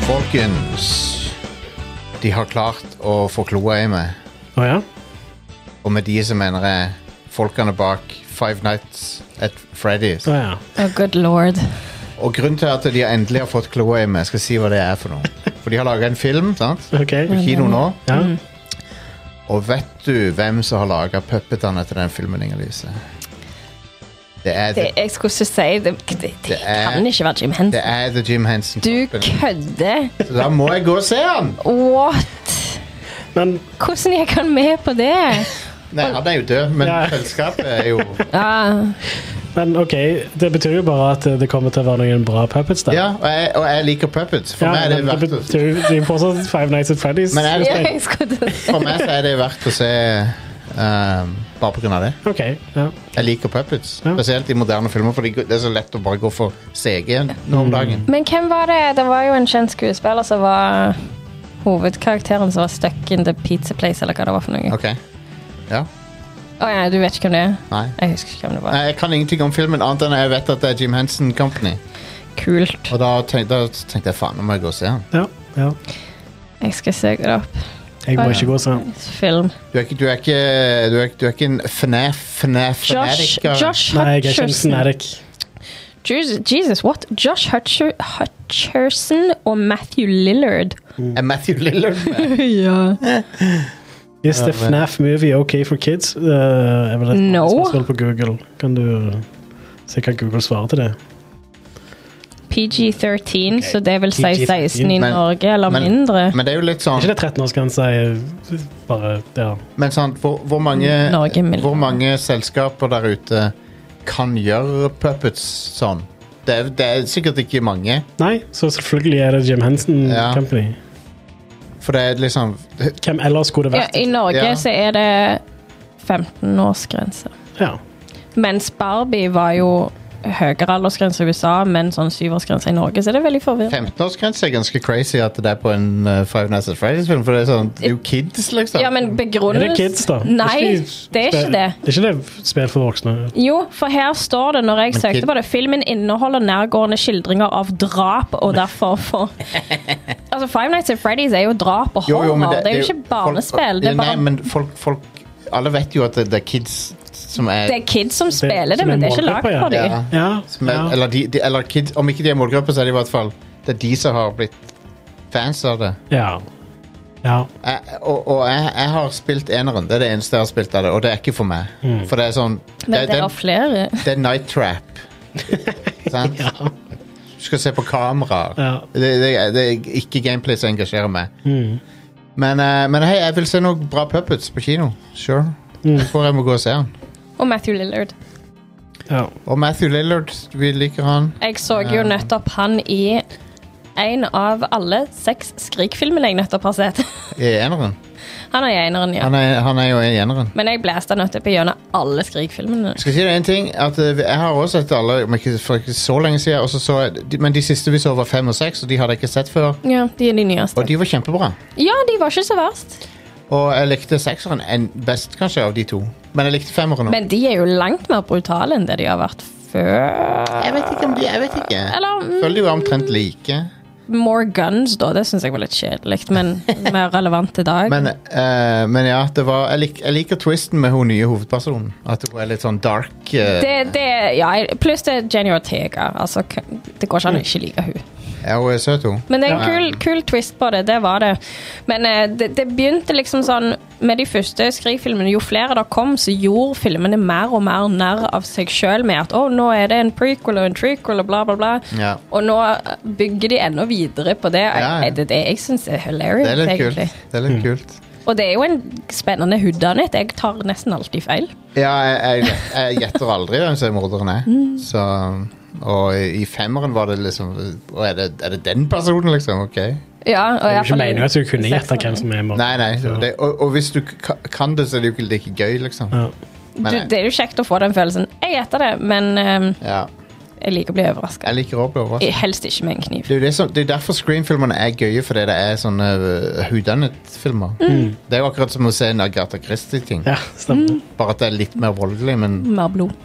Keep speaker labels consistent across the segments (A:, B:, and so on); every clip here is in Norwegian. A: folkens. De har klart å få kloa i meg.
B: Å ja?
A: Og med de så mener jeg folkene bak Five Nights at Freddy's.
B: Å ja.
C: Oh, good lord.
A: Og grunnen til at de endelig har fått kloa i meg, skal jeg si hva det er for noe. For de har laga en film sant?
B: Ok.
A: på
C: Mm.
A: kino nå.
B: Ja.
A: Og vet du hvem som har laga puppetene til den filmen, Inger-Lise? Det er
C: Det,
A: The,
C: jeg skulle ikke si det. Det, det
A: er-
C: kan ikke være Jim Henson.
A: det er the Jim Henson.
C: Du kødder!
A: Så da må jeg gå og se han!
C: What?
B: Men
C: Hvordan gikk han med på det?
A: Nei, han er jo død, men
B: Ja.
A: selskapet er jo
C: Ja,
B: Men ok, det betyr jo bare at eh, det kommer til å være noen bra puppets der.
A: Ja, og jeg, og jeg liker puppets. For
B: Ja,
A: meg er det
B: men
A: verdt å
B: betyr jo det er jo fortsatt Five Nights at Freddy's.
A: Men er det-
C: jeg skulle til å si.
A: For meg så er det verdt å se um, bare pga. det.
B: Ok, ja.
A: Jeg liker puppets.
B: Ja.
A: Spesielt i moderne filmer, for det er så lett å bare gå for CG nå om dagen.
C: Men hvem var det? Det var jo en kjent skuespiller som var hovedkarakteren som var stuck in the pizza place, eller hva det var for noe. Å
A: Ok. Ja.
C: ja, du vet ikke hvem det er?
A: Nei.
C: Jeg husker ikke hvem det var.
A: Nei, Jeg kan ingenting om filmen annet enn jeg vet at det er Jim Henson Company.
C: Kult.
A: Og da tenkte, da tenkte jeg faen, nå må jeg gå og se den.
B: ja, ja.
C: Jeg skal søke det opp.
B: Jeg må ikke gå sånn.
C: Film.
A: Du er ikke, du er ikke, du er, ikke- du er ikke en FNAF, FNAF
C: Josh,
A: fanatiker.
C: Josh
B: Nei, jeg er ikke en
C: Hutcherson.
B: fanatic.
C: Jesus, Jesus, what? Josh Hutcher, Hutcherson og Matthew Lillard.
A: Er Matthew Lillard med?
C: ja.
B: Is the
A: Ja, men-
B: FNAF movie okay for kids? Uh, er vel et
C: No.
B: spørsmål på Google. Kan du eh, se hva Google svarer til det?
C: PG-13, så det vil si
B: PG-13,
C: 16 i
A: men-
C: Norge, eller
A: men-
C: mindre.
A: Men det er jo litt
B: Er
A: sånn
B: ikke det 13-årsgrensa er bare Ja.
A: Men sant, hvor, hvor, mange,
C: Mm, Norge er mildt.
A: hvor mange selskaper der ute kan gjøre puppets sånn? Det er, det er sikkert ikke mange.
B: Nei, så selvfølgelig er det Jim Henson
A: Ja.
B: Company.
A: For det er liksom
B: Hvem ellers skulle det
C: Ja,
B: vært?
C: I Norge
A: Ja.
C: så er det 15-årsgrense.
B: Ja.
C: Mens Barbie var jo høyere aldersgrense i USA, men sånn syvårsgrense i Norge, så er det veldig forvirrende.
A: 15-årsgrense er ganske crazy at det er på en uh, Five Nights at Fridays-film. For det er sånn Det er jo kids, liksom.
C: Ja, men
B: Er
C: begrunnelse
B: det kids, da?
C: Nei, det er ikke det.
B: Er ikke det spill for voksne?
C: Jo, for her står det når jeg søkte
A: kid-
C: på det Filmen inneholder nærgående skildringer av drap Og derfor for Altså Five Nights at Freddy's er jo drap og horror det, er jo ikke barnespill
A: Folk,
C: Det er
A: nei,
C: bare
A: men folk, folk Alle vet jo at det, det er kids som er,
C: det er kids som spiller det,
B: som er
C: men det er ikke lagt
B: målgruppa,
C: for
A: ja.
C: dem
B: Ja.
A: som er
B: ja.
A: Eller, de, de, eller kids, om ikke de er målgruppa, så er det i hvert fall Det er de som har blitt fans av det.
B: ja. ja.
A: jeg, og, og jeg, jeg har spilt eneren. Det er det eneste jeg har spilt av det, og det er ikke for meg. For det er sånn
C: Men
A: det,
C: det er
A: det,
C: flere
A: det er Night Trap. Sant? Du skal se på kameraer.
B: Ja. Mm.
A: Det, det, det er ikke gameplay som engasjerer meg. Men, eh, men hei, jeg vil se noen bra puppets på kino. Sure. Jeg tror jeg må gå og se han.
C: Og Matthew Lillard
B: ja.
A: Og Matthew Lillard, vi liker han.
C: Jeg så jo nettopp han i En av alle seks skrikfilmene jeg nettopp har sett
A: I eneren.
C: Han er i eneren, ja
A: Han er, han er jo i eneren.
C: Men jeg blæste nettopp gjennom alle skrikfilmene
A: Skal jeg si deg en ting at eh, Jeg har også sett alle men ikke for ikke så lenge siden. og så så jeg, de- men de siste vi så, var fem og seks, og de hadde jeg ikke sett før.
C: Ja, de er de nyeste
A: Og de var kjempebra.
C: Ja, de var ikke så verst
A: Og jeg likte sekseren en- best, kanskje, av de to. Men jeg likte femmeren òg.
C: Men de er jo langt mer brutale enn det de har vært før.
A: Jeg vet ikke om de Jeg vet ikke.
C: Eller mm,
A: Føler de var omtrent like.
C: More Guns, da. Det syns jeg var litt kjedelig, men mer relevant i dag.
A: Men, eh, men ja, det var jeg, lik, jeg liker twisten med hun nye hovedpersonen. At hun er litt sånn dark. eh,
C: det, det, ja, pluss det er Jenny Ortega. Altså, k- det går ikke an å ikke like hun.
A: Ja, hun er søt, hun.
C: Men det er en
A: Ja.
C: kul, kul twist på det. Det var det. Men eh, det, det begynte liksom sånn Med de første skrivfilmene, jo flere der kom, så gjorde filmene mer og mer narr av seg sjøl med at å, nå er det en prequel og en trequel og bla, bla, bla.
A: Ja.
C: Og nå bygger de enda videre på det.
A: Ja, ja.
C: Det er det jeg syns er hilarious,
A: Det er litt kult.
C: egentlig.
A: Det er litt kult.
C: Og det er jo en spennende hoodanit. Jeg tar nesten alltid feil.
A: Ja, jeg, jeg, jeg gjetter aldri hvem som er morderen er.
C: Mm.
A: Så, og i femmeren var det liksom «Å, er det, er det den personen, liksom? Ok.
C: Ja, og
B: Det er jo
C: i hvert
B: ikke
C: fall-
B: meningen at du kunne gjette hvem som er
A: Nei,
B: morgen.
A: nei. Det, og, og hvis du ka- kan det, så er det jo ikke like gøy, liksom.
B: Ja.
A: Men
C: du,
A: jeg,
C: Det er jo kjekt å få den følelsen. Jeg gjetter det, men ehm,
A: ja,
C: jeg liker å bli overraska.
A: jeg liker å bli overrasket.
C: Helst ikke med en kniv.
A: Det er jo det som, det er derfor Scream-filmerne er gøye, fordi det er sånne øh, hudannet-filmer. Det er jo akkurat som å se en Agatha Christie-ting,
B: ja,
C: Mm.
B: stemmer.
A: bare at det er litt mer voldelig, men,
C: Mer blod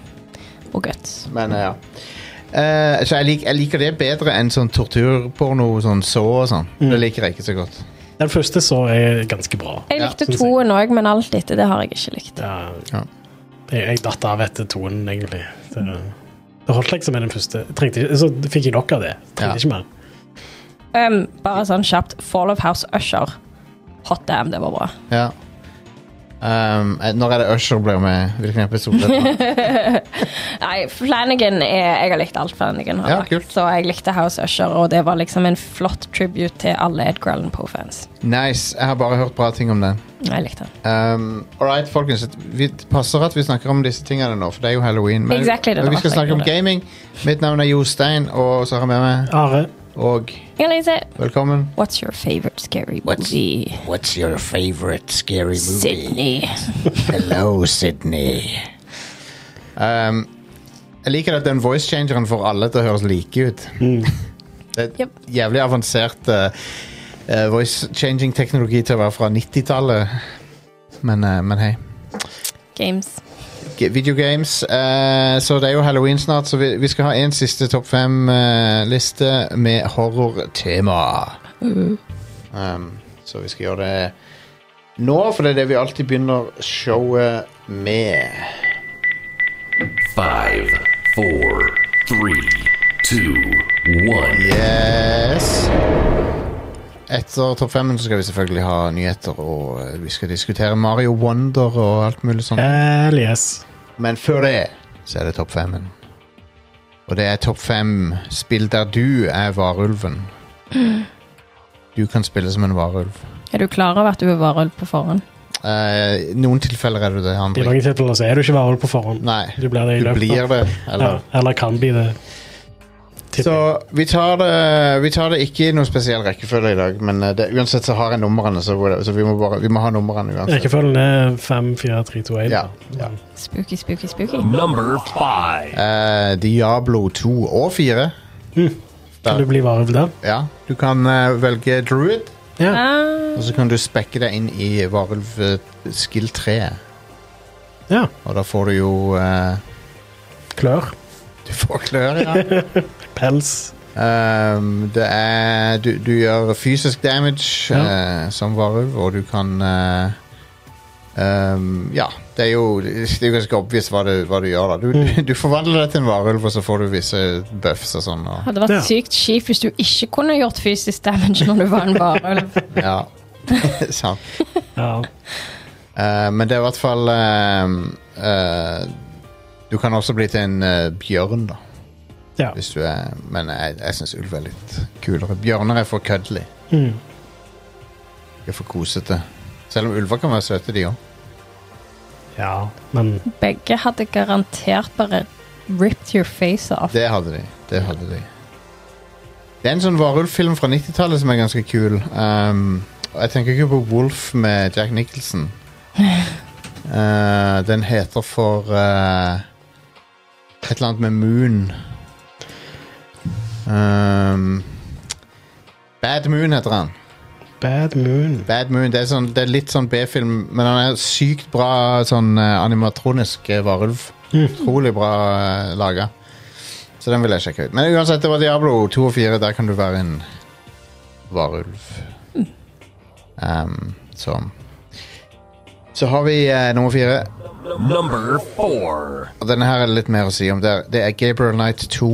C: og guts.
A: men øh, ja. Eh, så jeg, lik, jeg liker det bedre enn sånn torturporno, sånn så og sånn. Det liker jeg ikke så godt.
B: Den første så er ganske bra.
C: Jeg
A: Ja,
C: likte
B: synes jeg.
C: toen òg, men alt etter det har jeg ikke likt.
B: Ja,
A: Ja.
B: jeg, jeg datt av etter tonen, egentlig. Det, det holdt liksom med den første. Jeg Trengte ikke, så fikk jeg nok av det.
A: Ja.
B: Trengte ikke mer.
C: Ehm, bare sånn kjapt. Fall of House Usher. Hot damn, det var bra.
A: Ja. Ehm, eh, når er det Usher blir med? Hvilken episode? er det fra?
C: Nei, Flanagan er Jeg har likt alt Flanagan har
A: Ja,
C: lagt.
A: kult.
C: Så jeg likte House Usher, og det var liksom en flott tribute til alle Edgar Allan Poe-fans.
A: nice. Jeg har bare hørt bra ting om den.
C: Jeg likte den.
A: Um, Alright, folkens. et- Vi det passer at vi snakker om disse tingene nå, for det er jo halloween. Men,
C: Exactly, det er
A: men vi skal
C: derfor
A: snakke om
C: jeg gjorde
A: gaming. Mitt navn er Jostein, og så har jeg med meg
B: Are,
A: Og
C: Elise,
A: velkommen.
C: what's your favorite scary
D: What's-
C: movie?
D: What's your favorite scary movie?
C: Sydney.
D: Hello, Sydney.
A: Um, jeg liker at den voice changeren får alle til å høres like ut. Det er
C: Yep.
A: jævlig avansert eh, eh, voice changing-teknologi til å være fra 90-tallet. Men, eh, men hei.
C: Games.
A: G- Videogames. eh, så det er jo halloween snart, så vi, vi skal ha en siste topp fem-liste med horrortema. Um, så vi skal gjøre det nå, for det er det vi alltid begynner showet med.
E: Five, four, three, two, one.
A: Yes. Etter topp femmen så skal vi selvfølgelig ha nyheter, og eh, vi skal diskutere Mario Wonder og alt mulig sånt.
B: hell yes.
A: Men før det så er det topp femmen. Og det er topp fem spill der du er varulven. Du kan spille som en varulv.
C: Er du klar over at du er varulv på forhånd?
A: Eh, noen tilfeller er du det,
B: I
A: andre.
B: mange tilfeller så er du ikke varulv på forhånd.
A: Nei,
B: Du blir det i
A: du
B: løpet
A: blir
B: av
A: det.
B: ja,
A: Eller
B: Eller kan bli det. Tipper jeg.
A: Så vi tar, det, vi tar det ikke i noen spesiell rekkefølge i dag, men eh, det, uansett så har jeg numrene, så, så vi, må bare, vi må ha numrene uansett.
B: Rekkefølgen er 5, 4, 3, 2, 1.
A: Ja, ja.
C: Spooky, spooky, spooky.
E: Number five.
A: Eh, Diablo 2 og 4.
B: Kan du bli varulv der?
A: Ja, du kan eh, velge druid,
B: Ja.
C: Ah,
A: og så kan du spekke deg inn i varulv eh, skill 3.
B: ja.
A: Og da får du jo eh,
B: Klør.
A: Du får klør, ja.
B: Pels.
A: Ehm, det er du, du gjør fysisk damage eh, som varulv, og du kan eh, ehm, Ja, det er jo Det er jo ganske obvious hva du, hva du gjør, da. Du, du forvandler deg til en varulv, og så får du visse buffs og sånn. Og,
C: hadde vært
B: Ja.
C: sykt kjipt hvis du ikke kunne gjort fysisk damage når du var en varulv.
A: ja. sant.
B: Ja.
A: Eh, men det er i hvert fall ehm, eh, Du kan også bli til en eh, bjørn, da.
B: ja.
A: Hvis du er, men jeg, jeg syns ulv er litt kulere. Bjørner er for køddelig.
B: Mm.
A: De er for kosete. Selv om ulver kan være søte, de òg.
B: ja. Men
C: Begge hadde garantert bare ripped your face off.
A: Det hadde de. Det hadde de. Det er en sånn varulvfilm fra 90-tallet som er ganske kul. Um, og jeg tenker ikke på Wolf med Jack Nicholson. Eh, den heter for eh, Et eller annet med Moon. Um, Bad Moon heter han.
B: Bad Moon.
A: Bad Moon, det er, sånn, det er litt sånn B-film, men han er sykt bra sånn eh, animatronisk eh, varulv. Utrolig bra uh, laga. Så den vil jeg sjekke ut. Men uansett, det var Diablo 2 og 4. Der kan du være en varulv. Um, så Så har vi eh, nummer fire.
E: Number four.
A: Og denne her er det litt mer å si om. Det er, det er Gabriel Knight 2.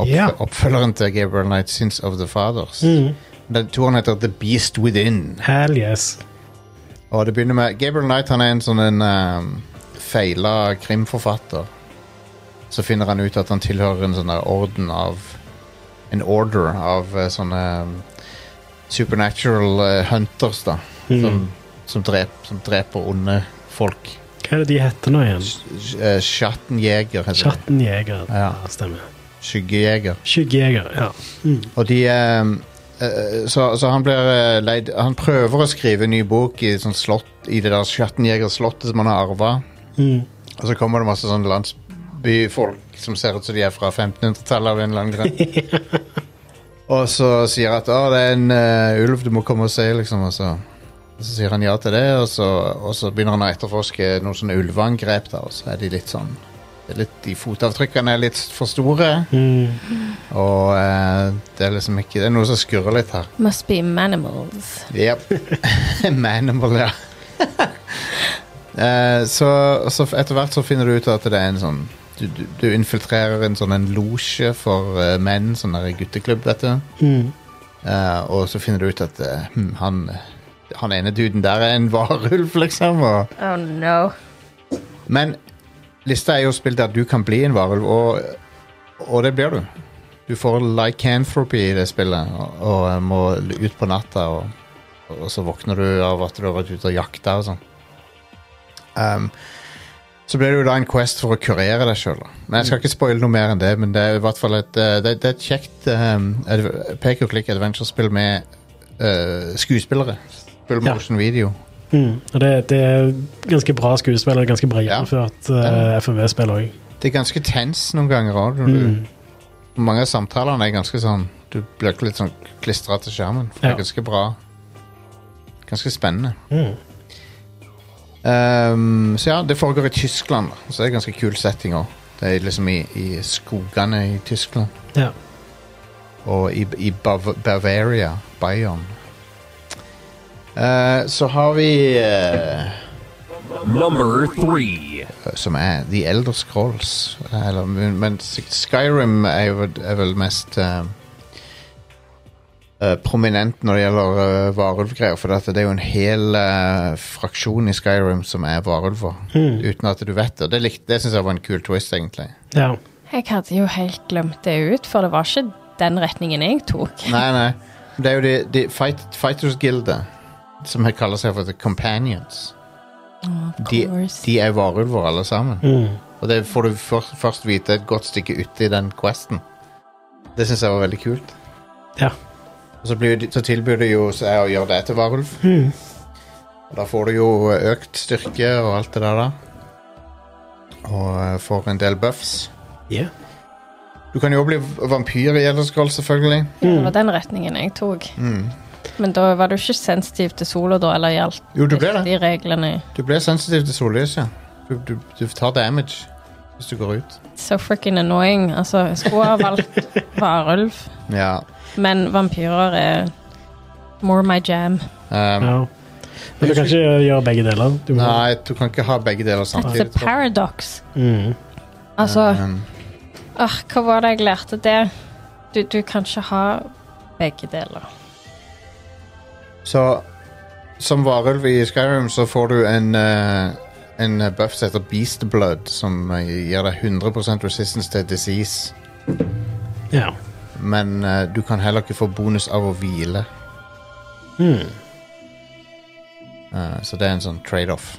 A: Oppf
B: Ja.
A: Oppfølgeren til Gabriel Knight Sins of the Fathers. Den toeren heter The Beast Within.
B: Hell yes.
A: Og det begynner med Gabriel Knight han er en sånn en ehm, feila krimforfatter. Så finner han ut at han tilhører en sånn der orden av En order av eh, sånne ehm, supernatural eh, hunters, da. Som, som, drep, som dreper onde folk.
B: Hva er det de heter nå igjen?
A: Uh, Schattenjeger heter det.
B: Chattenjeger.
A: Ja.
B: Ja, stemmer.
A: Skyggejeger.
B: Skyggejeger, ja.
A: Og de ehm, eh, så, så han blir eh, leid Han prøver å skrive en ny bok i, et sånt slott, i det der Schattenjegerslottet som han har arva.
B: Mm.
A: Og så kommer det masse sånn landsbyfolk som ser ut som de er fra 1500-tallet av en eller annen grunn. og så sier at 'Å, det er en eh, ulv, du må komme og se', liksom. Og så, og så sier han ja til det, og så, og så begynner han å etterforske noen sånne ulveangrep, da, og så er de litt sånn Det er litt, de fotavtrykkene er litt for store.
B: mm.
A: Og eh, det er liksom ikke Det er noe som skurrer litt her.
C: Must be manimals.
A: Yep. Manimal, ja. Eh, så, så etter hvert så finner du ut at det er en sånn Du, du, du infiltrerer en sånn en losje for eh, menn, sånn der gutteklubb, vet du.
B: Mm.
A: Eh, og så finner du ut at eh, hm, han, han ene duden der er en varulv, liksom. Og,
C: Oh no.
A: men lista er jo spill der du kan bli en varulv, og, og det blir du. Du får lycanthropy i det spillet og, og eh, må ut på natta, og, og så våkner du av at du har vært ute og jakta og sånn. Ehm, så blir det jo da en quest for å kurere deg sjøl. Jeg skal ikke spoile noe mer enn det, men det er i hvert fall et, eh, det, det er et kjekt um, pek og klikk adventure-spill med eh, skuespillere. Spill
B: Ja.
A: motion video.
B: Mm. Og det, det er ganske bra skuespill og ganske bra
A: Ja.
B: gjennomført uh, FMV-spill òg.
A: Det er ganske tens noen ganger òg.
B: Mm.
A: Mange av samtalene er ganske sånn Du blir litt sånn klistra til skjermen. For Det
B: Ja.
A: er ganske bra. Ganske spennende.
B: Mm.
A: Ehm, så ja, det foregår i Tyskland, da. så det er ganske kul setting òg. Det er liksom i, i skogene i Tyskland.
B: Ja.
A: Og i, i Bav Bavaria, Bayern. Eh, så har vi eh,
E: Number three.
A: Som er The Elder Scrolls. Eller, men men Skyrim er, jo, er vel mest eh, eh, prominent når det gjelder eh, varulvgreier. For at det er jo en hel eh, fraksjon i Skyrim som er varulver. Uten at du vet det. Det, likte- det syns jeg var en kul twist, egentlig.
B: ja.
C: Jeg hadde jo helt glemt det ut, for det var ikke den retningen jeg tok.
A: Nei, nei. Det er jo de, de fight, Fighters Guilde, som her kaller seg for The Companions. De,
C: course.
A: de er varulver, alle sammen.
B: Mm.
A: Og det får du først, først vite et godt stykke ute i den questen. Det syns jeg var veldig kult.
B: ja.
A: Og så, blir, de- så tilbyr det jo seg å gjøre deg til varulv. Og da får du jo økt styrke og alt det der, da. Og eh, får en del buffs.
B: Yeah.
A: Du kan jo bli v- vampyr i Elder Scrolls, selvfølgelig. Mm.
C: Det var den retningen jeg tok. Men da var du ikke sensitiv til sola, da, eller gjaldt
A: Jo, du ble det.
C: de reglene.
A: Du blir sensitiv til sollys, ja. Du, du, du tar damage hvis du går ut.
C: So freaking annoying. Altså, jeg skulle ha valgt varulv,
A: Ja.
C: men vampyrer er more my jam.
A: Um,
B: ja. Men du kan ikke gjøre begge deler. Du må,
A: Nei, du kan ikke ha begge deler
C: It's a
A: samtidig. tror jeg.
C: paradox.
B: Mm.
C: Altså,
A: Um,
C: åh, hva var det jeg lærte der? Du, du kan ikke ha begge deler.
A: så som varulv i Skyrim så får du en, eh, en buff som heter Beast Blood, som eh, gir deg 100 resistance til disease.
B: Ja.
A: Men eh, du kan heller ikke få bonus av å hvile.
B: Mm.
A: Eh, så det er en sånn trade-off.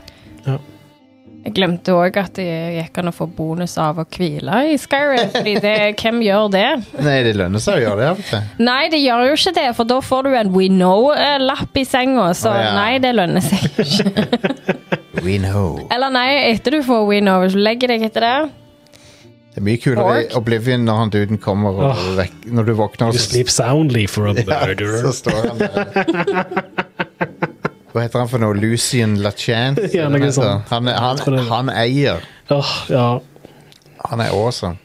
C: Jeg glemte òg at det gikk an å få bonus av å hvile i Skyrim. Fordi det, hvem gjør det?
A: Nei, det lønner seg å gjøre det av og til.
C: Nei, det gjør jo ikke det, for da får du en We Know-lapp i senga, så
A: Å, ja.
C: nei, det lønner seg ikke.
A: We know.
C: Eller nei, etter du får We Know, hvis du legger deg etter det
A: Det er mye kulere i
C: Ork.
A: Oblivion når han duden kommer og vekk, Når du våkner
B: You
A: så,
B: sleep soundly for a
A: ja,
B: murderer.
A: så står han der. Hva heter han for noe? Lucian Lachance?
B: Ja, noe sånt.
A: han, er-
B: Jeg tror
A: han,
B: det er-
A: han eier.
B: Åh, ja.
A: Han er awesome.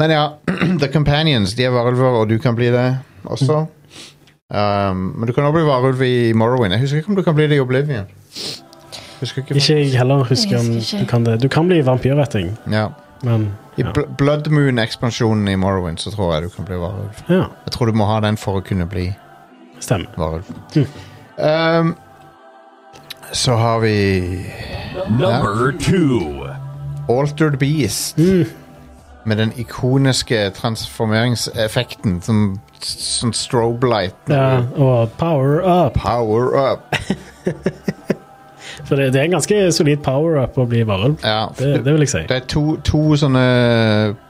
A: Men ja, The Companions de er varulver, og du kan bli det også. Um, men du kan også bli varulv i Morrowind. Jeg husker ikke om du kan bli det i Oblivion. Husker ikke,
B: Ikke jeg heller husker om
C: Jeg husker ikke.
B: du kan det. Du kan bli vampyr, vet jeg.
A: Ja.
B: Men
A: I
B: ja.
A: Bl Blood Moon-ekspansjonen i Morrowind så tror jeg du kan bli varulv.
B: ja.
A: Jeg tror du må ha den for å kunne bli
B: Stemmer.
A: varulv.
B: Mm.
A: Ehm, så har vi
E: Number two.
A: Altered Beast.
B: Mm.
A: Med den ikoniske transformeringseffekten som sånn strobe light.
B: Ja, og power up.
A: Power up.
B: For det, det er en ganske solid power up å bli varulv.
A: Ja,
B: Det, det vil jeg si.
A: det er to, to sånne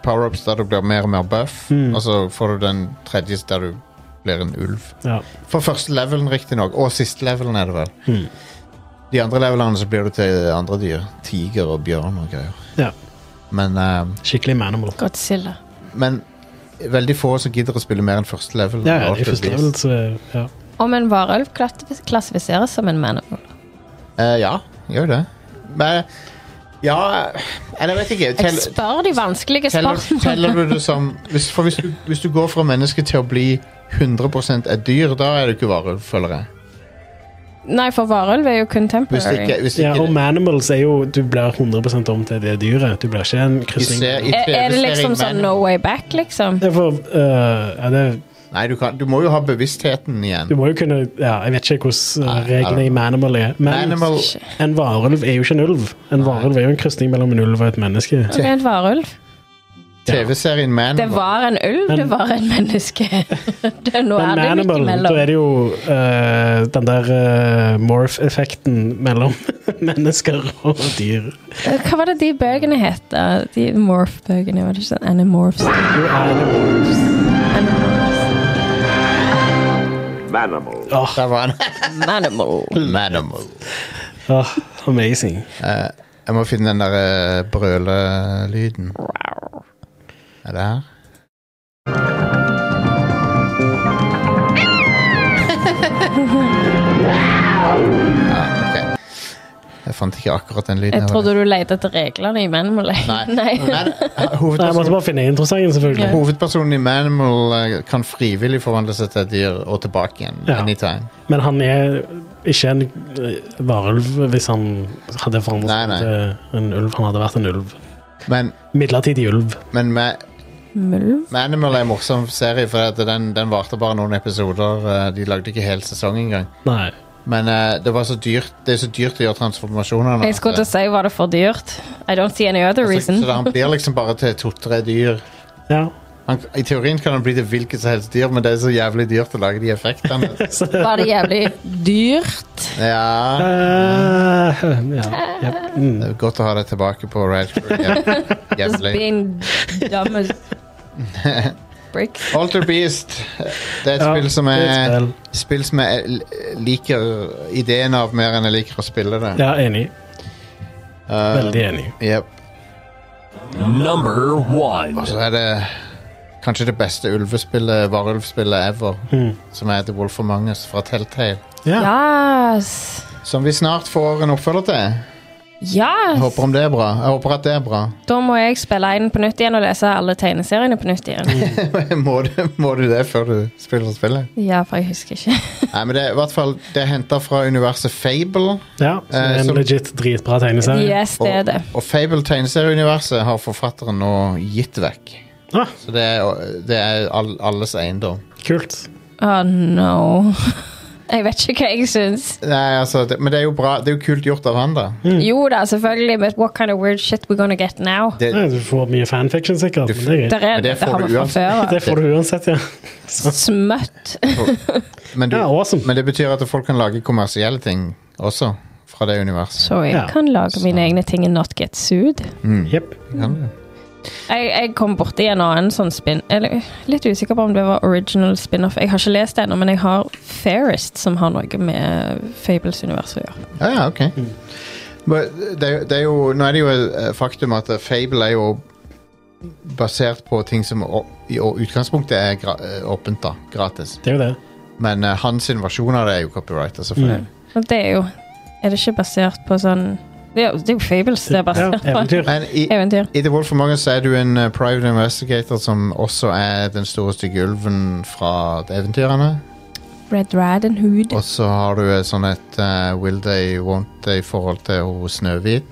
A: power-ups der du blir mer og mer buff,
B: Mm.
A: og så får du den tredje der du blir en ulv.
B: Ja.
A: For første levelen, riktignok. Og siste levelen, er det vel.
B: Mm.
A: De andre levelene så blir du til andre dyr. Tiger og bjørn og greier.
B: ja.
A: Men ehm,
B: Skikkelig manimal.
C: Godzilla.
A: Men veldig få som gidder å spille mer enn første level.
B: Ja,
A: av
B: ja, i
A: Altered
B: første
A: Beast.
B: level, så ja.
C: Om en varulv klassif- klassifiseres som en manimal.
A: Eh, ja, gjør det. Men Ja, eller jeg vet ikke.
C: Jeg
A: Tell,
C: spør de vanskelige
A: teller,
C: spørsmålene.
A: teller du det som hvis, For hvis du, hvis du går fra menneske til å bli 100 et dyr, da er du ikke varulv, føler jeg.
C: Nei, for varulv er jo
A: Hvis det
C: contemporary.
A: ikke, hvis det
B: Ja,
A: ikke
B: og Manimals er jo Du blir 100 om til det dyret. Du blir ikke en
A: vi
B: krysning.
A: ser i
C: Er, er det
A: TV-serien
C: liksom sånn
A: Man-
C: no way back, liksom?
B: Ja, for, øh, ja, det,
A: Nei, du, kan, du må jo ha bevisstheten igjen.
B: du må jo kunne ja, Jeg vet ikke hvordan øh,
A: Nei,
B: reglene i Manimal er. Men
A: Manimal
B: en varulv er jo ikke en ulv. En varulv er jo en krysning mellom en ulv og et menneske.
C: Det er en varulv.
A: TV-serien Man
C: Det var en ulv, det var en menneske. Det, nå
B: Men
C: er det
B: Manimal,
C: midt
B: da
C: imellom.
B: er det jo øh, den der øh, morph-effekten mellom mennesker og dyr.
C: Eh, Hva var det de bøkene het? da? De Morph-bøkene, var det ikke sånn? Animorphs.
B: Jo, Animals.
C: Animorphs.
E: Manimal.
B: Åh,
A: Der var han.
C: Manimal.
A: Manimal.
B: åh, amazing.
A: Eh, jeg må finne den der eh, brølelyden. Er det her? Ja, ok. Jeg fant ikke akkurat den lyden.
C: Jeg trodde du lette etter reglene i Manimal.
A: Nei.
C: Nei.
A: Men, eh,
B: Nei, jeg måtte
A: hovedpersonen,
B: bare finne introsangen, selvfølgelig.
A: hovedpersonen i Manimal eh, kan frivillig forvandle seg til et dyr og tilbake igjen.
B: Ja.
A: Anytime.
B: Men han er ikke en eh, varulv hvis han hadde
A: Nei,
B: forandret
A: nei.
B: seg til en ulv. Han hadde vært en ulv.
A: Men,
B: Midlertidig ulv.
A: men Ma-
C: Mulv?
A: Manimal er en morsom serie, for at den, den varte bare noen episoder. eh, De lagde ikke hel sesong engang.
B: Nei.
A: Men eh, det, var så dyrt, det er så dyrt å gjøre transformasjoner.
C: Jeg skulle til å si var det for dyrt. I don't see any other
A: så,
C: reason.
A: Altså, så han blir liksom bare til to-tre dyr.
B: Ja.
A: Han, I teorien kan han bli til hvilket som helst dyr, men det er så jævlig dyrt å lage de effektene.
B: Så,
C: Var det jævlig dyrt?
A: Ja,
B: Eh, ja. ja. Mm.
A: det er godt å ha det tilbake på Rad Crew igjen.
C: Just
A: Jævlig.
C: being dumb as bricks.
A: Alter Beast. Det er et
B: Ja,
A: spill som
B: det
A: jeg
B: er et spill.
A: spill som jeg l- liker ideen av mer enn jeg liker å spille det.
B: ja, enig.
A: Eh,
B: Veldig enig.
A: jep.
E: Number one.
A: Og så er det kanskje det beste ulvespillet, varulvspillet ever,
B: Hmm.
A: som er The Wolf Among Us fra Telltale.
B: Ja.
C: Yes.
A: Som vi snart får en oppfølger til. Jeg
C: Yes.
A: håper om det er bra. Jeg håper at det er bra.
C: Da må jeg spille inn på nytt igjen og lese alle tegneseriene på nytt igjen.
A: må, du, må du det før du spiller spillet?
C: Ja, for jeg husker ikke.
A: Nei, men det er i hvert fall Det er henta fra universet Fable.
B: ja så det
A: Eh,
B: er
A: som-
B: en legit dritbra tegneserie.
C: Yes, det er det.
A: Og Fable-tegneserieuniverset har forfatteren nå gitt vekk.
B: Ah,
A: Så det er, det er all, alles eiendom.
B: kult.
C: Oh no. Jeg vet ikke hva jeg syns.
A: Nei, altså, det, Men det er jo bra Det er jo kult gjort av han, da.
C: Jo da, selvfølgelig, but what kind of weird shit we gonna get now?
A: Det,
B: Ja, du får mye fanfiction, sikkert. Men det, er greit.
C: Der er,
A: Men det
C: det
A: får
C: har
A: du
C: vi fra
A: uansett.
C: før. altså.
B: det får du uansett, ja. Så,
C: Smøtt.
A: men, du,
B: ja, awesome.
A: men det betyr at folk kan lage kommersielle ting også fra det universet.
C: Så jeg
B: Ja.
C: kan lage mine egne ting and not get sued.
A: Mm.
B: Jepp.
A: Kan du?
C: Jeg, jeg kom borti en annen sånn spin... Eller litt usikker på om det var original spin-off. Jeg har ikke lest det ennå, men jeg har Fairest, som har noe med Fables-universet å gjøre.
A: Ja, ja, ok. Men det, er jo- det er jo, nå er det jo et faktum at eh, Fable er jo basert på ting som å- i å- utgangspunktet er gra eh, åpent, da. Gratis.
B: Det er jo det.
A: Men eh, hans invasjon av det er jo altså. copyrighta, selvfølgelig.
C: Og det er jo Er det ikke basert på sånn Det er jo, det er jo Fables det er
B: Ja,
C: basert på.
B: eventyr.
A: Men i,
C: Eventyr.
A: i The Wolf of Mongus er du en eh, private investigator som også er den store stygge ulven fra eventyrene.
C: Red Rad and Hood.
A: Og så har du eh, sånn et eh, will they, won't they-forhold til hun Snøhvit.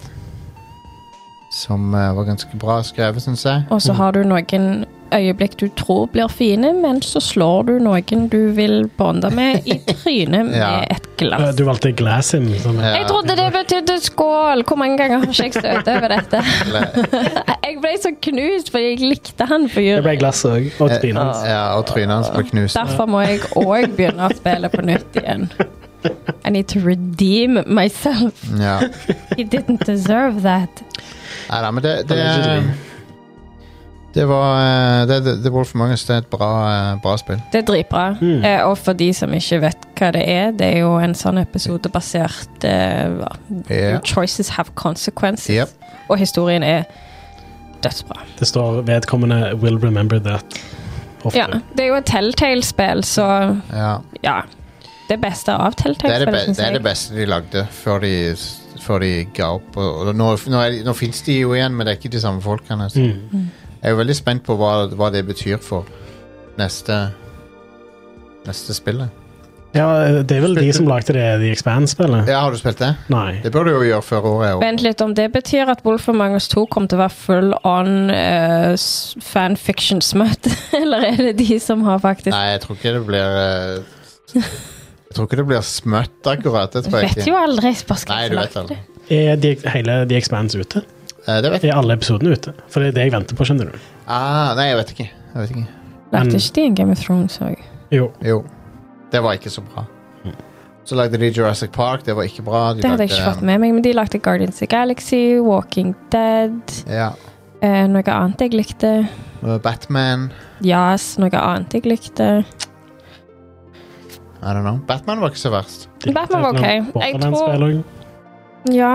A: Som eh, var ganske bra skrevet, syns jeg.
C: Og så har du noen øyeblikk du tror blir fine, men så slår du noen du vil bonde med, i trynet med
A: Ja.
C: et glass.
B: Du valgte sånn. Glassim. Som,
A: Ja.
C: Jeg trodde det betydde skål! Hvor mange ganger har ikke jeg støtt over dette?
A: Eller-
C: Jeg ble så knust fordi jeg likte han
B: Det ble
C: fyren.
B: glass òg.
A: Eh,
B: Og trynet hans.
A: Ja, og trynet hans ble knust.
C: Derfor må jeg òg begynne å spille på nytt igjen. I need to redeem myself.
A: Ja.
C: He didn't deserve that.
A: Nei da, men det Det,
B: Allegedly.
A: det var eh, det, det, det Wolf Among Us det er et bra, eh, bra spill.
C: Det er dritbra.
B: Mm.
C: Eh, og for de som ikke vet hva det er, det er jo en sånn episode basert eh, hva-
A: Ja.
C: Your choices have consequences.
A: Yep.
C: Og historien er dødsbra.
B: Det står vedkommende 'will remember that'. Ofte.
C: Ja, det er jo et Telltale-spill, så
A: Ja.
C: ja. Det beste av
A: Det, er det,
C: Telltale-spill,
A: be,
C: syns
A: det er
C: jeg.
A: det beste de lagde før de s- før de ga opp. Og, og nå, nå, er de- nå fins de jo igjen, men det er ikke de samme folkene.
B: Mm.
A: Så. Jeg er jo veldig spent på hva, hva det betyr for neste Neste spillet.
B: Ja, det er vel de som lagde det, The Expand-spillet?
A: Ja, har du spilt det?
B: Nei.
A: Det bør du jo gjøre før året er over.
C: Vent litt, om det betyr at Wolf of Magnus 2 kommer til å være full on eh, s- fanfiction-smøte, eller er det de som har faktisk
A: Nei, jeg tror ikke det blir eh, Jeg tror ikke det blir smøtt, akkurat. Det tror jeg
C: Vet jo
A: ikke.
C: aldri. jeg Bare skal
A: Nei,
C: ikke
A: du
C: lage
A: vet aldri.
B: Er de, hele The Expands ute?
A: Eh, Det vet jeg.
B: Er alle episodene ute? For det er det jeg venter på, skjønner du.
A: Ah, nei, jeg vet ikke. Jeg vet ikke.
C: Lagde
B: Men-
C: ikke de en Game of Thrones òg?
B: Jo.
A: Jo. Det var ikke så bra. Så lagde de Jurassic Park. Det var ikke bra. De
C: Det hadde jeg
A: lagde,
C: ikke fått med meg, men de lagde Guardians of the Galaxy, Walking Dead,
A: Ja.
C: eh, noe annet jeg likte.
A: Uh, Batman
C: Yes, noe annet jeg likte.
A: I don't know. Batman var ikke så verst.
C: Batman var ok. Jeg
B: Borderlands-spill også.
C: Ja.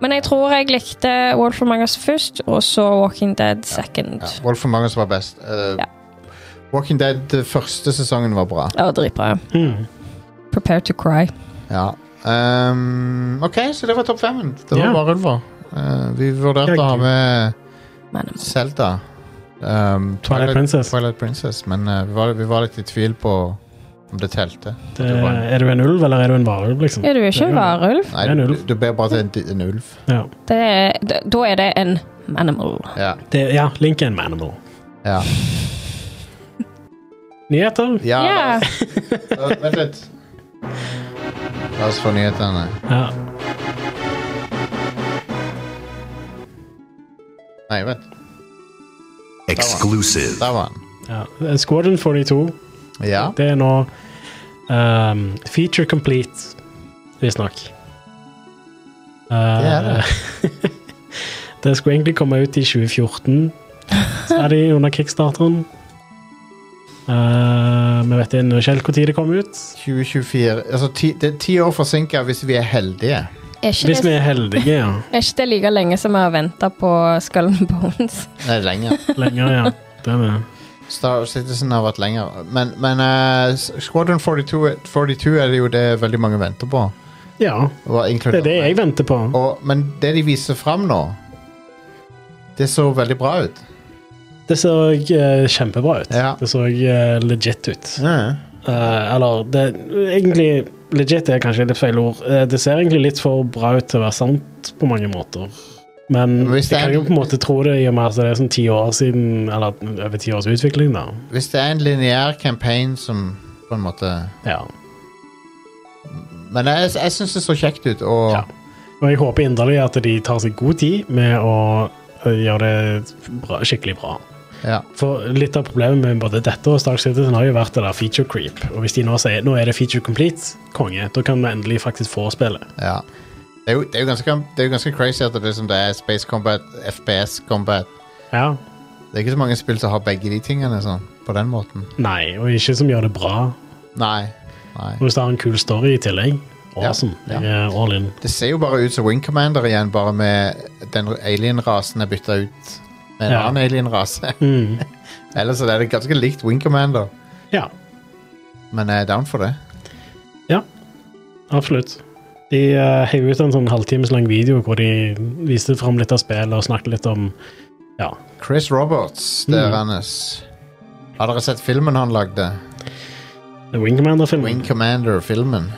C: Men jeg tror jeg likte World for Magas først, og så Walking Dead second.
A: Ja. Wolf of Magnus var best. Uh,
C: Ja.
A: Walking Dead det første sesongen var bra.
C: Det var dritbra.
B: Mm.
C: Prepare to cry.
A: Ja. Um, OK, så det var topp femmen. Det var
B: Ja.
A: bare ulver. Uh, vi vurderte
B: Ja,
A: å ha
B: gud.
A: med
C: Men
A: Zelda. Um,
B: Twilight Princess.
A: Twilight Princess, Men uh, vi, var, vi var litt i tvil på om det telte.
B: Det, eh, er du en ulv, eller er du en varulv, liksom?
C: er du ikke en varulv?
A: Nei,
B: Det er en
A: du,
B: ulv.
A: du ber bare til en, en ulv.
B: Ja.
C: Det er, d- da er det en animal.
A: Ja.
B: Det, ja, Link er en manimal.
A: Ja.
B: Nyheter?
A: ja
C: Ja.
A: la oss- Vent litt. La oss få nyhetene.
B: Ja.
A: Nei, vent.
F: Exclusive.
A: Der var han.
B: ja. Squadron 42,
A: Ja.
B: det er nå um, feature complete, visstnok. Uh,
A: Det er det.
B: det skulle egentlig komme ut i 2014, sa de under kickstarteren. Uh, vi vet ennå ikke helt når det kom ut.
A: 2024 Altså, ti, det er ti år forsinka hvis vi er heldige.
C: Er ikke,
B: Hvis vi
C: det,
B: er heldige, ja.
C: er ikke det like lenge som vi har venta på Skull and Bones?
A: Nei, lenger.
B: Lenger, ja. Det er det.
A: Star Citizen har vært lenger. Men, men eh, Squadron 42, er- 42 er det jo det veldig mange venter på.
B: Ja,
A: Og
B: det er det jeg venter på.
A: Og, men det de viser fram nå, det så veldig bra ut.
B: Det så eh, kjempebra ut.
A: Ja.
B: Det så eh, legit ut. Eh, eller det egentlig Legit er kanskje litt feil ord. Eh, det ser egentlig litt for bra ut til å være sant på mange måter. Men
A: Men hvis det
B: jeg
A: er-
B: kan jo på en måte tro det i og med at det er sånn ti år siden Eller over ti års utvikling, da.
A: Hvis det er en lineær campaign som på en måte
B: Ja.
A: Men jeg, jeg syns det så kjekt ut, og
B: Ja. Og jeg håper inderlig at de tar seg god tid med å eh, gjøre det bra, skikkelig bra.
A: ja.
B: For litt av problemet med både dette og Stark Citizen har jo vært det der feature creep. Og hvis de nå sier nå er det feature complete, konge, da kan vi endelig faktisk få spillet.
A: Ja. Det, er jo, det, er jo ganske, det er jo ganske crazy at det, er som det er Space Combat, FPS Combat.
B: Ja.
A: Det er ikke så mange spill som har begge de tingene sånn, på den måten.
B: Nei, og ikke som gjør det bra.
A: Nei. Nei.
B: Og hvis det har en kul story i tillegg, awesome.
A: Ja, ja.
B: Jeg er all in.
A: Det ser jo bare ut som Wing Commander igjen, bare med den alien-rasen er bytta ut med en
B: Ja.
A: annen alien-rase.
B: Mm.
A: Ellers er det ganske likt Wing Commander,
B: Ja,
A: men jeg er down for det.
B: absolutt. De uh, heiv ut en sånn halvtimes lang video hvor de viste fram litt av spillet og snakket litt om ja,
A: Chris Roberts, det er
B: Mm.
A: hans. Har dere sett filmen han lagde?
B: Wing Commander-filmen.
A: Wing Commander-filmen.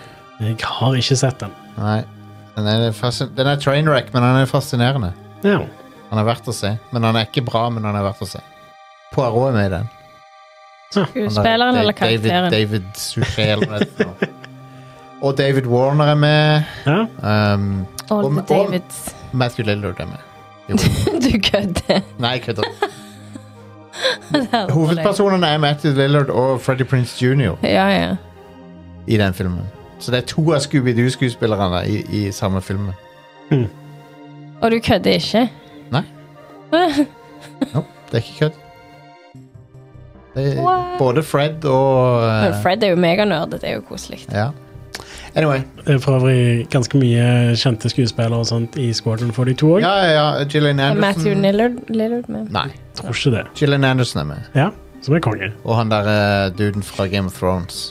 B: Jeg har ikke sett den.
A: Nei. Den er, fascin- den er trainwreck, men han er fascinerende.
B: Ja.
A: Han er verdt å se. Men han er ikke bra, men han er verdt å se. Poirot er med i den. Han er-
C: Skuespilleren
A: Da-
C: eller
A: David,
C: karakteren?
A: David Suchet eller noe sånt. Og David Warner er med.
B: ja.
A: Um,
C: All
A: om-
C: the
A: om-
C: Davids.
A: Matthew Lillard er med.
C: Du kødder.
A: Nei, jeg kødder. Hovedpersonene er Matthew Lillard og Freddy Prince Jr.
C: Ja, ja.
A: i den filmen. Så det er to av Scooby-Doo-skuespillerne i, i samme filmen.
C: Og du kødder ikke?
A: Nei. Eh. Nope, det er ikke kødd. Det er
C: What?
A: både Fred og
C: Men
A: uh,
C: Fred er jo meganerd. Det er jo koselig.
A: Ja. Anyway.
B: Det er for øvrig ganske mye kjente skuespillere og sånt i Squadron 42 òg.
A: Ja, ja, ja. Gillian
C: Er Matthew
A: Anderson
C: Lillard, Lillard med?
A: Nei.
B: Tror ikke det.
A: Gillian Anderson er med.
B: Ja, som er konge.
A: Og han der eh, duden fra Game of Thrones.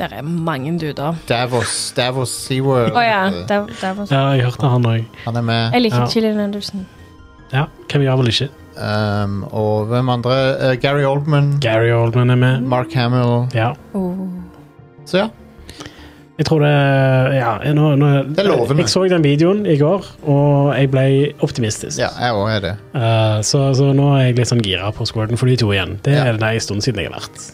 C: Der er mange duder.
A: Davos, Davos SeaWorld.
C: Å ja. Der, der var sånn.
B: Ja, jeg hørte han òg.
A: Han er med.
C: Jeg liker
B: Ja.
C: Gillian Anderson.
B: Ja, hvem gjør vel ikke?
A: Um, og hvem andre? Eh, Gary Oldman.
B: Gary Oldman er med.
A: Mark Hamill.
B: Ja.
C: Oh.
A: Så ja.
B: Jeg tror det Ja, jeg- nå, nå,
A: Det er lovende.
B: Jeg så den videoen i går, og jeg ble optimistisk.
A: ja jeg òg er det.
B: Eh, så, så nå er jeg litt sånn gira på Squirten for de to igjen. Det
A: Ja.
B: er det en stund siden jeg har vært.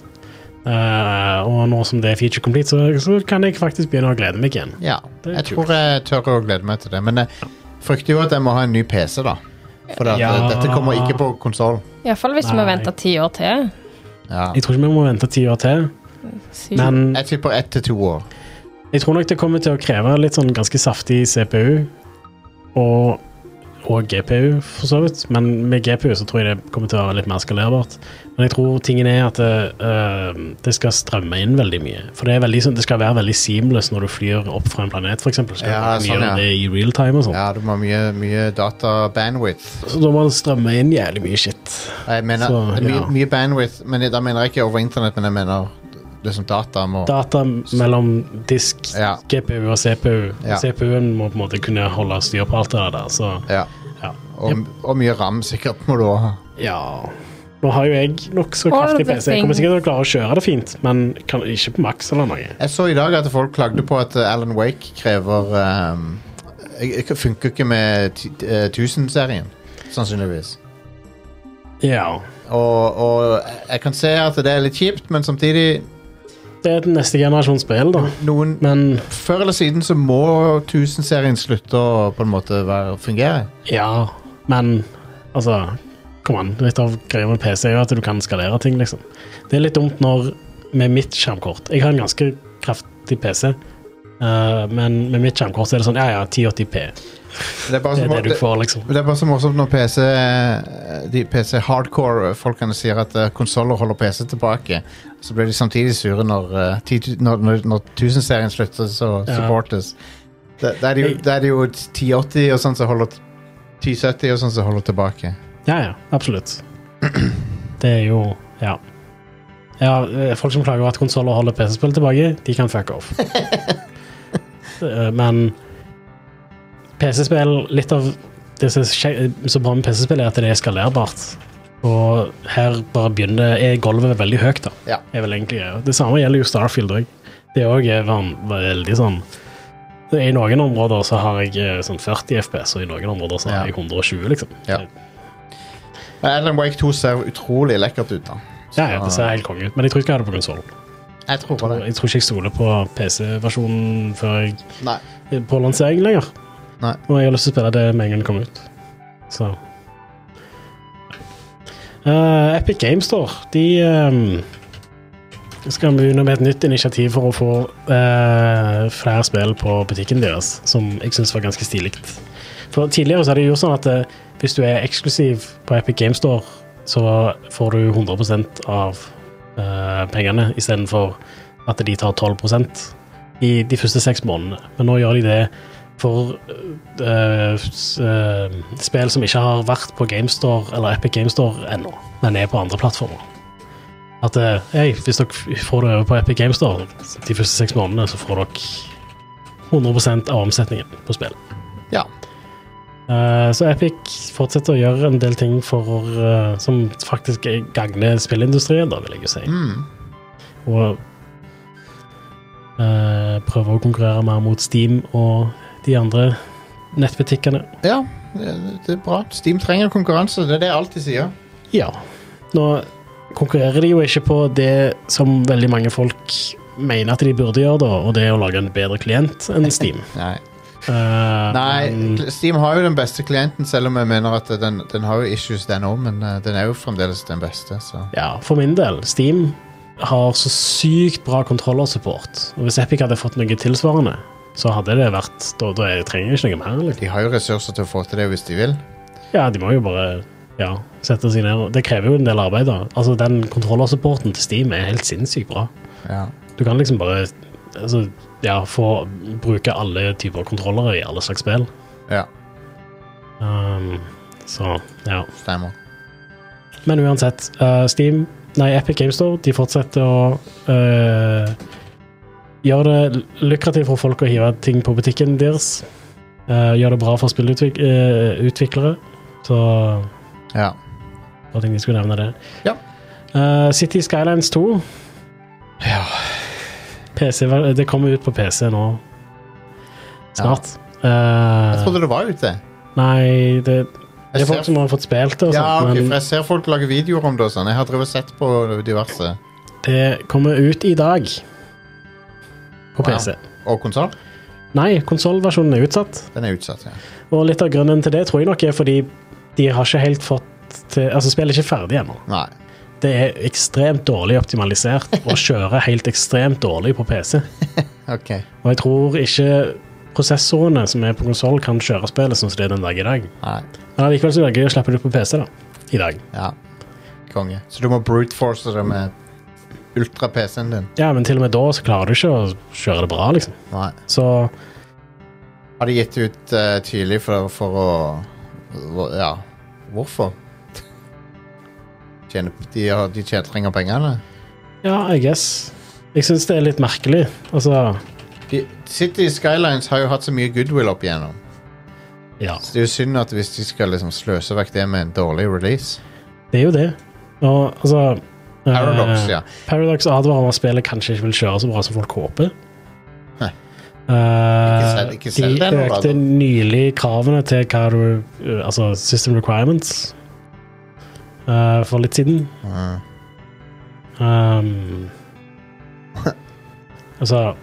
B: Eh, og nå som det er feature complete, så, så kan jeg faktisk begynne å glede meg igjen.
A: Ja.
B: Det er
A: Jeg
B: kult.
A: tror jeg tør å glede meg til det. Men jeg frykter jo at jeg må ha en ny PC, da. For at,
B: Ja.
A: eh, dette kommer ikke på konsoll.
C: Iallfall hvis vi
B: Nei.
C: venter ti år til.
A: Ja.
B: Jeg tror ikke vi må vente ti år til,
C: Syv.
B: men
A: Jeg tipper ett til to år.
B: Jeg tror nok det kommer til å kreve litt sånn ganske saftig CPU og, og GPU, for så vidt. Men med GPU så tror jeg det kommer til å være litt mer skalerbart. Men jeg tror tingen er at det, eh, det skal strømme inn veldig mye. For det, er veldig, sånn- det skal være veldig seamless når du flyr opp fra en planet, f.eks. Skal du
A: Ja,
B: kunne
A: sånn,
B: gjøre
A: ja.
B: det i real time og sånn.
A: Ja, du må ha mye, mye data-bandwidth.
B: Så da må det strømme inn jævlig mye shit.
A: Jeg mener
B: Så,
A: det er mye,
B: ja.
A: mye bandwidth, men da mener jeg ikke over internett, men jeg mener liksom data må
B: Data mellom disk,
A: Ja.
B: GPU og CPU.
A: Ja.
B: CPU-en må på en måte kunne holde styr på alt det der. Så
A: Ja.
B: ja.
A: Og, og mye ram sikkert må du også ha.
B: Ja Nå har jo jeg nokså
C: All
B: kraftig
C: the
B: PC. Jeg kommer sikkert til å klare å kjøre det fint, men kan, ikke på maks eller noe.
A: Jeg så i dag at folk klagde på at eh, Alan Wake krever ehm, jeg- jeg Funker ikke med ti- eh, 1000-serien, sannsynligvis.
B: Ja.
A: Og, og jeg kan se at det er litt kjipt, men samtidig
B: Det er den neste generasjons spill, da.
A: noen
B: Men
A: Før eller siden så må 1000-serien slutte å på en måte være, fungere.
B: ja. Men altså Kom an. Litt av greia med PC er jo at du kan skalere ting, liksom. Det er litt dumt når Med mitt skjermkort Jeg har en ganske kraftig PC, eh, men med mitt skjermkort så er det sånn ja, ja, 1080P.
A: Det er bare så,
B: Det er det du
A: Altså, det,
B: får, liksom.
A: det er bare så morsomt når PC eh, De PC-hardcore-folkene sier at eh, konsoller holder PC tilbake. Så blir de samtidig sure når, eh, 10 000 når, når, når 1000-serien slutter, så
B: Ja.
A: supportes. Da da er det jo, da er det jo 1080 og sånn som holder t- 1070 og sånn som holder tilbake.
B: Ja, ja, absolutt. Det er jo Ja. ja eh, folk som klager over at konsoller holder PC-spill tilbake, de kan fuck off. Eh, Men PC-spill Litt av det som er skje- så bra med PC-spill, er at det er skalerbart. Og her bare begynner er gulvet veldig høyt, da.
A: Ja.
B: Er vel egentlig greia. Det samme gjelder jo Starfield òg. Det òg er eh, van- veldig sånn I noen områder så har jeg eh, sånn 40 FPS, og i noen områder så
A: Ja.
B: har jeg 120, liksom.
A: Ja. Men Alan Wake 2 ser utrolig lekkert ut, da.
B: Ja, ja, det ser helt konge ut, men jeg tror ikke jeg har det på konsoll.
A: Jeg tror på det.
B: Jeg tror ikke jeg stoler på PC-versjonen før jeg
A: Nei.
B: på lansering lenger.
A: Nei.
B: Og jeg har lyst til å spille det med en gang det kommer ut. Så Eh, Epic Games Store, de ehm, skal begynne med et nytt initiativ for å få eh, flere spill på butikken deres, som jeg syns var ganske stilig. For tidligere så har de gjort sånn at eh, hvis du er eksklusiv på Epic Games Store, så får du 100 av eh, pengene, istedenfor at de tar 12 i de første seks månedene. Men nå gjør de det for eh, s- eh, spill som ikke har vært på GameStore eller Epic GameStore ennå, men er på andre plattformer. At eh, hei, hvis dere f- får det over på Epic GameStore de første seks månedene, så får dere 100 av omsetningen på spill.
A: Ja.
B: Eh, så Epic fortsetter å gjøre en del ting for, eh, som faktisk gagner spillindustrien, da, vil jeg jo si.
A: Mm.
B: Og eh, prøve å konkurrere mer mot Steam og de andre nettbutikkene.
A: Ja, det det er bra. Steam trenger konkurranse. Det er det jeg alltid sier.
B: Ja. Nå konkurrerer de jo ikke på det som veldig mange folk mener at de burde gjøre, da, og det er å lage en bedre klient enn Steam.
A: Nei,
B: Eh, men-
A: Nei Steam har jo den beste klienten, selv om jeg mener at den, den har jo issues, den òg, men eh, den er jo fremdeles den beste, så
B: Ja, for min del. Steam har så sykt bra kontrollersupport. Og hvis Epic hadde fått noe tilsvarende, så hadde det vært Da, da jeg trenger jeg ikke noe mer. Liksom.
A: De har jo ressurser til å få til det hvis de vil.
B: Ja, de må jo bare ja, sette seg ned. og- Det krever jo en del arbeid, da. Altså, den kontrollersupporten til Steam er helt sinnssykt bra.
A: Ja.
B: Du kan liksom bare altså, ja, få bruke alle typer kontrollere i alle slags spill.
A: ja
B: Um, så, ja.
A: stemmer.
B: Men uansett, eh, Steam Nei, Epic Games Store, de fortsetter å eh, Gjør det lukrativt for folk å hive ting på butikken deres. Eh, gjør det bra for spillutviklere. Så
A: Ja.
B: bare tenkte jeg skulle nevne det.
A: Ja.
B: Eh, City Skylines 2.
A: Ja.
B: PC, ver- det kommer ut på PC nå. Snart.
A: Jeg
B: Eh,
A: trodde det var ute.
B: nei, det, det
A: Jeg
B: er folk
A: ser,
B: som har fått spilt det, og sånt,
A: ja, ok,
B: men
A: for jeg ser folk lage videoer om det og sånn. Jeg har drevet og sett på diverse.
B: det kommer ut i dag. På
A: Wow.
B: PC.
A: Og konsoll.
B: Nei, konsollversjonen er utsatt.
A: Den er utsatt, ja.
B: Og litt av grunnen til det tror jeg nok er fordi de har ikke helt fått til, altså Spillet er ikke ferdig ennå.
A: Nei.
B: Det er ekstremt dårlig optimalisert og kjører helt ekstremt dårlig på PC.
A: Ok.
B: Og jeg tror ikke prosessorene som er på konsoll, kan kjøre spillet sånn som det er den dag i dag.
A: Nei.
B: Men allikevel så er det gøy å slippe det ut på PC da, i dag.
A: Ja. Konge. Så du må brute-force det med ultra-PC-en din?
B: Ja, men til og med da så klarer du ikke å kjøre det bra, liksom.
A: Nei.
B: Så
A: Har de gitt ut eh, tidlig for, for å hvor- Ja, hvorfor? Tjener, de, har- de tjener, trenger pengene?
B: ja, I guess. Jeg syns det er litt merkelig. Altså
A: De, City Skylines har jo hatt så mye goodwill opp igjennom.
B: Ja.
A: Så det er jo synd at hvis de skal liksom sløse vekk det med en dårlig release.
B: Det er jo det. Og altså eh,
A: Paradox, ja.
B: Paradox advarer om at spillet kanskje ikke vil kjøre så bra som folk håper.
A: Nei.
B: Eh,
A: Ikke selv- ikke selv det
B: de
A: nå, da, da.
B: økte nylig kravene til hva du eh, Altså System Requirements eh, for litt siden.
A: Mm.
B: Um, altså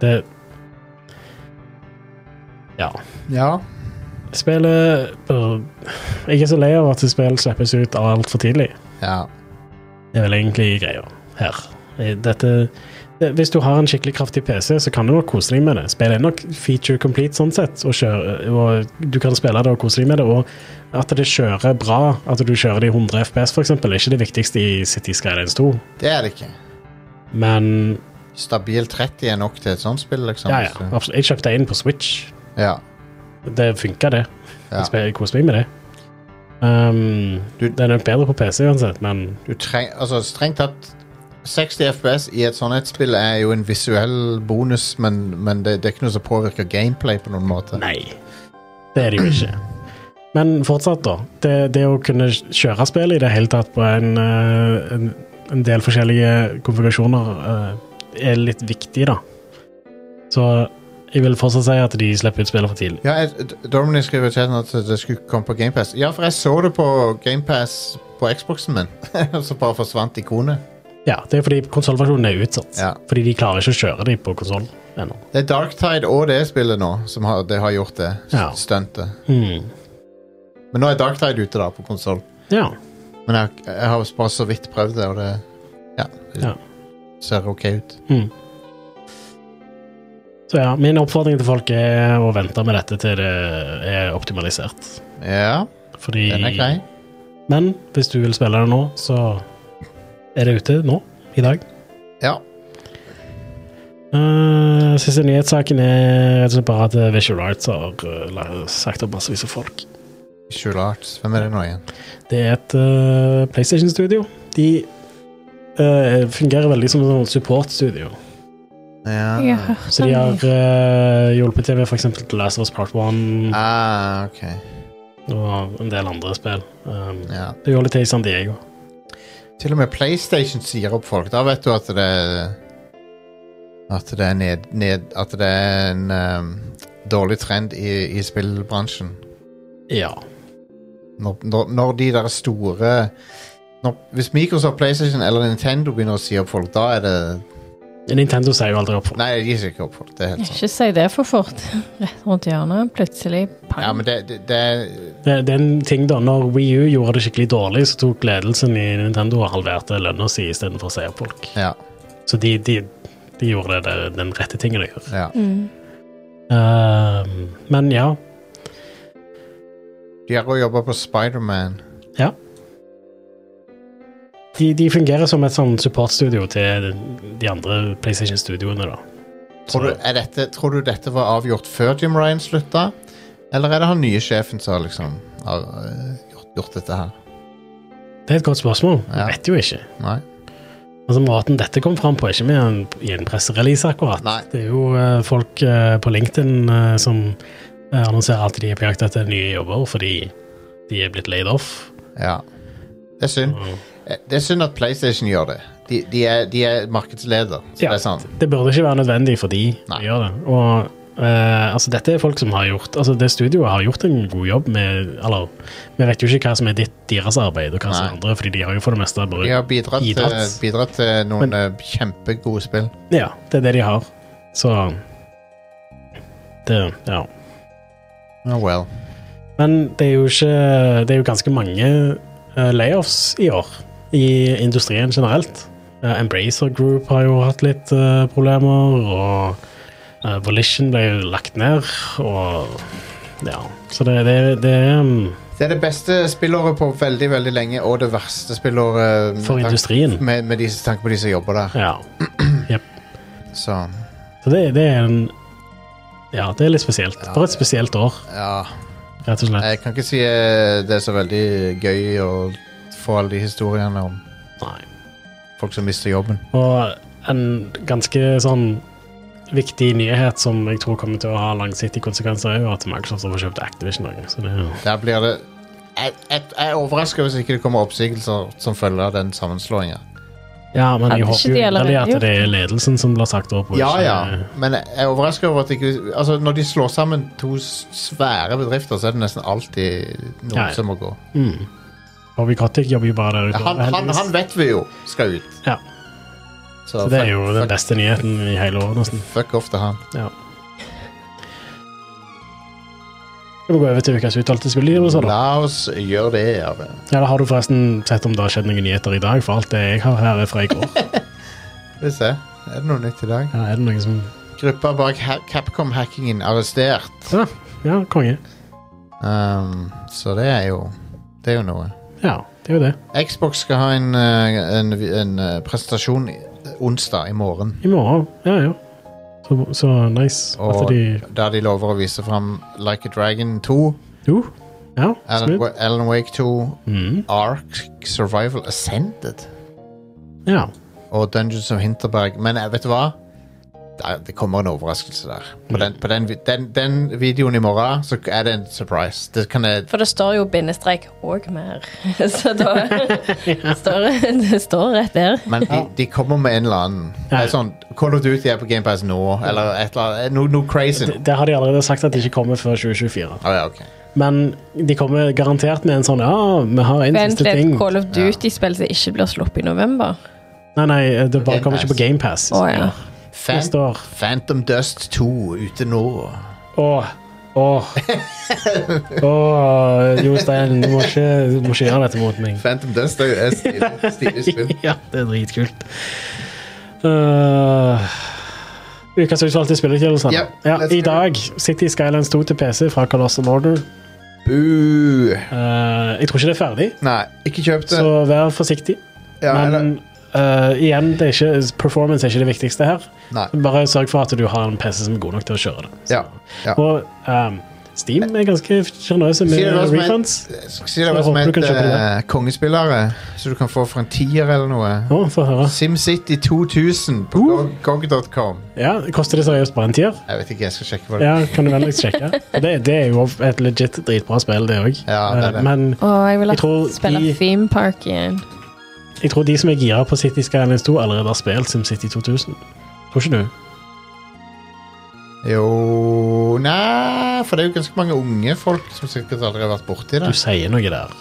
B: Det Ja.
A: Ja.
B: Spillet bør- Jeg er så lei av at spill slippes ut altfor tidlig.
A: ja.
B: Det er vel egentlig greia her. Dette, det, hvis du har en skikkelig kraftig PC, så kan du nok kose deg med det. Spillet er nok feature complete sånn sett, og, kjøre, og du kan spille det og kose deg med det. Og at det kjører bra, at du kjører det i 100 FPS f.eks., er ikke det viktigste i City Skylines 2.
A: Det er det ikke.
B: Men
A: Stabil 30 er nok til et sånt spill, liksom.
B: ja, ja,
A: Så-
B: absolutt. Jeg kjøpte en på Switch.
A: ja.
B: Det funka, det.
A: Ja.
B: Jeg, spil, jeg koser meg med det. Um,
A: Du-
B: den er nok bedre på PC uansett, men
A: Du treng, altså, strengt tatt 60 FPS i et sånt et spill er jo en visuell bonus, men, men det, det er ikke noe som påvirker gameplay på noen måte.
B: Nei, det er det jo ikke. Men fortsatt, da. Det, det å kunne kjøre spillet i det hele tatt på en, eh, en, en del forskjellige konfigurasjoner eh, er litt viktig, da. Så jeg vil fortsatt si at de slipper ut spillet for tidlig.
A: Ja, jeg- D- Dominic skriver i chatten at det skulle komme på GamePass. Ja, for jeg så det på GamePass på Xboxen min, og så bare forsvant ikonet.
B: Ja, det er fordi konsollversjonen er utsatt.
A: Ja.
B: Fordi de klarer ikke å kjøre de på konsoll ennå.
A: Det er Darktide og det spillet nå som har, det har gjort det
B: Ja.
A: stuntet.
B: Mm.
A: Men nå er Darktide ute da, på konsoll.
B: Ja.
A: Men jeg, jeg har bare så vidt prøvd det, og det Ja. Det
B: Ja.
A: ser OK ut.
B: Mm. Så ja, min oppfordring til folk er å vente med dette til det er optimalisert.
A: Ja,
B: Fordi
A: den er grei.
B: Men hvis du vil spille det nå, så er det ute nå, i dag.
A: Ja.
B: Eh, siste nyhetssaken er rett og slett bare at Visual Arts har eh, la- sagt opp massevis av folk.
A: Visual Arts. Hvem er det nå igjen?
B: Det er et eh, PlayStation-studio. De eh, fungerer veldig som et support-studio.
A: Ja.
C: Jeg har hørt
B: Så de
C: om
B: har
C: det.
B: eh, hjulpet til med f.eks. The Last of Us Part 1
A: Ah, ok.
B: og en del andre spill. Um,
A: Ja.
B: Det gjorde litt til i San Diego.
A: Til og med PlayStation sier opp folk. Da vet du at det At det er, ned, ned, at det er en ehm, dårlig trend i, i spillbransjen.
B: Ja.
A: Når, når, når de der store når, Hvis Microsoft, PlayStation eller Nintendo begynner å si opp folk, da er det
B: Nintendo sier jo aldri opp folk.
A: Nei, de sier ikke opp folk. Det er helt sant.
C: Ikke si det for fort. Rett rundt hjørnet, plutselig pang.
A: Ja, men det, det, det er
B: Det, det er en ting da, når Wii U gjorde det skikkelig dårlig, så tok ledelsen i Nintendo og halverte lønna si istedenfor å si opp folk.
A: Ja.
B: Så de, de, de gjorde det, det den rette tingen å gjøre.
A: ja.
C: Mm.
B: Ehm, men ja,
A: De har også jobba på Spiderman.
B: de, de fungerer som et sånn supportstudio til de andre PlayStation-studioene, da.
A: Tror, du- er dette- tror du dette var avgjort før Jim Ryan slutta? Eller er det han nye sjefen som har liksom har, øh, gjort, gjort dette her?
B: Det er et godt spørsmål.
A: Ja.
B: Jeg vet jo ikke.
A: Nei.
B: Altså Måten dette kom fram på, er ikke med en, i en presserelease, akkurat.
A: Nei.
B: Det er jo eh, folk eh, på LinkedIn eh, som eh, annonserer at de er på jakt etter nye jobber fordi de er blitt laid off.
A: Ja. Det er synd. Eh, Det er synd at PlayStation gjør det. De, de, er, de er markedsleder, så det er sant.
B: det burde ikke være nødvendig for de å
A: Nei.
B: gjøre det. Og eh, altså, dette er folk som har gjort Altså, det studioet har gjort en god jobb med Eller, vi vet jo ikke hva som er ditt, deres arbeid, og hva
A: Nei.
B: som er andre, fordi de har jo for det meste bare
A: De har bidratt, til,
B: Bidratt.
A: bidratt til noen eh, kjempegode spill.
B: Ja, det er det de har. Så Det Ja.
A: Oh well.
B: Men det er jo ikke Det er jo ganske mange eh, layoffs i år i industrien generelt. Eh, Embracer Group har jo hatt litt eh, problemer, og eh, Volition ble jo lagt ned, og Ja. Så det, det, det er mm,
A: Det er det beste spillåret på veldig veldig lenge, og det verste spillåret med
B: for
A: tanke-
B: industrien.
A: Med, med de, tanke på de som jobber der.
B: Ja.
A: Så
B: Så det, det er en Ja, det er litt spesielt. For et spesielt år,
A: ja
B: rett og slett.
A: Jeg kan ikke si eh, det er så veldig gøy å få alle de historiene om
B: Nei.
A: folk som mister jobben.
B: Og en ganske sånn viktig nyhet som jeg tror kommer til å ha langsiktige konsekvenser, er jo at Microsoft har fått kjøpt Activision. også, Så det er jo
A: Der blir det Jeg, jeg, jeg er overraska hvis ikke det kommer oppsigelser som følge av den sammenslåinga.
B: Ja, men jeg
C: Hadde
B: håper
C: ikke
B: jo
C: de allerede
B: inderlig at
C: gjort
B: det er ledelsen som blir sagt opp. og
A: Ja,
B: ikke-
A: ja, men jeg er overraska over at ikke Altså, når de slår sammen to s- svære bedrifter, så er det nesten alltid noen
B: Ja, ja.
A: som må gå.
B: Mm. Bobby Kotick jobber jo bare der ute.
A: Han, han,
B: heldigvis.
A: han vet vi jo skal ut.
B: Ja. Så det er jo den
A: fuck,
B: beste nyheten i hele året, nesten.
A: fuck off til han.
B: Ja. Skal vi gå over til ukas utvalgte spillgivelser, da?
A: La oss gjøre det. Ja. vel.
B: Eller har du forresten sett om det har skjedd noen nyheter i dag? For alt det jeg har her, er fra i går.
A: Skal vi se. Er det noe nytt i dag?
B: Ja, er det noen som
A: Gruppa bak ha- Capcom-hackingen arrestert.
B: Ja, ja konge.
A: Um, så det er jo Det er jo noe.
B: Ja, det er jo det.
A: Xbox skal ha en, eh, en, en eh, presentasjon i- onsdag i morgen.
B: I morgen. Ja, ja. Så, så nice
A: Og
B: at de
A: der de lover å vise fram Like a Dragon 2,
B: Jo. Ja,
A: Alan,
B: smooth.
A: Wa- Alan Wake 2,
B: Mm.
A: Ark Survival Ascended
B: Ja.
A: og Dungeons of Hinterberg. Men eh, vet du hva? Der, det kommer en overraskelse der. På, den, på den, vi- den, den videoen i morgen så er det en surprise. Det kan jeg
C: For det står jo bindestrek og mer. Så da står, Det står rett der.
A: Men de, de kommer med en eller annen
B: Ja.
A: Det er sånn, Call of Duty er på GamePass nå, eller et eller annet. Noe no crazy. nå.
B: Det, det har de allerede sagt at de ikke kommer før 2024.
A: Å ja, ok.
B: Men de kommer garantert med en sånn Ja, vi har en
C: Vent
B: siste
C: litt,
B: ting.
C: Call of Duty-spill som ikke blir sluppet i november.
B: Nei, nei, det bare
A: Game
B: kommer ikke
A: Pass.
B: på GamePass.
C: Å ja.
A: Fan,
B: Neste år.
A: Phantom Dust 2 ute nå.
B: Åh, åh. Åh, Jostein, du må ikke, du må ikke gjøre dette mot meg.
A: Phantom Dust er jo et stilig- stilig spill.
B: ja, det er dritkult. Uh, Ukas utvalgte spillerutgivelser.
A: Ja, let's
B: I
A: do
B: dag City Skylines 2 til PC fra Colossal Order.
A: Boo.
B: Uh, jeg tror ikke det er ferdig,
A: Nei, ikke kjøp det.
B: så vær forsiktig.
A: ja, eller,
B: Men eh, igjen, det er ikke, performance er ikke det viktigste her.
A: nei.
B: Bare sørg for at du har en PC som er god nok til å kjøre det.
A: Ja. ja.
B: Og ehm, Steam er ganske sjenerøse
A: Si
B: med
A: det hva som het-
B: øh, refunds.
A: Si det
B: Så
A: hva som
B: håper du
A: het
B: kan kjøpe det.
A: eh, kongespillere, så du kan få for en tier eller noe.
B: Å, få høre.
A: SimCity 2000 på
B: Uh.
A: gog- gog.com.
B: Ja, Koster det seriøst bare en tier?
A: Jeg vet ikke, jeg skal sjekke hva det
B: Ja, kan du vennligst sjekke? Og Det, det er jo et legit dritbra spill, det òg.
A: Ja, det er det.
B: Men
C: Å, jeg vil
B: Jeg
C: at
B: tror
C: spille
B: de-
C: Theme Park igjen.
B: jeg tror de som er gira på City Skylines 2, allerede har spilt SimCity 2000. Tror ikke du?
A: Jo Nei, for det er jo ganske mange unge folk som sikkert aldri har vært borti det.
B: Du sier noe der.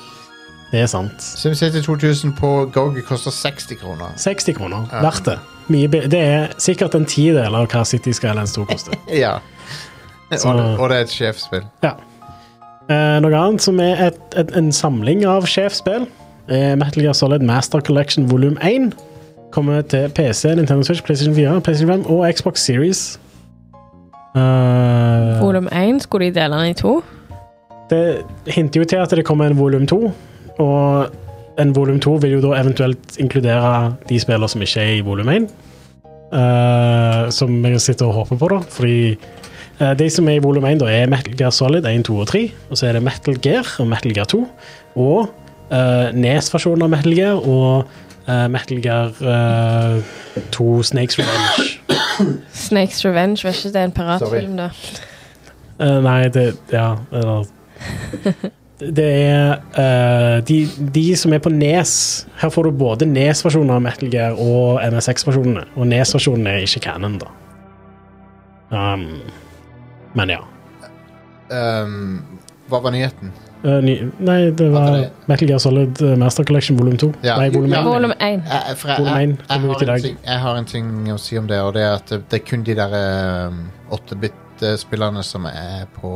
B: Det er sant.
A: SimCity 2000 på GOG koster 60 kroner.
B: 60 kroner. Verdt det. Mye bi- det er sikkert en tidel av hva City Skylines 2 koster.
A: Ja. Og, det- og det er et sjefsspill.
B: Ja. Eh, noe annet som er et, et, en samling av sjefsspill, er Metal Gear Solid Master Collection volum 1. Kommer til PC, Nintendo Switch, PlayStation 4, PlayStation 5 og Xbox Series. Eh,
C: Volum 1, skulle de dele den i to?
B: det hinter jo til at det kommer en volum 2, og en volum 2 vil jo da eventuelt inkludere de spillere som ikke er i volum 1, eh, som jeg sitter og håper på, da. Fordi eh, de som er i volum 1, da, er Metal Gear Solid 1, 2 og 3, og så er E det Metal Gear og Metal Gear 2, og eh, NES-versjonen av Metal Gear og eh, Metal Gear 2 Snakes Revenge.
C: Snakes Revenge, var ikke det en piratfilm, da?
B: Eh, nei, det Ja, eller Det er eh, de, de som er på Nes Her får du både Nes-versjoner av Metal Gear og MSX-versjonene. Og Nes-versjonen er ikke canon, da. Um, men ja.
A: Ehm, hva var nyheten?
B: Eh, ny, nei, det
A: Hva
B: var
A: var det?
B: Metal Gear Solid eh, Master Collection volum 2.
A: Ja.
B: Nei, volum
A: Ja.
B: 1.
C: Volum 1.
A: Jeg, for jeg, jeg,
B: Golden Mane
A: jeg,
B: kommer ut i
A: har en
B: dag.
A: ting, jeg har en ting å si om det, og det er at det, det er kun de der ehm, 8-bit-spillerne som er på,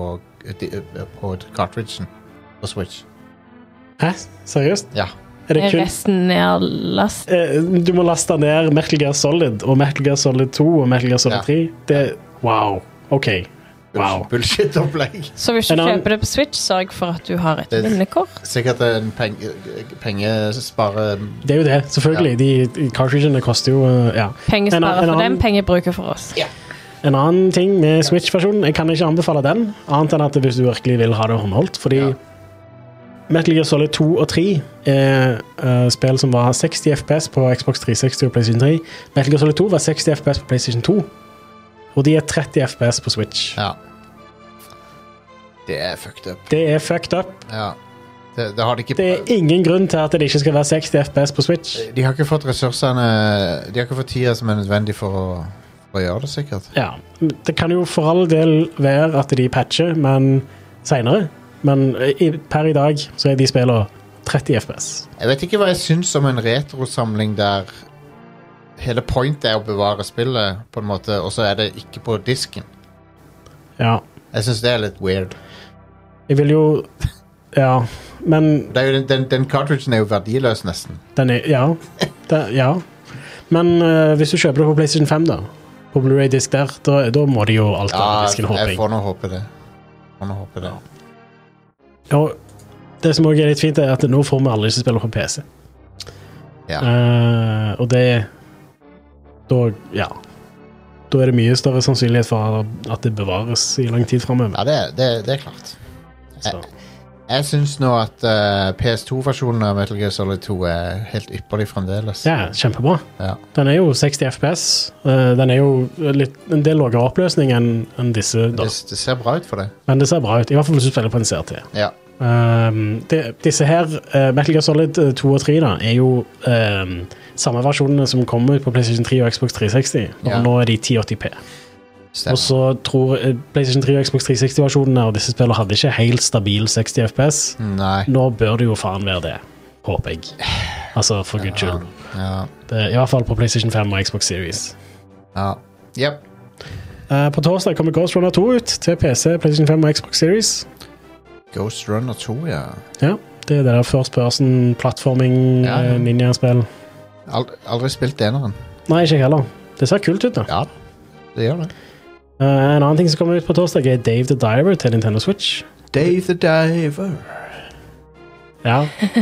A: de, eh, på cartridgen på Switch.
B: Hæ? Seriøst?
A: Ja.
B: Er det kun
C: Resten er last.
B: Eh, Du må laste ned Metal Gear Solid og Metal Gear Solid 2 og Metal Gear Solid
A: Ja.
B: 3. Det Wow. OK. Wow.
A: Bullshit-opplegg.
C: Så hvis du
B: En annen-
C: kjøper det på Switch, sørg for at du har et
A: Det-
C: minnekort.
A: Sikkert en eh, peng, pengespare...
B: Det er jo det, selvfølgelig. De, de cartridgene koster jo eh, ja. En annen-
C: Pengesparer
B: en
C: for
B: annen-
C: dem, pengebruker for oss.
B: En annen ting med Switch-versjonen Jeg kan ikke anbefale den, annet enn at hvis du virkelig vil ha det håndholdt. Fordi
A: Ja.
B: Metal Gear Solid 2 og 3 er eh, spill som var 60 FPS på Xbox 360 og PlayStation 3. Metal Gear Solid 2 var 60 FPS på PlayStation 2. Og de er 30 FPS på Switch.
A: Ja. Det er fucked up.
B: Det er fucked up.
A: Ja. Det, det har de ikke
B: Det er ingen grunn til at det ikke skal være 60 FPS på Switch.
A: De har ikke fått ressursene De har ikke fått tida som er nødvendig for å, for å gjøre det, sikkert.
B: Ja, Det kan jo for all del være at de patcher, men seinere. Men i, per i dag så er de spillene 30 FPS.
A: Jeg vet ikke hva jeg syns om en retrosamling der hele pointet er å bevare spillet, på en måte, og så er det ikke på disken.
B: Ja.
A: Jeg syns det er litt weird.
B: Jeg vil jo Ja. Men
A: Det er jo den, den, den cartridgen er jo verdiløs, nesten.
B: den er Ja. Det, ja. Men eh, hvis du kjøper det på PlayStation 5, da, på Blu-ray-disk der, da, da må de jo alt av
A: Ja, jeg,
B: disken, håper jeg.
A: får nå håpe det. Får nå håpe det.
B: Og det som også er litt fint, er at nå får vi alle disse spillene på PC.
A: Ja.
B: Eh, og det Da, ja. Da er det mye større sannsynlighet for at det bevares i lang tid framover.
A: Ja, det, er- det, det er klart.
B: Så,
A: Jeg syns nå at eh, PS2-versjonen av Metal Gear Solid 2 er helt ypperlig fremdeles.
B: ja, kjempebra.
A: Ja.
B: Den er jo 60 FPS. eh, den er jo litt, en del lavere oppløsning enn enn disse, da.
A: Det, det ser bra ut for det.
B: men det ser bra ut. I hvert fall hvis du spiller på en CRT.
A: Ja.
B: Um, de, disse her, eh, Metal Gear Solid eh, 2 og 3, da, er jo um, samme versjonene som kom ut på PlayStation 3 og Xbox 360. Og
A: Ja.
B: nå er de 1080P. Og
A: Stemmer.
B: så tror eh, PlayStation 3 og Xbox 360-versjonene og disse spillene hadde ikke helt stabil 60 FPS.
A: Nei.
B: Nå bør det jo faen være det, håper jeg. Altså, for guds skyld.
A: Ja.
B: Det er I hvert fall på PlayStation 5 og Xbox Series.
A: ja. Jep.
B: Eh, på torsdag kommer Ghost Runner 2 ut til PC, PlayStation 5 og Xbox Series.
A: Ghost Runner 2, ja.
B: Ja, det er det der first person, plattforming,
A: Ja, ja.
B: eh, ninja-spill.
A: Ald aldri spilt eneren.
B: Nei, ikke jeg heller. Det ser kult ut, da.
A: Ja, det gjør det.
B: Eh, en annen ting som kommer ut på torsdag, er Dave the Diver til Nintendo Switch.
A: Dave the Diver.
B: Ja,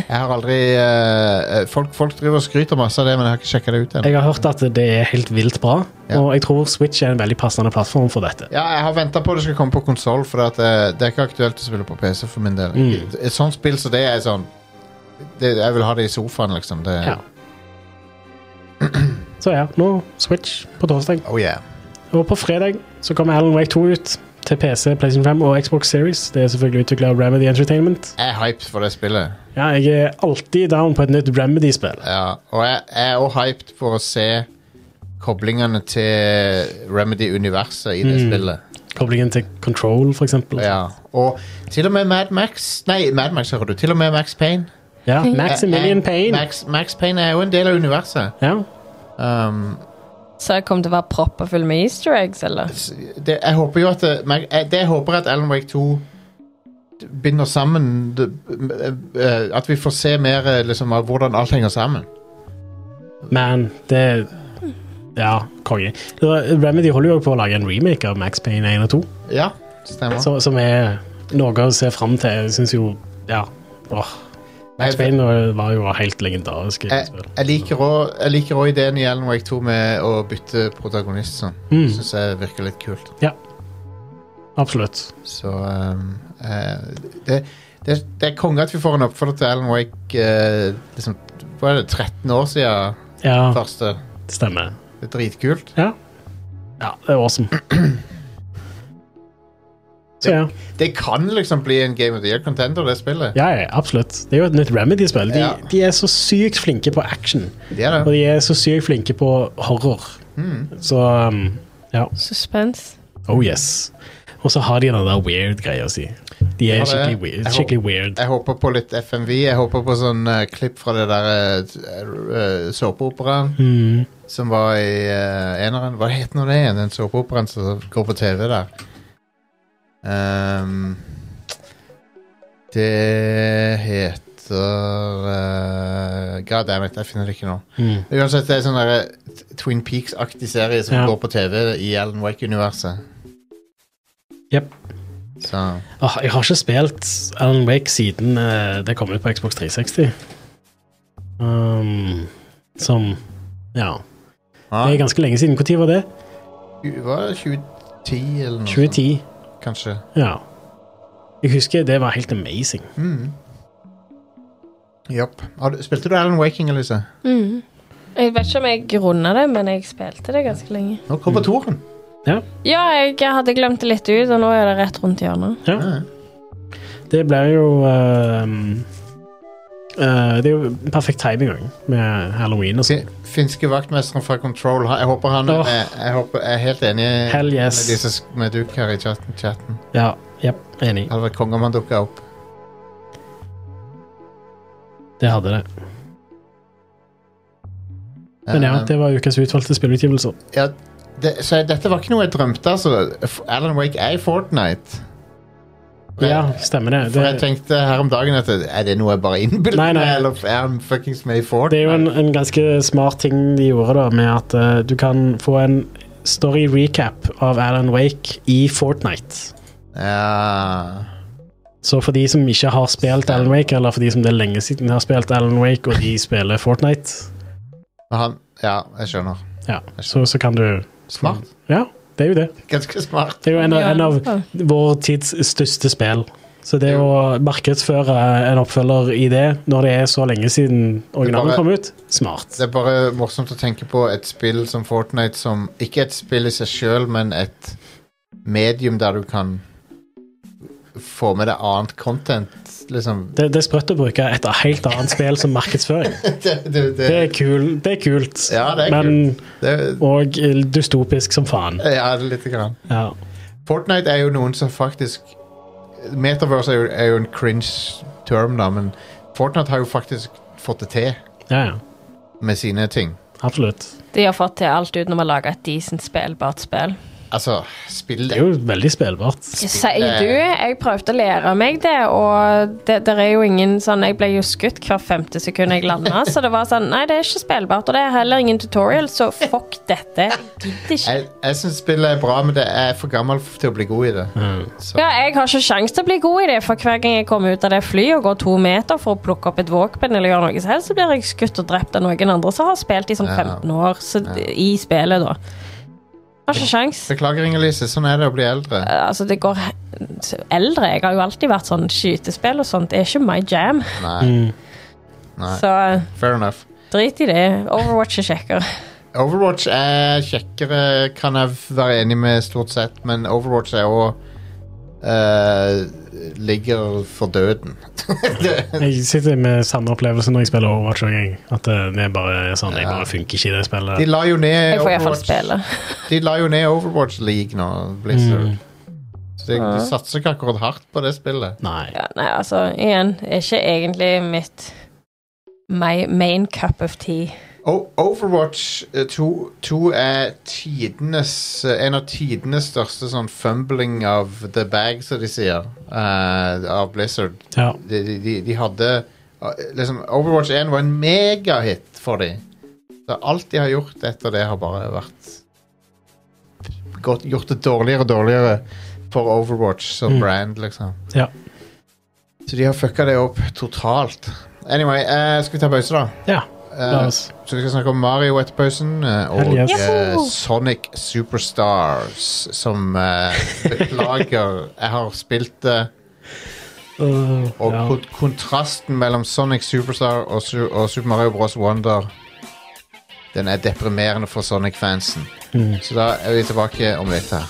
A: Jeg har aldri eh, folk, folk driver og skryter masse av det, men jeg har ikke sjekka det ut ennå.
B: Jeg har hørt at det er helt vilt bra,
A: Ja.
B: og jeg tror Switch er en veldig passende plattform for dette.
A: Ja, jeg har venta på det skal komme på konsoll, for at, eh, det er ikke aktuelt å spille på PC for min del.
B: Mm.
A: Et sånt spill som det er sånn det, Jeg vil ha det i sofaen, liksom. Det,
B: Ja. Så ja, nå Switch på torsdag.
A: Oh yeah.
B: Og på fredag så kommer Alan Wake 2 ut til PC, PlayStation 5 og Xbox Series. Det er selvfølgelig utvikla av Remedy Entertainment.
A: Jeg er hyped for det spillet.
B: Ja, jeg er alltid down på et nytt Remedy-spill.
A: Ja, og jeg, jeg er også hyped for å se koblingene til Remedy-universet i det spillet.
B: Koblingen til Control, for eksempel.
A: Ja, og til og med Mad Max Nei, Mad Max hører du. Til og med Max Payne.
B: Ja,
A: Eh, eh,
B: Maximilian Payne.
A: Max, Max Payne er jo en del av universet.
B: Ja.
A: Um,
C: Så jeg kommer til å være proppa full med easter eggs, eller?
A: s- det, jeg håper jo at det, Mag- eh, det jeg håper at Alan Wake 2 binder sammen det, eh, eh, At vi får se mer eh, liksom, av hvordan alt henger sammen.
B: Men det Ja, konge. Det var- Remedy holder jo på å lage en remake av Max Payne 1 og 2,
A: Ja, stemmer.
B: som, som er noe å se fram til. Jeg syns jo Ja. Åh. Max
A: Jeg-
B: Payne var jo helt legendarisk. i det
A: jeg,
B: spillet.
A: jeg liker også- jeg liker òg ideen i Alan Wake 2 med å bytte protagonist. Sånn.
B: Mm.
A: Syns jeg virker litt kult.
B: Absolutt.
A: Så um, eh, det, det, det er konge at vi får en oppfølger til Alan Wake eh, liksom, hva er det, 13 år siden
B: Ja,
A: første.
B: det stemmer.
A: Det er dritkult.
B: Ja. ja, det er awesome. Så ja.
A: Det kan liksom bli en Game of the Year contender, det spillet.
B: ja, ja, absolutt. Det er jo et nytt Remedy-spill. De,
A: Ja.
B: de er så sykt flinke på action,
A: Det er
B: og
A: det.
B: de er så sykt flinke på horror.
A: Mm.
B: Så um, ja.
C: Suspense.
B: Oh yes. Og så har de den der weird-greia si. De er
A: det.
B: skikkelig weird.
A: Jeg håper-
B: Skikkelig weird.
A: Jeg håper på litt FMV. Jeg håper på sånn eh, klipp fra det der eh, eh, såpeoperaen
B: Mm.
A: som var i eh, eneren. Hva het nå det igjen, den såpeoperaen som går på TV der? Ehm, det heter eh, God damn it, jeg finner det ikke nå.
B: Mm.
A: Uansett, det er sånn der, eh, Twin Peaks-aktig serie som
B: Ja.
A: går på TV i Alan Wake-universet.
B: Jep.
A: Så
B: Ah, jeg har ikke spilt Alan Wake siden eh, det kom ut på Xbox 360. Um, som Ja.
A: ja,
B: Det er ganske lenge siden. Når var det?
A: Var det 2010 eller noe? sånt,
B: 2010.
A: Kanskje.
B: Ja. Jeg husker det var helt amazing.
A: Mm. Japp. Har du- Spilte du Alan Waking, Elise?
C: Jeg vet ikke om jeg runda det, men jeg spilte det ganske lenge.
A: Nå kommer
B: Mm.
A: Toren.
B: Ja.
C: Ja, jeg hadde glemt det litt ut, og nå er det rett rundt hjørnet.
B: ja.
A: Ja.
B: Det ble jo ehm, eh, Det er jo perfekt timing også, med halloween og sånn.
A: Fi- Finske vaktmesteren fra Control. Han- Jeg håper han
B: Åh.
A: jeg, jeg, håper, jeg er helt enig
B: Hell yes.
A: med, disse, med Duke her i chatten. chatten.
B: Ja, jep, enig.
A: Det hadde vært konge om han dukka opp.
B: Det hadde det. Men ja,
A: Eh,
B: det var ukas utvalgte spillutgivelser.
A: ja, det, så dette var ikke noe jeg drømte, altså. F- Alan Wake er i Fortnite. Og jeg-
B: Ja, stemmer det.
A: For jeg
B: Det,
A: tenkte her om dagen at er det noe jeg bare innbiller
B: Nei,
A: meg,
B: nei.
A: eller er han fuckings med i Fortnite?
B: det er jo en, en ganske smart ting de gjorde, da, med at eh, du kan få en story recap av Alan Wake i Fortnite.
A: Ja.
B: Så for de som ikke har spilt Alan Wake, eller for de som det er lenge siden har spilt Alan Wake, og de spiller Fortnite,
A: Men han, ja, jeg skjønner.
B: ja, så, så kan du
A: Smart.
B: Ja, det er jo det.
A: Ganske smart.
B: Det er jo en, av-
C: Ja.
B: en av vår tids største spill. Så det å markedsføre en oppfølger i det, når det er så lenge siden originalen
A: bare-
B: kom ut, smart.
A: Det er bare morsomt å tenke på et spill som Fortnite som ikke et spill i seg sjøl, men et medium der du kan få med deg annet content, liksom.
B: Det, det er sprøtt å bruke et helt annet spill som markedsføring.
A: Det, det, det,
B: Det er, kul, det er kult,
A: Ja, det er
B: men
A: det,
B: og eh, dystopisk som faen.
A: ja, lite grann.
B: Ja.
A: Fortnite er jo noen som faktisk Metaverse er jo, er jo en cringe term, da, men Fortnite har jo faktisk fått det til
B: ja, ja.
A: med sine ting.
B: Absolutt.
C: De har fått til alt utenom å lage et decent spillbart spill.
A: Altså, spill
B: Det er jo veldig spillbart.
C: Sier du? Jeg prøvde å lære meg det, og det der er jo ingen sånn Jeg ble jo skutt hver femte sekund jeg landa, så det var sånn Nei, det er ikke spillbart, og det er heller ingen tutorial, så fuck dette. Jeg gidder ikke.
A: Jeg, jeg syns spillet er bra, men det jeg er for gammel til å bli god i det. Så.
C: Ja, jeg har ikke sjans til å bli god i det, for hver gang jeg kommer ut av det flyet og går to meter for å plukke opp et våpen eller gjøre noe som helst, så blir jeg skutt og drept av noen andre som har spilt i sånn
A: Ja.
C: 15 år, så d- i spillet, da. Har ikke sjans.
A: Beklager, Inger-Lise. Sånn er det å bli eldre.
C: Altså, det går he- Eldre Jeg har jo alltid vært sånn skytespill og sånt. Det er ikke my jam.
A: Nei,
B: Mm.
A: Nei.
C: Så
A: fair enough.
C: drit i det. Overwatch er kjekkere.
A: Overwatch er kjekkere, kan jeg være enig med stort sett, men Overwatch er òg Ligger for døden.
B: Jeg sitter med samme opplevelse når jeg spiller Overwatch. også, Jeg. At eh, det er bare sånn, jeg
A: Ja.
B: bare funker ikke i det
A: De
B: spillet.
A: la jo ned
C: Jeg får iallfall
A: Overwatch
C: spille.
A: De la jo ned Overwatch League nå, Blizzard.
B: Mm.
A: Så de, de satser ikke akkurat hardt på det spillet.
B: Nei.
C: Ja, nei, altså, igjen, er ikke egentlig mitt My main cup of tea.
A: O Overwatch 2, er tidenes, eh, en av tidenes største sånn fumbling of the bag, som de sier, eh, av Blizzard.
B: Ja.
A: De, de, de, de hadde eh, liksom, Overwatch 1 var en megahit for dem. Så alt de har gjort etter det, har bare vært gått, Gjort det dårligere og dårligere for Overwatch som
B: Mm.
A: brand, liksom.
B: Ja.
A: Så de har fucka det opp totalt. Anyway, eh, skal vi ta pause, da?
B: ja.
A: Eh,
B: La oss.
A: så vi skal snakke om Mario etter pausen, eh, og
B: Hell yes.
A: eh,
C: Yahoo!
A: Sonic Superstars, som eh, Beklager, jeg har spilt det.
B: Øh,
A: Og
B: ja.
A: kon- kontrasten mellom Sonic Superstar og, Su og Super Mario Bros. Wonder Den er deprimerende for Sonic-fansen.
B: Mm.
A: Så da er vi tilbake om litt her.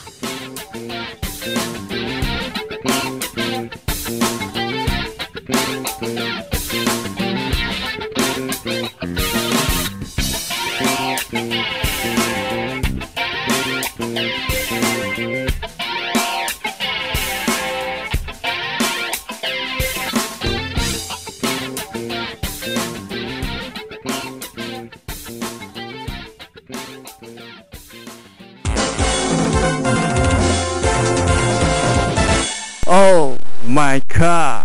F: Oh my god.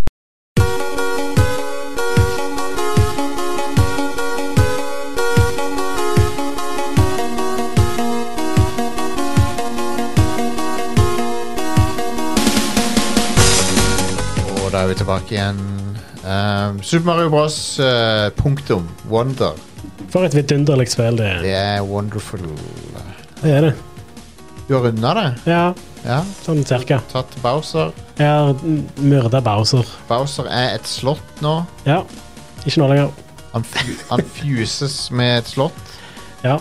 A: Og da er vi tilbake igjen. Ehm, Super Mario Bros. eh, punktum. Wonder.
B: For et vidunderlig spill det er.
A: Det er wonderful.
B: Det er det.
A: Du har runda det?
B: Ja,
A: Ja.
B: sånn cirka.
A: Tatt Bowser.
B: Jeg har myrda Bowser.
A: Bowser er et slott nå.
B: Ja. Ikke nå lenger.
A: Han, fu han fuses med et slott.
B: Ja.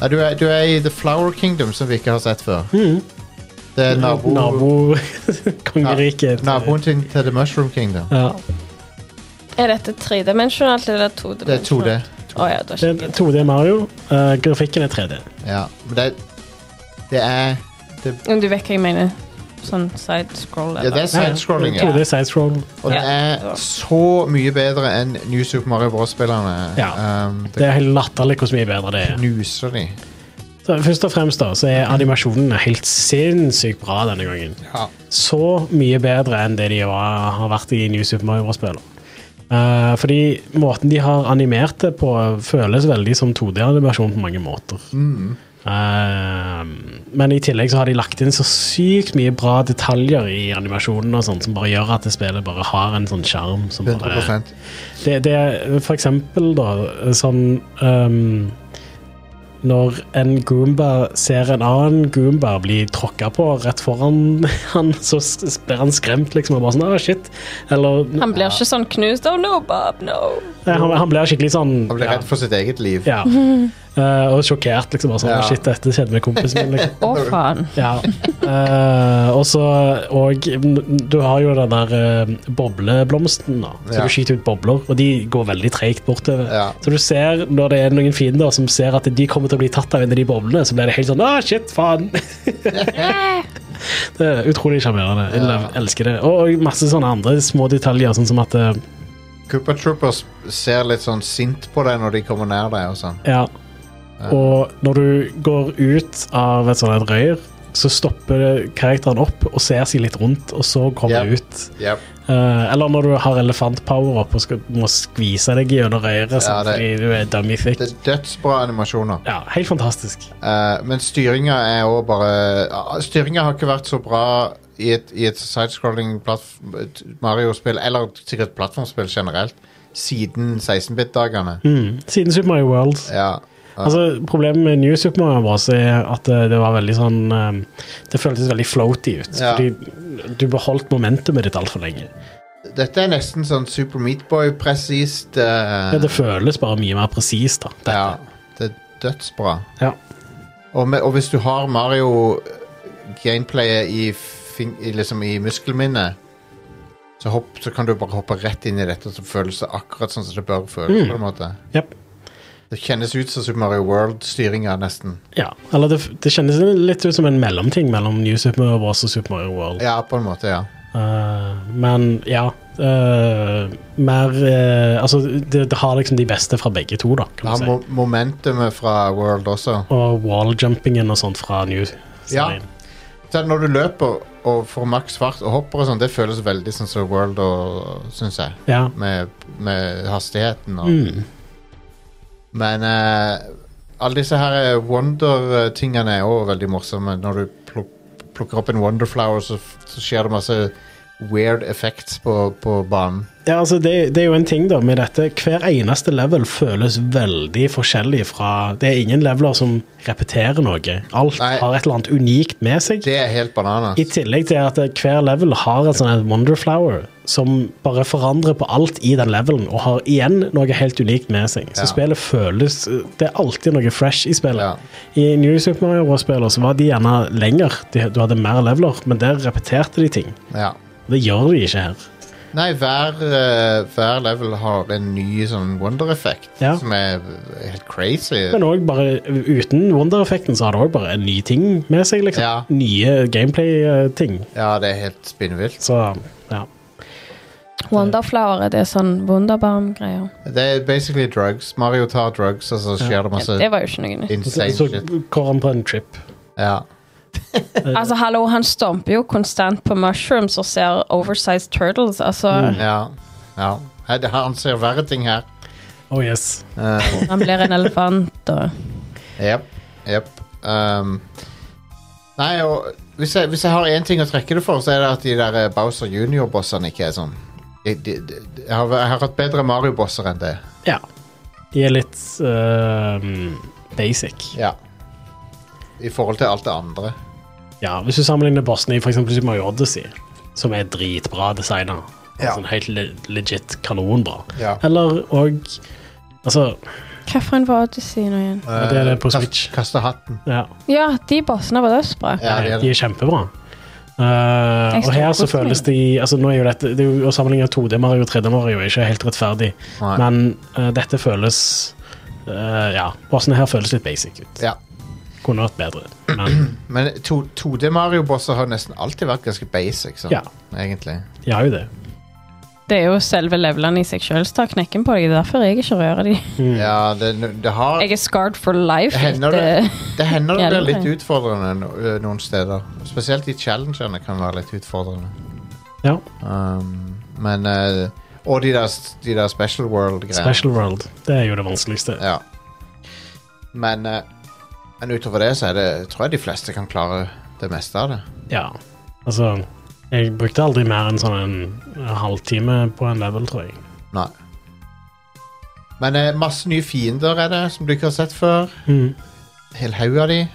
A: Nei, du er, du er i The Flower Kingdom, som vi ikke har sett før. Det er nabo,
B: Mm. Nabo
A: na-
B: Kongeriket.
A: naboen til, til The Mushroom Kingdom.
B: Ja.
C: Er dette tredimensjonalt eller
A: Det er 2D.
C: todimensjonalt? Å ja, da
B: Det er 2D Mario. Eh, grafikken er 3D.
A: Ja. Men det, det er det,
C: Men Du vet hva jeg mener. Sånn side-scroll
A: ja, det er
C: eller
A: sidescrolling.
B: Ja.
A: Ja.
B: 2D sidescroll.
A: Og det er så mye bedre enn New Super Mario Bros.-spillerne.
B: Ja.
A: Um,
B: Det
A: det
B: er helt latterlig hvor mye bedre det er.
A: knuser de.
B: Så først og fremst da, så er animasjonen helt sinnssykt bra denne gangen. Så mye bedre enn det de var, har vært i New Super Mario Bros-spillet. Eh, fordi måten de har animert det på, føles veldig som 2D-animasjon på mange måter. Eh, men i tillegg så har de lagt inn så sykt mye bra detaljer i animasjonen og sånt, som bare gjør at det spillet bare har en sånn sjarm. som bare
A: 100
B: det, det er for eksempel da sånn ehm, Når en Goomba ser en annen Goomba bli tråkka på rett foran han, så s- blir han skremt, liksom. Og bare sånn, ah, shit. Eller nei,
C: Han blir ikke sånn knust. Oh no, Bob, no.
B: han, han blir skikkelig sånn
A: Han blir redd for sitt eget liv.
B: Ja. Eh, og sjokkert, liksom. Bare sånn,
A: Ja.
B: ah, shit, dette skjedde med kompisen min. liksom.
C: Å, faen.
B: Ja. Eh, og så Og n- du har jo den der eh, bobleblomsten, da. Så
A: Ja.
B: du skyter ut bobler, og de går veldig treigt bortover.
A: Ja.
B: Så du ser når det er noen fiender som ser at de kommer til å bli tatt av en av de boblene, så blir det helt sånn ah, shit, faen. det er utrolig sjarmerende. Jeg
A: Ja.
B: elsker det. Og, og masse sånne andre små detaljer, sånn som at eh,
A: Cooper Troopers ser litt sånn sint på deg når de kommer nær deg. og sånn.
B: Ja. Og når du går ut av et sånt et røyr, så stopper karakteren opp og ser seg litt rundt, og så kommer
A: Yep.
B: du ut.
A: Yep.
B: Eh, eller når du har elefantpower opp og skal, må skvise deg gjennom røret sånn,
A: det-
B: fordi du er dummy thick.
A: Det er dødsbra animasjoner.
B: Ja, helt fantastisk.
A: Eh, men styringa er òg bare ah, Styringa har ikke vært så bra i et, i et sidescrolling plattf- et Mario-spill, eller sikkert plattformspill generelt, siden 16-bit-dagene.
B: Mm. Siden Super Mario World.
A: Ja.
B: Altså, problemet med New Super Mario Bros. er at eh, det var veldig sånn eh, Det føltes veldig floaty ut.
A: Ja.
B: Fordi du beholdt momentumet ditt altfor lenge.
A: Dette er nesten sånn Super Meatboy-presist. eh,
B: Ja, det føles bare mye mer presist, da.
A: ja,
B: dette.
A: det er dødsbra.
B: Ja.
A: Og, med, og hvis du har Mario-gameplayet i, fing- i, liksom i muskelminnet, så, hopp, så kan du bare hoppe rett inn i dette, og så føles det akkurat sånn som det bør føles. på en måte.
B: Jep.
A: Det kjennes ut som Super Mario World-styringa, nesten.
B: ja. Eller det, det kjennes litt ut som en mellomting mellom New Super Mario Bros. og Super Mario World.
A: Ja, på en måte, ja.
B: Eh, men ja eh, Mer eh, Altså, det, det har liksom de beste fra begge to, da,
A: Det
B: kan
A: har
B: man si.
A: mo momentumet fra World også.
B: Og walljumpingen og sånt fra New serien.
A: Så når du løper og får maks fart og hopper og sånn, det føles veldig sånn som World, og- syns jeg.
B: Ja.
A: Med, med hastigheten og
B: Mm.
A: Men eh, alle disse her eh, Wonder-tingene er også veldig morsomme. Når du pluk plukker opp en Wonderflower, så, f- så skjer det masse weird effects på, på banen.
B: Ja, altså det, det er jo en ting da med dette. Hver eneste level føles veldig forskjellig fra Det er ingen leveler som repeterer noe. Alt
A: Nei.
B: har et eller annet unikt med seg.
A: Det er helt bananas.
B: I tillegg til at eh, hver level har et sånt wonderflower som bare forandrer på alt i den levelen, og har igjen noe helt unikt med seg. Så
A: Ja.
B: spillet føles Det er alltid noe fresh i
A: Ja.
B: spillet. I New Super Mario Bros. så var de gjerne lenger, de, du hadde mer leveler, men der repeterte de ting.
A: Ja.
B: Det gjør de ikke her.
A: Nei, hver, eh, hver level har en ny sånn wonder-effekt
B: Ja.
A: som er helt crazy.
B: Men òg bare uten Wonder-effekten så har det òg bare en ny ting med seg, liksom.
A: Ja.
B: Nye gameplay-ting.
A: Ja, det er helt spinnvilt.
B: Så ja.
C: Wonderflower er det sånn Wunderbarm-greier.
A: Det er basically drugs. Mario tar drugs, og så skjer det masse
C: Det var jo ikke noe nytt.
B: Så,
A: insane
B: så
A: shit.
B: går han på en trip.
A: Ja.
C: Altså, hallo, han stomper jo konstant på mushrooms og ser oversized turtles. Altså,
A: ja. ja. Hei, det- Han ser verre ting her.
B: Oh yes.
A: Uh,
C: han blir en elefant og
A: Jep, jep. Um, nei, og hvis jeg, hvis jeg har én ting å trekke det for, så er det at de der eh, Bowser Junior-bossene ikke er sånn. De, de, de, jeg, har, jeg har hatt bedre Mario-bosser enn det.
B: Ja. De er litt ehm, basic.
A: Ja. I forhold til alt det andre.
B: Ja, Hvis du sammenligner bossene i for eksempel Super Mario Odyssey, som er dritbra designa
A: Ja.
B: sånn Helt le legit kanonbra.
A: Ja.
B: Eller òg Altså,
C: Hva for en var Odyssey nå igjen?
B: det er det på
A: Eh, kast-
B: Switch.
A: Kaste hatten.
B: ja,
C: Ja, de bossene var dødsbra.
A: Ja, det er
B: de
A: det.
B: er kjempebra. Eh, og
C: står
B: her så
C: på den.
B: føles de altså nå er jo dette, det er jo, Å sammenligne 2D Mario og 3D Mario er ikke helt rettferdig,
A: Nei.
B: men eh, dette føles eh, Ja, bossene her føles litt basic ut.
A: Ja.
B: Kunne vært bedre, men
A: Men to- 2D Mario-bosser har nesten alltid vært ganske basic, sånn,
B: Ja.
A: egentlig.
B: de har jo det.
C: Det er jo selve levelene i seg sjøl som tar knekken på deg. Det er derfor jeg ikke rører de.
B: Mm.
A: Ja, det, det har
C: Jeg er scarred for life.
A: Hender
C: etter-
A: det, det hender det
C: Ja, det
A: blir litt
C: er.
A: utfordrende no- eh, noen steder. Spesielt de challengene kan være litt utfordrende.
B: Ja,
A: Um, men eh, Og de der, de der Special World-greiene.
B: Special World. Det er jo det vanskeligste.
A: Ja. Men, eh, men utover det så er det, tror jeg de fleste kan klare det meste av det.
B: Ja. Altså, jeg brukte aldri mer enn sånn en halvtime på en level, tror jeg.
A: Nei. Men eh, masse nye fiender er det, som du ikke har sett før. Hel haug av de.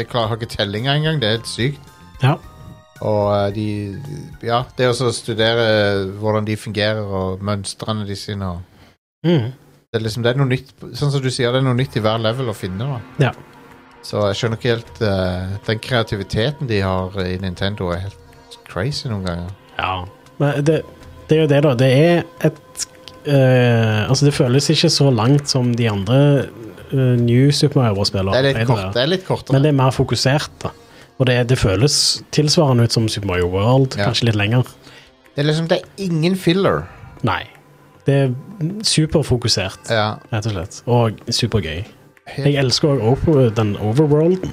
A: Jeg klarer, har ikke tellinga engang. Det er helt sykt.
B: Ja.
A: Og eh, de Ja, det er også å studere eh, hvordan de fungerer, og mønstrene de sine og
B: Mm.
A: Det er liksom det er noe nytt Sånn som du sier, det er noe nytt i hver level å finne. da
B: Ja.
A: Så jeg skjønner ikke helt eh, Den kreativiteten de har i Nintendo, er helt crazy noen ganger.
B: ja. Men det, det er jo det, da. Det er et eh, Altså, det føles ikke så langt som de andre eh, New Super Mario-spillene.
A: Det er litt, kort, det er litt
B: Men
A: kortere.
B: det er mer fokusert, da. Og det, det føles tilsvarende ut som Super Mario World,
A: Ja.
B: kanskje litt lenger.
A: Det er liksom det er ingen filler.
B: Nei. Det er superfokusert,
A: Ja,
B: rett og slett. Og supergøy.
A: helt,
B: Jeg elsker òg over, den overworlden.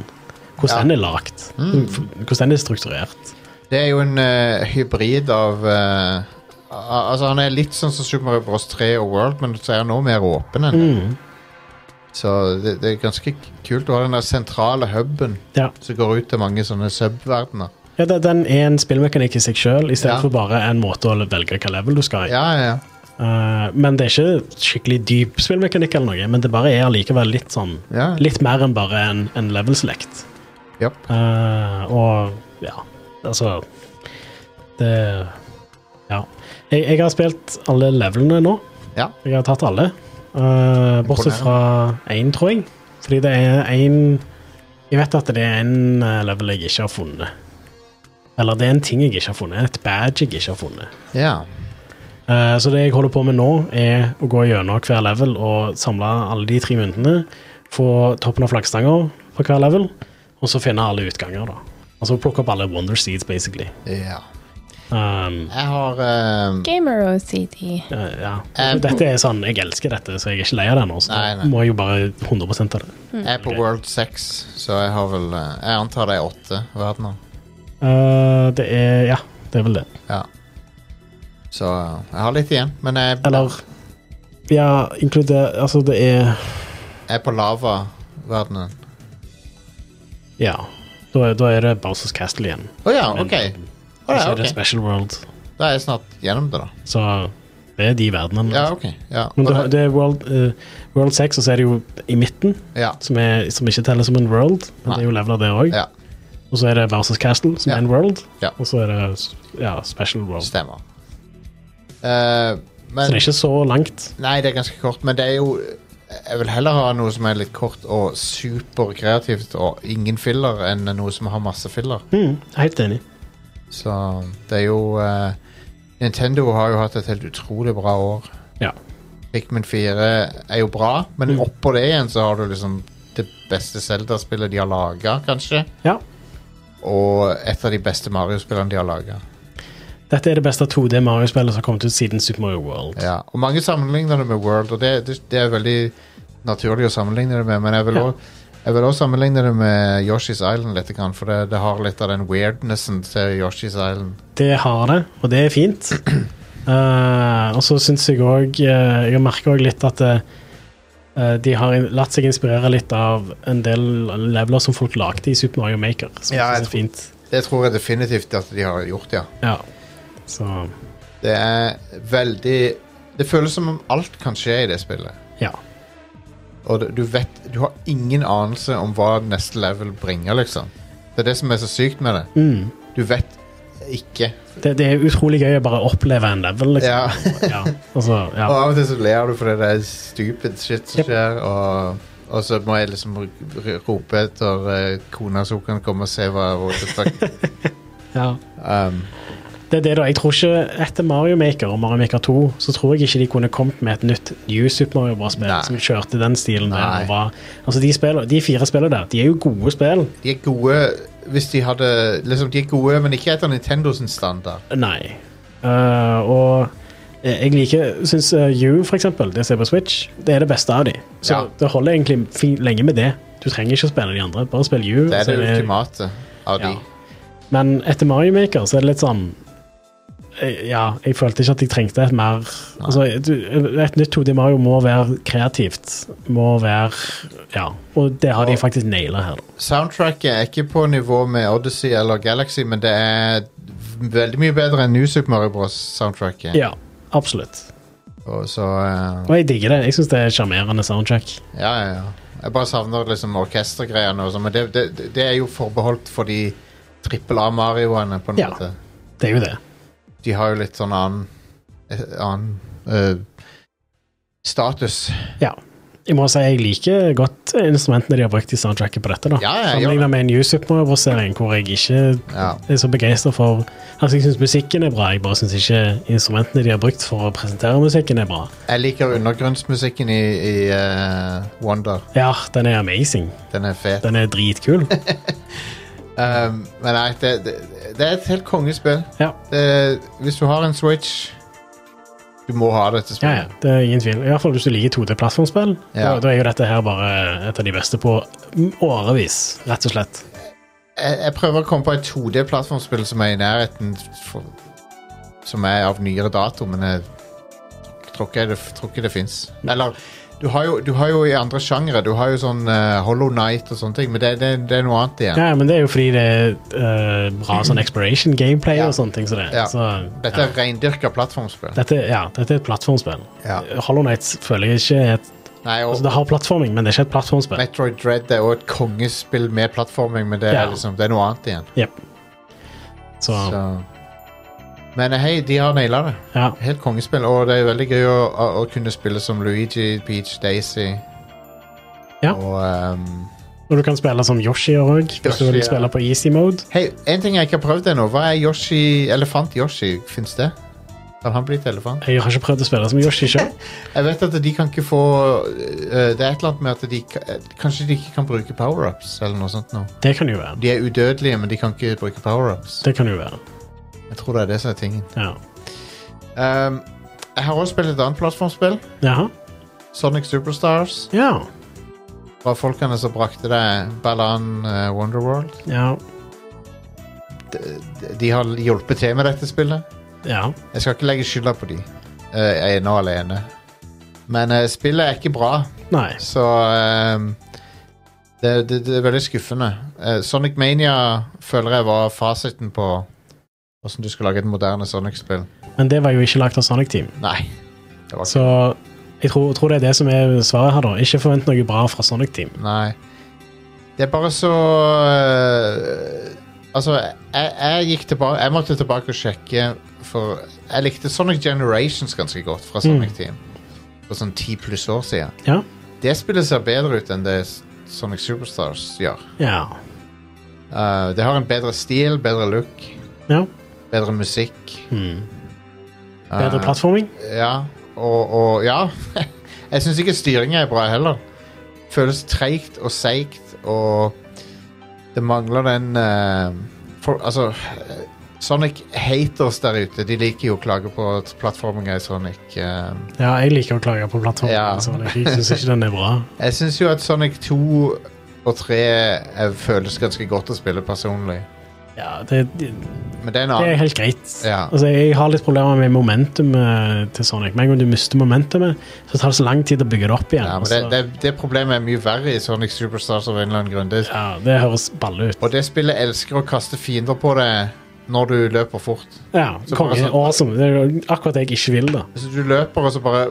B: Hvordan
A: Ja. Mm.
B: den er lagt. Hvordan den er strukturert.
A: det er jo en eh, hybrid av eh, al- Altså Han er litt sånn som Super Mario Bros. 3 og World, men så er han nå mer åpen enn det.
B: Mm.
A: Så det, det er ganske kult å ha den der sentrale huben
B: Ja.
A: som går ut til mange sånne subverdener.
B: Ja, det- den er en spillmekanikk i seg sjøl,
A: Ja.
B: istedenfor for bare en måte å velge hvilken level du skal i.
A: Ja, ja, ja.
B: Eh, men det er ikke skikkelig dyp spillmekanikk, eller noe, men det bare er allikevel litt sånn
A: Ja.
B: Litt mer enn bare en, en level select.
A: Japp.
B: Eh, og ja, altså Det Ja. Jeg, jeg har spilt alle levelene nå.
A: ja.
B: Jeg har tatt alle. eh, bortsett fra én, tror jeg. Fordi det er én Jeg vet at det er en eh, level jeg ikke har funnet. Eller det er en ting jeg ikke har funnet. Et badge jeg ikke har funnet.
A: Ja.
B: Eh, så det jeg holder på med nå, er å gå gjennom hver level og samle alle de tre myntene. Få toppen av flaggstanga på hver level, og så finne alle utganger, da. Altså plukke opp alle Wonder Seeds, basically.
A: ja.
B: Um,
A: Jeg har eh,
C: Gamer OCD.
B: eh, ja.
A: Eh,
B: Dette er sånn Jeg elsker dette, så jeg er ikke lei av det nå. Så
A: Nei, nei.
B: må jeg jo bare 100 av det.
A: Jeg er på
B: Ok.
A: World 6, så jeg har vel eh, Jeg antar det er åtte verdener.
B: Eh, det er Ja, det er vel det.
A: Ja. Så eh, jeg har litt igjen, men jeg,
B: Eller Ja, inkluder Altså, det er
A: jeg er på lavaverdenen.
B: Ja. Da, er- da er det Bowsers Castle igjen.
A: Å ja,
B: Men-
A: OK. Å
B: Og
A: ja,
B: så er det
A: ok.
B: Special World.
A: Da er jeg snart gjennom det, da.
B: Så det er de verdenene.
A: Ja, ok. Ja.
B: Men
A: Og
B: det,
A: da-
B: det er World, eh, World 6, og så er det jo i midten,
A: ja.
B: som, er, som ikke teller som en world. Men det er jo leveler der òg.
A: ja.
B: Og så er det Versus Castle, som
A: Ja.
B: er en world.
A: Ja.
B: Og så er det s- ja, Special World.
A: Stemmer. Eh,
B: Så det
A: men
B: er ikke så langt.
A: Nei, det er ganske kort, men det er jo Jeg vil heller ha noe som er litt kort og superkreativt og ingen filler, enn noe som har masse filler.
B: Mm, helt enig.
A: Så det er jo eh, Nintendo har jo hatt et helt utrolig bra år.
B: Ja. Mm.
A: Pikmin 4 er jo bra, men oppå det igjen så har du liksom det beste Zelda-spillet de har laga, kanskje.
B: ja.
A: Og et av de beste Mario-spillene de har laga.
B: Dette er det beste 2D Mario-spillet som har kommet ut siden Super Mario World.
A: Ja. Og mange sammenligner det med World, og det, det, det er veldig naturlig å sammenligne det med, men jeg vil
B: Ja.
A: også- jeg vil også sammenligne det med Yoshi's Island litt, grann, for det, det har litt av den weirdnessen til Yoshi's Island.
B: Det har det, og det er fint. Eh, og så syns jeg òg Jeg merker òg litt at eh, de har in- latt seg inspirere litt av en del leveler som folk lagde i Super Mario Maker. Som
A: Ja,
B: jeg
A: jeg
B: synes er fint.
A: Det tror jeg definitivt at de har gjort, ja.
B: Ja. Så
A: Det er veldig Det føles som om alt kan skje i det spillet.
B: ja.
A: Og du- du vet Du har ingen anelse om hva neste level bringer, liksom. Det er det som er så sykt med det.
B: Mm.
A: Du vet ikke.
B: Det, det er utrolig gøy å bare oppleve en level, liksom.
A: Ja.
B: Ja. Altså, ja.
A: Og av og til så ler du fordi det er stupid shit som
B: Yep.
A: skjer, og, og så må jeg liksom r- r- rope etter eh, kona så hun kan komme og se hva what the fuck.
B: ja.
A: Um,
B: Det er det, da. Jeg tror ikke Etter Mario Maker og Mario Maker 2 så tror jeg ikke de kunne kommet med et nytt New Super Mario Bros.-spill
A: Nei.
B: som kjørte den stilen. der.
A: Nei.
B: og var- Altså, de, spiller, de fire spillene der, de er jo gode spill.
A: de er gode hvis de hadde Liksom, de er gode, men ikke etter Nintendo sin standard.
B: Nei. Eh, og jeg liker Syns You, for eksempel, det som er på Switch, det er det beste av de. Så
A: Ja.
B: det holder egentlig fin, lenge med det. Du trenger ikke å spille de andre, bare spill You.
A: Det
B: og
A: er
B: så
A: det
B: er det-
A: ultimate av de.
B: Ja. Men etter Mario Maker så er det litt sånn eh, Ja, jeg følte ikke at jeg trengte et mer altså, du- Et nytt 2D Mario må være kreativt. Må være Ja. Og det har de faktisk naila her. da.
A: Soundtracket er ikke på nivå med Odyssey eller Galaxy, men det er veldig mye bedre enn New Super Mario Bros. soundtracket.
B: Ja, absolutt.
A: Og så eh,
B: Og jeg digger det. Jeg syns det er sjarmerende soundtrack.
A: Ja, ja, ja. Jeg bare savner liksom orkestergreiene og sånn, men det, det, det er jo forbeholdt for de trippel A-marioene, på en
B: Ja.
A: måte.
B: Det er jo det.
A: De har jo litt sånn annen eh, annen eh, status.
B: Ja. Jeg må si jeg liker godt instrumentene de har brukt i soundtracket på dette. da
A: Ja, ja, jeg gjør
B: Sammenlignet med en New Super Mario-versering hvor jeg ikke
A: Ja.
B: er så begeistra for Altså, jeg syns musikken er bra, jeg bare syns ikke instrumentene de har brukt for å presentere musikken, er bra.
A: Jeg liker undergrunnsmusikken i, i eh, Wonder.
B: Ja, den er amazing.
A: Den er fet.
B: Den er dritkul.
A: Um, men nei, det, det, det er et helt kongespill.
B: Ja,
A: det, Eh, Hvis du har en Switch Du må ha dette
B: ja,
A: spillet
B: ja det er ingen tvil. I hvert fall hvis du liker 2D-plattformspill.
A: Ja.
B: Da, da er jo dette her bare et av de beste på årevis, rett og slett.
A: jeg, jeg prøver å komme på et 2D-plattformspill som er i nærheten for, Som er av nyere dato Men jeg tror ikke det, tror ikke det finnes Eller du har, jo, du har jo i andre genre Du har jo sånn eh, Hollow Knight og sånne ting Men det, det, det er noe annet igjen
B: Ja, men det er jo fordi det er eh, bra sånn exploration gameplay
A: Ja.
B: og sånne ting som det. er.
A: Ja.
B: Så,
A: Dette er rendyrka plattformspill
B: dette, ja, dette er et plattformspill.
A: Ja.
B: Hollow Knights føler jeg ikke er et
A: Nei, og
B: altså, Det har plattforming, men det er ikke et plattformspill.
A: Metroid Dread er jo et kongespill med plattforming Men det er,
B: Ja.
A: liksom, det er noe annet igjen
B: Jep. Så,
A: Så men eh, hei, de har nailet det
B: ja.
A: Helt kongespill, og det er veldig gøy å, å, å kunne spille som Luigi, Peach, Daisy.
B: Ja.
A: Og ehm,
B: Og du kan spille som Yoshi òg, hvis du
A: Yoshi,
B: vil
A: ja.
B: spille på easy mode.
A: Hei, en ting jeg ikke har prøvd ennå. Hva er Yoshi Elefant Yoshi? Fins det? Kan han bli et elefant?
B: Jeg har ikke prøvd å spille som Yoshi sjøl.
A: Jeg vet at de kan ikke få eh, Det er et eller annet med at de ka- eh, Kanskje de ikke kan bruke powerups eller noe sånt nå.
B: Det kan jo være.
A: De er udødelige, men de kan ikke bruke powerups.
B: Det kan jo være.
A: Jeg tror det er det som er tingen.
B: Ja.
A: Ehm, jeg har også spilt et annet plattformspill.
B: Jaha.
A: Sonic Superstars.
B: Ja.
A: Fra folkene som brakte deg Balan eh, Wonderworld.
B: Ja.
A: eh, de har hjulpet til med dette spillet.
B: ja.
A: Jeg skal ikke legge skylda på de, eh, ene og alene. Men eh, spillet er ikke bra,
B: Nei.
A: så eh, det, det, det er veldig skuffende. Eh, Sonic Mania føler jeg var fasiten på Hvordan du skal lage et moderne Sonic-spill.
B: Men det var jo ikke lagt av Sonic Team.
A: Nei. Det var ikke
B: Så jeg tror, tror det er det som er svaret her, da. Ikke forvent noe bra fra Sonic Team.
A: Nei. Det er bare så øh, Altså, jeg, jeg gikk tilbake Jeg måtte tilbake og sjekke, for jeg likte Sonic Generations ganske godt fra Sonic Team. For sånn ti pluss år siden.
B: Ja.
A: Det spillet ser bedre ut enn det S- Sonic Superstars gjør.
B: Ja.
A: Uh, det har en bedre stil, bedre look,
B: ja.
A: bedre musikk. Eh.
B: Bedre plattforming.
A: Ja, og, og ja. jeg syns ikke styringa er bra heller. Føles treigt og seigt, og det mangler den eh, for, Altså, eh, Sonic haters der ute, de liker jo å klage på at plattforminga i Sonic. eh.
B: Ja, jeg liker å klage på plattformen.
A: Ja.
B: Sonic. Jeg syns ikke den er bra.
A: jeg syns jo at Sonic 2 og 3 eh, føles ganske godt å spille personlig,
B: Ja, det, det,
A: men det er en
B: det er
A: annen
B: helt greit.
A: Ja.
B: Altså, jeg har litt problemer med momentumet til Sonic. Med en gang du mister momentumet, så tar det så lang tid å bygge det opp igjen. Altså,
A: ja, men det,
B: så-
A: det, det problemet er mye verre i Sonic Superstars av en eller annen grunn. Det,
B: ja, det høres balle ut.
A: og det spillet elsker å kaste fiender på deg når du løper fort.
B: Ja,
A: Så
B: konge.
A: bare sånn-
B: Awesome. Det er jo akkurat det jeg ikke vil, da.
A: Hvis du løper, og så bare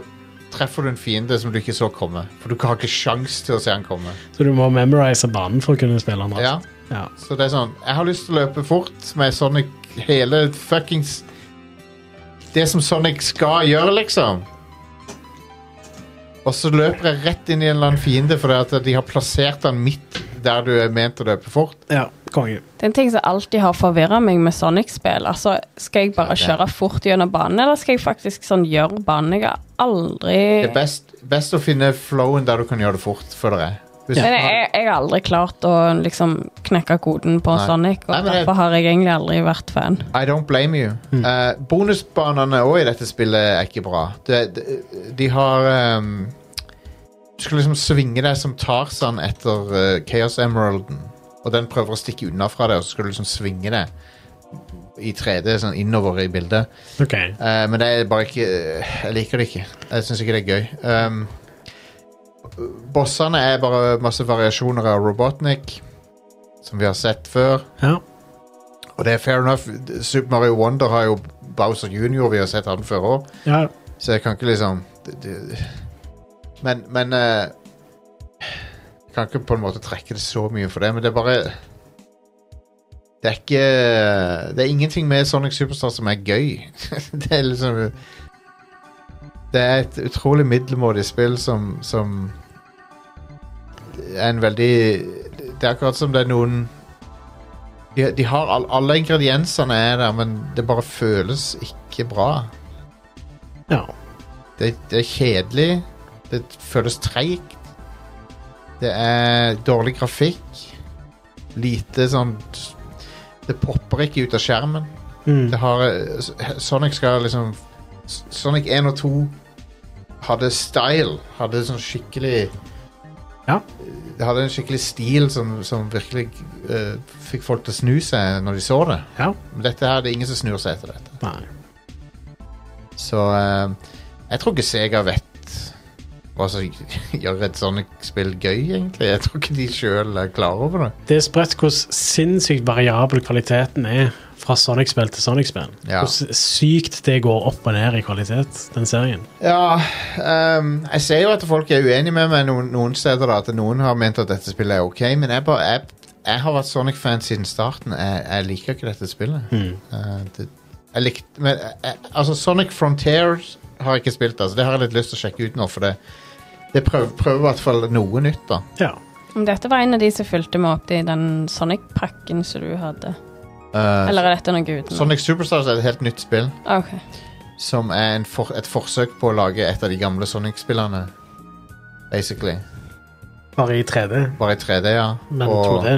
A: treffer du en fiende som du ikke så komme. For du har ikke sjans til å se han komme.
B: Så du må memorise banen for å kunne spille den.
A: Ja,
B: raskt. Ja.
A: så det er sånn Jeg har lyst til å løpe fort med Sonic hele fuckings Det som Sonic skal gjøre, liksom. Og så løper jeg rett inn i en eller annen fiende fordi at de har plassert han midt der du er ment å løpe fort.
B: ja, konge.
C: Det er en ting som alltid har forvirra meg med Sonic-spill. Altså, skal jeg
A: Ja,
C: bare
A: det-
C: kjøre fort gjennom banen, eller skal jeg faktisk sånn gjøre banen? Jeg har aldri
A: Det er best, best å finne flowen der du kan gjøre det fort, føler jeg. Hvis
C: Men
A: du
C: jeg,
A: har-
C: jeg- jeg har aldri klart å liksom knekke koden på
A: Nei.
C: Sonic, og
A: Nei, men jeg-
C: derfor har jeg egentlig aldri vært fan.
A: I don't blame you. Eh, bonusbanene òg i dette spillet er ikke bra. De, de, de har ehm, Du skal liksom svinge deg som Tarzan etter eh, Chaos Emeralden. Og den prøver å stikke unna fra deg, og så skal du liksom svinge deg i 3D sånn innover i bildet.
B: Ok.
A: Eh, men det er bare ikke eh, Jeg liker det ikke. Jeg syns ikke det er gøy. Ehm, bossene er bare masse variasjoner av Robotnik, som vi har sett før.
B: Ja.
A: Og det er fair enough. Super Mario Wonder har jo Bowser Jr. Vi har sett han før òg,
B: ja.
A: så jeg kan ikke liksom det- det- Men, men eh, Jeg kan ikke på en måte trekke det så mye for det, men det er bare Det er ikke Det er ingenting med Sonic Superstar som er gøy. det er liksom Det er et utrolig middelmådig spill som, som er en veldig Det er akkurat som det er noen de, de har all, Alle ingrediensene er der, men det bare føles ikke bra.
B: ja.
A: Det, det er kjedelig. Det føles treigt. Det er dårlig grafikk. Lite sånn Det popper ikke ut av skjermen.
B: Mm.
A: Det har eh, S- Sonic skal liksom S- Sonic 1 og 2 hadde style. Hadde sånn skikkelig
B: Ja.
A: Det hadde en skikkelig stil som, som virkelig eh, fikk folk til å snu seg når de så det.
B: ja.
A: Men dette her, det er ingen som snur seg etter dette.
B: Nei.
A: Så eh, jeg tror ikke Sega vet hva som gjør et Sonic-spill gøy, egentlig. Jeg tror ikke de sjøl er klar over det.
B: Det er spredt hvordan sinnssykt variabel kvaliteten er fra Sonic-spill til Sonic-spill.
A: Ja.
B: Hvordan sykt det går opp og ned i kvalitet, den serien.
A: Ja, ehm, jeg ser jo at folk er uenige med meg noen, noen steder, da, at noen har ment at dette spillet er ok, men jeg, bare, jeg, jeg har vært Sonic-fan siden starten. Jeg, jeg liker ikke dette spillet.
B: Mm.
A: Eh, det, jeg likte, men, jeg- jeg, altså, Sonic Frontiers har jeg ikke spilt, altså. det har jeg litt lyst til å sjekke ut nå, for det, det prøver, prøver i hvert fall noe nytt. da.
B: Ja.
C: Men Dette var en av de som fulgte meg opp i den Sonic-pakken som du hadde.
A: Eh,
C: Eller er dette noe utenom?
A: Sonic Superstars er et helt nytt spill,
C: Ok.
A: som er en for, et forsøk på å lage et av de gamle Sonic-spillene, basically.
B: Bare i 3D,
A: Bare i 3D, ja.
B: men
A: Og-
B: 2D.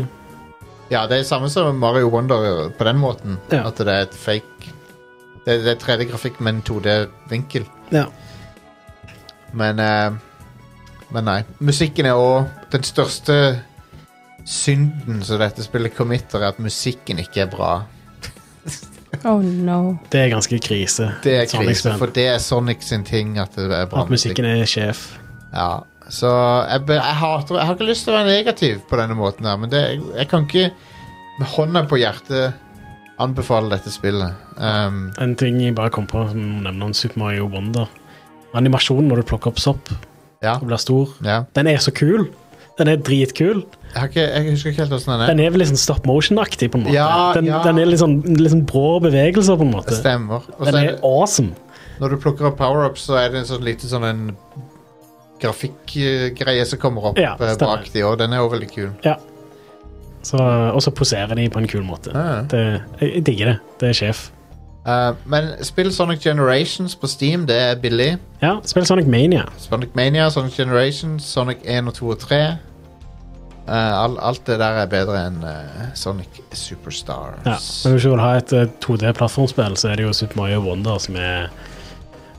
A: Ja, det er samme som Mario Wonder på den måten.
B: Ja.
A: At det er et fake Det, det er 3D-grafikk, men 2D-vinkel.
B: Ja.
A: Men eh, Men nei. Musikken er òg den største synden som dette spillet committer, er at musikken ikke er bra.
C: Oh no.
B: Det er ganske krise.
A: Det er krise,
B: Sonic-spill.
A: for det er Sonic sin ting at det er bra
B: At musikken er sjef.
A: Ja, så jeg, be- jeg hater Jeg har ikke lyst til å være negativ på denne måten her, men det, jeg kan ikke med hånda på hjertet anbefaler dette spillet. Um,
B: En ting jeg bare kom på, som jeg nevner om Super Mario Wonder. Animasjonen når du plukker opp sopp
A: ja,
B: og blir stor,
A: ja.
B: den er så kul. Den er dritkul.
A: Jeg, har ikke, jeg husker ikke helt åssen den er.
B: Den er vel litt sånn stop motion-aktig, på en måte.
A: Ja,
B: den,
A: ja.
B: den er litt sånn, litt sånn brå bevegelser, på en måte.
A: Stemmer. Og så
B: Den
A: er
B: er
A: det,
B: awesome.
A: når du plukker opp power-up, så er det en sånn liten sånn en grafikkgreie som kommer opp
B: Ja,
A: eh,
B: stemmer.
A: bak de, og den er jo veldig kul.
B: Ja. Så, og så poserer de på en kul måte.
A: Ja.
B: Det, jeg, jeg digger det. Det er sjef.
A: Eh, men spill Sonic Generations på Steam, det er billig.
B: Ja, spill Sonic Mania.
A: Sonic Mania, Sonic Generations, Sonic 1 og 2 og 3. Eh, all, alt det der er bedre enn eh, Sonic Superstars.
B: Ja. Men hvis du vil ha et 2D-plattformspill, så er det jo Super Mario Wonder som er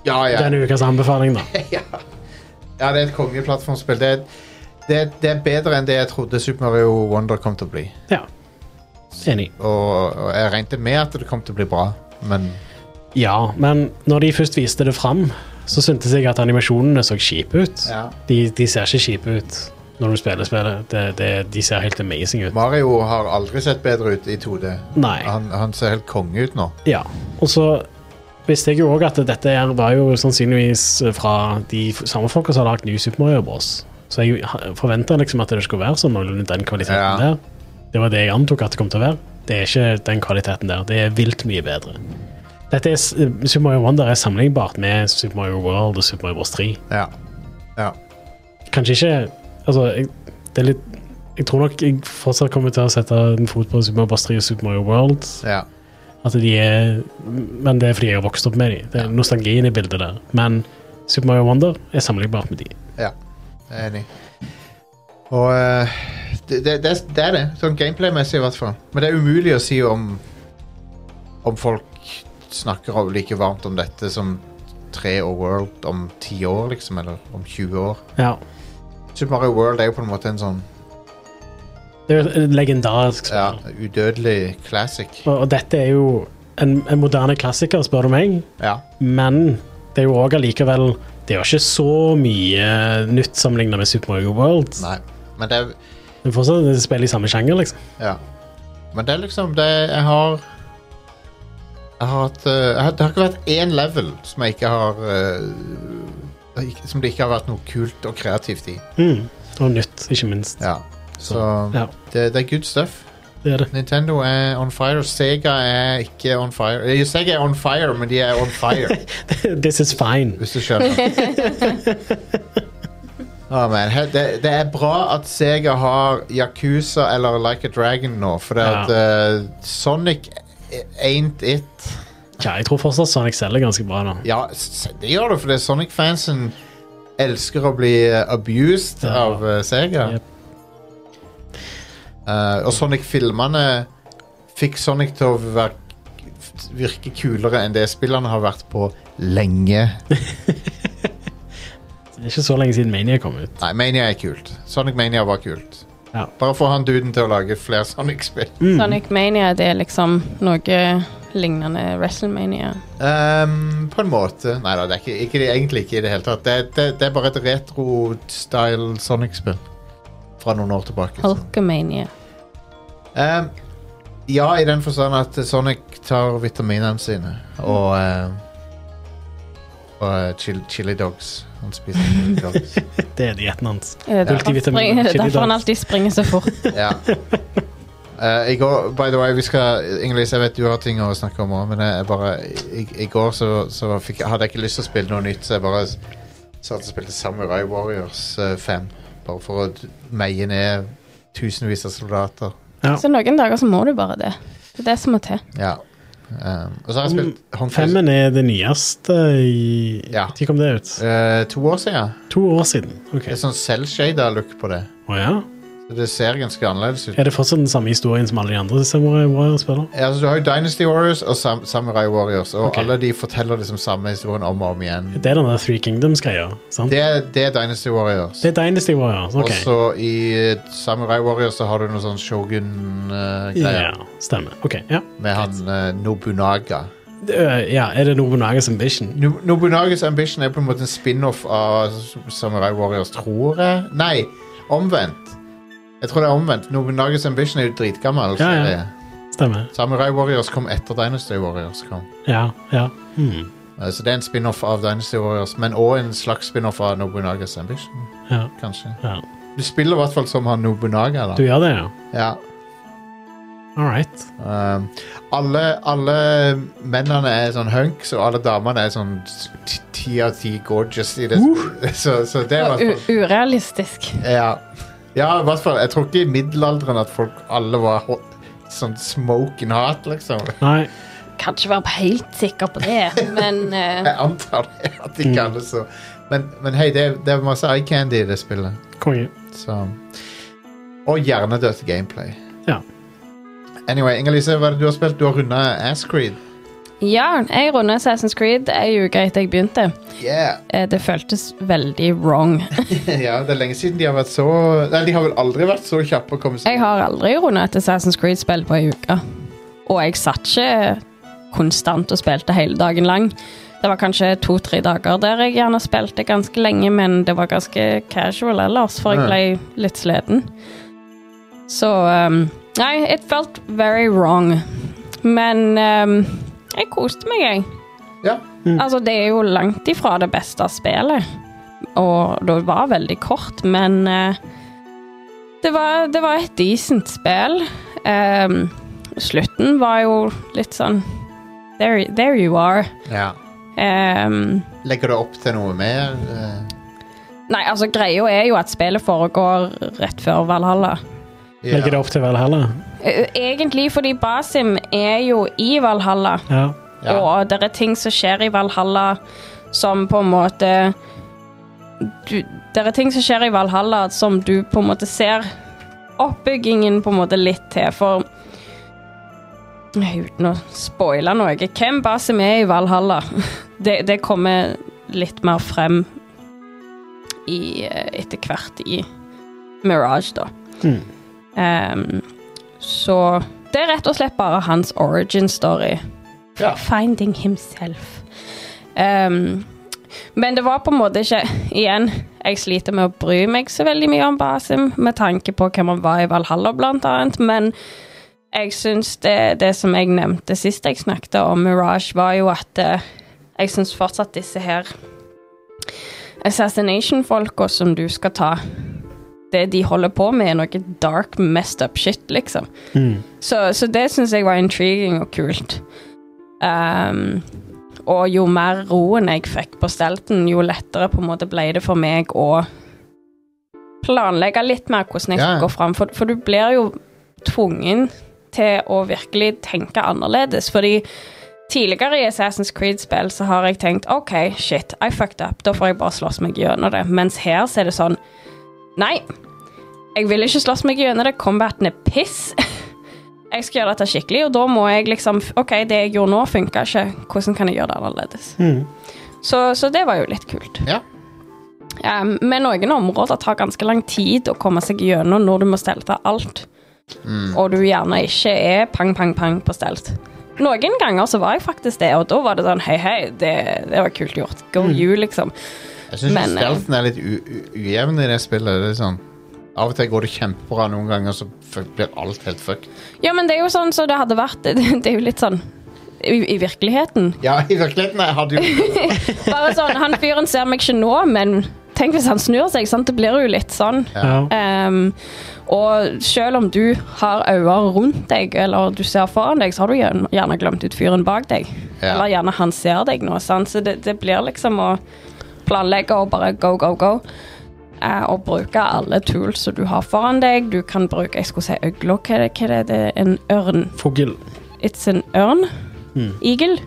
A: ja, ja.
B: denne ukas anbefaling, da.
A: Ja, det er et kongeplattformspill. Det, er- det, er- det er bedre enn det jeg trodde Super Mario Wonder kom til å bli.
B: Ja. Enig.
A: Og, og jeg regnet med at det kom til å bli bra, men
B: Ja, men når de først viste det fram, så syntes jeg at animasjonene så kjipe ut.
A: Ja.
B: De, de ser ikke kjipe ut når du spiller spillet. Det, det, de ser helt amazing ut.
A: Mario har aldri sett bedre ut i 2D.
B: Nei.
A: Han, han ser helt konge ut nå.
B: Ja. Og så visste jeg jo òg at dette her var jo sannsynligvis eh, fra de f- samme folka som har lagd New Super Mario Bros. Så jeg forventa liksom at det skulle være sånn noenlunde den kvaliteten
A: Ja.
B: der. Det var det jeg antok at det kom til å være. Det er ikke den kvaliteten der. Det er vilt mye bedre. Dette er, s- eh, Super Mario Wonder er sammenlignbart med Super Mario World og Super Mario Bros 3.
A: Ja. ja.
B: Kanskje ikke Altså, jeg, det er litt Jeg tror nok jeg fortsatt kommer til å sette en fot på Super Mario Bros 3 og Super Mario World.
A: ja.
B: At Altså, de er Men det er fordi jeg har vokst opp med de. Det er nostalgien i bildet der. Men Super Mario Wonder er sammenlignbart med de.
A: Ja, jeg er enig. Og eh, det, det, det, det er det, sånn gameplay-messig i hvert fall. Men det er umulig å si om Om folk snakker om- like varmt om dette som 3 og World om 10 år, liksom, eller om 20 år.
B: Ja.
A: Super Mario World er jo på en måte en sånn
B: Det er jo et legendarisk
A: ja,
B: spill.
A: udødelig classic.
B: Og, og dette er jo en, en moderne klassiker, spør du meg.
A: Ja.
B: Men det er jo òg allikevel Det er jo ikke så mye nytt sammenlignet med Super Mario World.
A: Nei. Men det er
B: Det er fortsatt et spill i samme sjanger, liksom.
A: Ja. Men det er liksom det Jeg har Jeg har hatt eh, jeg har, Det har ikke vært én level som jeg ikke har eh, ikke- Som det ikke har vært noe kult og kreativt i.
B: Mm. Og nytt, ikke minst.
A: Ja. Så
B: Ja.
A: det, det er good stuff.
B: Det er det.
A: Nintendo er on fire. Sega er ikke on fire. Eh, Sega er on fire, men de er on fire,
B: This is fine.
A: hvis du skjønner. Å, man. He- Det, det er bra at Sega har Yakuza eller Like a Dragon nå, for
B: Ja.
A: at, eh, Sonic ain't it.
B: Ja, jeg tror fortsatt Sonic selger ganske bra nå.
A: Ja, s- det gjør det, fordi Sonic-fansen elsker å bli eh, abused
B: Ja.
A: av eh, Sega.
B: Jep.
A: Eh, og Sonic-filmene fikk Sonic til å virke, virke kulere enn det spillene har vært på lenge.
B: Det er ikke så lenge siden Mania kom ut.
A: Nei, Mania er kult. Sonic Mania var kult.
B: Ja.
A: Bare få han duden til å lage flere Sonic-spill.
C: Sonic Mania det er liksom noe lignende WrestleMania.
A: Ehm, på en måte. Nei da, det er ikke, ikke, det- egentlig ikke i det hele tatt. Det, det, det er bare et retro-style Sonic-spill fra noen år tilbake. så-
C: Hulkamania.
A: Ehm, ja, i den forstand at Sonic tar vitaminene sine og ehm, og eh, chili, chili dogs. Han spiser chili dogs.
B: Det er dietten hans.
C: Eh, Derfor, han
B: Multivitamin,
C: springer-
B: chili
C: derfor han
B: dogs.
C: alltid springer så fort.
A: ja. Eh, I går, by the way, vi skal Inglis, jeg vet du har ting å snakke om òg, men jeg bare I, i går så, så fikk, jeg- hadde jeg ikke lyst til å spille noe nytt, så jeg bare s- satt og spilte Samurai Warriors eh, 5. Bare for å d- meie ned tusenvis av soldater.
C: Så noen dager så må du bare det. Det er det som må til.
A: Ja. Ehm, og så
B: Mm,
A: har jeg spilt Honkai
B: Femmen er det nyeste i
A: Ja.
B: Når kom det ut?
A: Eh, to år siden.
B: To år siden. Ok.
A: Det er sånn selvshada look på det.
B: Å ja.
A: Så Det ser ganske annerledes ut.
B: Er det fortsatt den samme historien som alle de andre Samurai Warrior-spillerne?
A: Altså, du har jo Dynasty Warriors og Sam Samurai Warriors, og
B: Ok.
A: alle de forteller liksom samme historien om og om igjen.
B: Det er den der Three Kingdoms-greia, sant?
A: Det, er- det er Dynasty Warriors.
B: Det er Dynasty Warriors,
A: Og
B: ok.
A: så i eh, Samurai Warriors så har du noe sånn
B: Ja,
A: Shogun-greier
B: stemmer. Ok, ja.
A: med han eh, Nobunaga.
B: Det, øh, ja, er det Nobunagas Ambition?
A: No Nobunagas Ambition er på en måte en spin-off av Samurai Warriors, tror jeg. Nei, omvendt. Jeg tror det er omvendt. Nobunagas Ambition er jo dritgammel.
B: Ja, ja.
A: serie.
B: Stemmer.
A: Samurai Warriors kom etter Dynasty Warriors. kom
B: Ja. ja. Hmm.
A: Eh, Så det er en spin-off av Dynasty Warriors, men òg en slags spin-off av Nobunagas Ambition.
B: ja,
A: kanskje.
B: ja.
A: Du spiller i hvert fall som han Nobunaga, da.
B: Du gjør det, ja?
A: Ja.
B: All right.
A: Um, alle, alle mennene er sånn hunks, og alle damene er sånn t- ti av ti gorgeous i det. Så, så det er i
C: Og
A: hvert fall
C: u- urealistisk.
A: Ja. ja, i hvert fall. Jeg tror ikke i middelalderen at folk alle var hot, sånn smoking hot, liksom.
B: Nei.
C: Kan ikke være helt sikker på det, men eh,
A: Jeg antar det, at de kan det så. Men, men hei, det, er- det er masse eye candy i det spillet.
B: Konge.
A: Så. Og hjernedødt gameplay.
B: Ja.
A: Anyway, Inger-Lise, hva er det du har spilt? Du har runda Ascreed.
C: Ja, jeg runder Assassin's Creed ei uke etter jeg begynte.
A: Yeah.
C: Eh, Det føltes veldig wrong.
A: Ja, det er lenge siden de har vært så Nei, de har vel aldri vært så kjappe å komme seg
C: Jeg har aldri rundet et Assassin's Creed-spill på ei uke. Og jeg satt ikke konstant og spilte hele dagen lang. Det var kanskje to-tre dager der jeg gjerne spilte ganske lenge, men det var ganske casual ellers, for jeg ble litt sliten. Så um, Nei, it felt very wrong. Men um, jeg koste meg, jeg.
A: Ja.
C: Altså, det er jo langt ifra det beste spillet. Og det var veldig kort, men eh, det, var, det var et decent spill. Ehm, slutten var jo litt sånn There, there you are.
A: ja.
C: Ehm,
A: Legger det opp til noe mer? Eh,
C: nei, altså, greia er jo at spillet foregår rett før Valhalla.
A: ja.
B: Legger det opp til Valhalla?
C: Eh, Egentlig fordi Basim er jo i Valhalla.
B: Ja.
A: Ja.
C: Og det er ting som skjer i Valhalla som på en måte du, Det er ting som skjer i Valhalla som du på en måte ser oppbyggingen på en måte litt til, for Nei, Uten å spoile noe Hvem bare som er i Valhalla? Det, det kommer litt mer frem i, eh, etter hvert i Mirage, da.
B: Mm.
C: Ehm, så det er rett og slett bare hans origin story.
A: Ja.
C: Finding himself. Ehm, men det var på en måte ikke Igjen, jeg sliter med å bry meg så veldig mye om Basim, med tanke på hvem han var i Valhalla, blant annet, men jeg syns det, det som jeg nevnte sist jeg snakket om Mirage, var jo at eh, jeg syns fortsatt disse her assassination-folka som du skal ta Det de holder på med, er noe dark, messed up shit, liksom.
B: Mm.
C: Så, så det syns jeg var intriguing og kult. Ehm, og jo mer roen jeg fikk på stelten, jo lettere på en måte ble det for meg å planlegge litt mer hvordan jeg
A: Ja.
C: skal gå fram. For, for du blir jo tvungen til å virkelig tenke annerledes. Fordi tidligere i Assassin's Creed-spill så har jeg tenkt OK, shit, I fucked up. Da får jeg bare slåss meg gjennom det. Mens her så er det sånn Nei, jeg vil ikke slåss meg gjennom det. Combaten er piss. Jeg skal gjøre dette skikkelig, og da må jeg liksom f- OK, det jeg gjorde nå, funka ikke. Hvordan kan jeg gjøre det annerledes?
B: Mm.
C: Så, så det var jo litt kult.
A: Ja.
C: Um, men noen områder tar ganske lang tid å komme seg gjennom når du må stelte alt, og du gjerne ikke er pang, pang, pang på stelt. Noen ganger så var jeg faktisk det, og da var det sånn hei, hei, det, det var kult gjort. Go you, liksom.
A: Jeg syns
C: Men, eh,
A: stelten er litt u- u- ujevn i det spillet. Det er sånn. Av og til går det kjempebra, noen ganger så f- blir alt helt fucked.
C: Ja, men det er jo sånn som det hadde vært. Det, det er jo litt sånn i, i virkeligheten.
A: Ja, i virkeligheten jeg hadde jo
C: Bare sånn, han fyren ser meg ikke nå, men tenk hvis han snur seg, sant? det blir jo litt sånn.
B: Ja.
C: Ehm, og selv om du har øyne rundt deg, eller du ser foran deg, så har du gjerne gjerne glemt ut fyren bak deg.
A: Ja.
C: Eller gjerne han ser deg nå, sant? så det, det blir liksom å planlegge og bare go, go, go. Eh, og bruke alle tools som du har foran deg. Du kan bruke, jeg skulle si øgla, hva er det? Hva er det? det er en ørn.
B: Fugl.
C: It's an ørn. Eagle.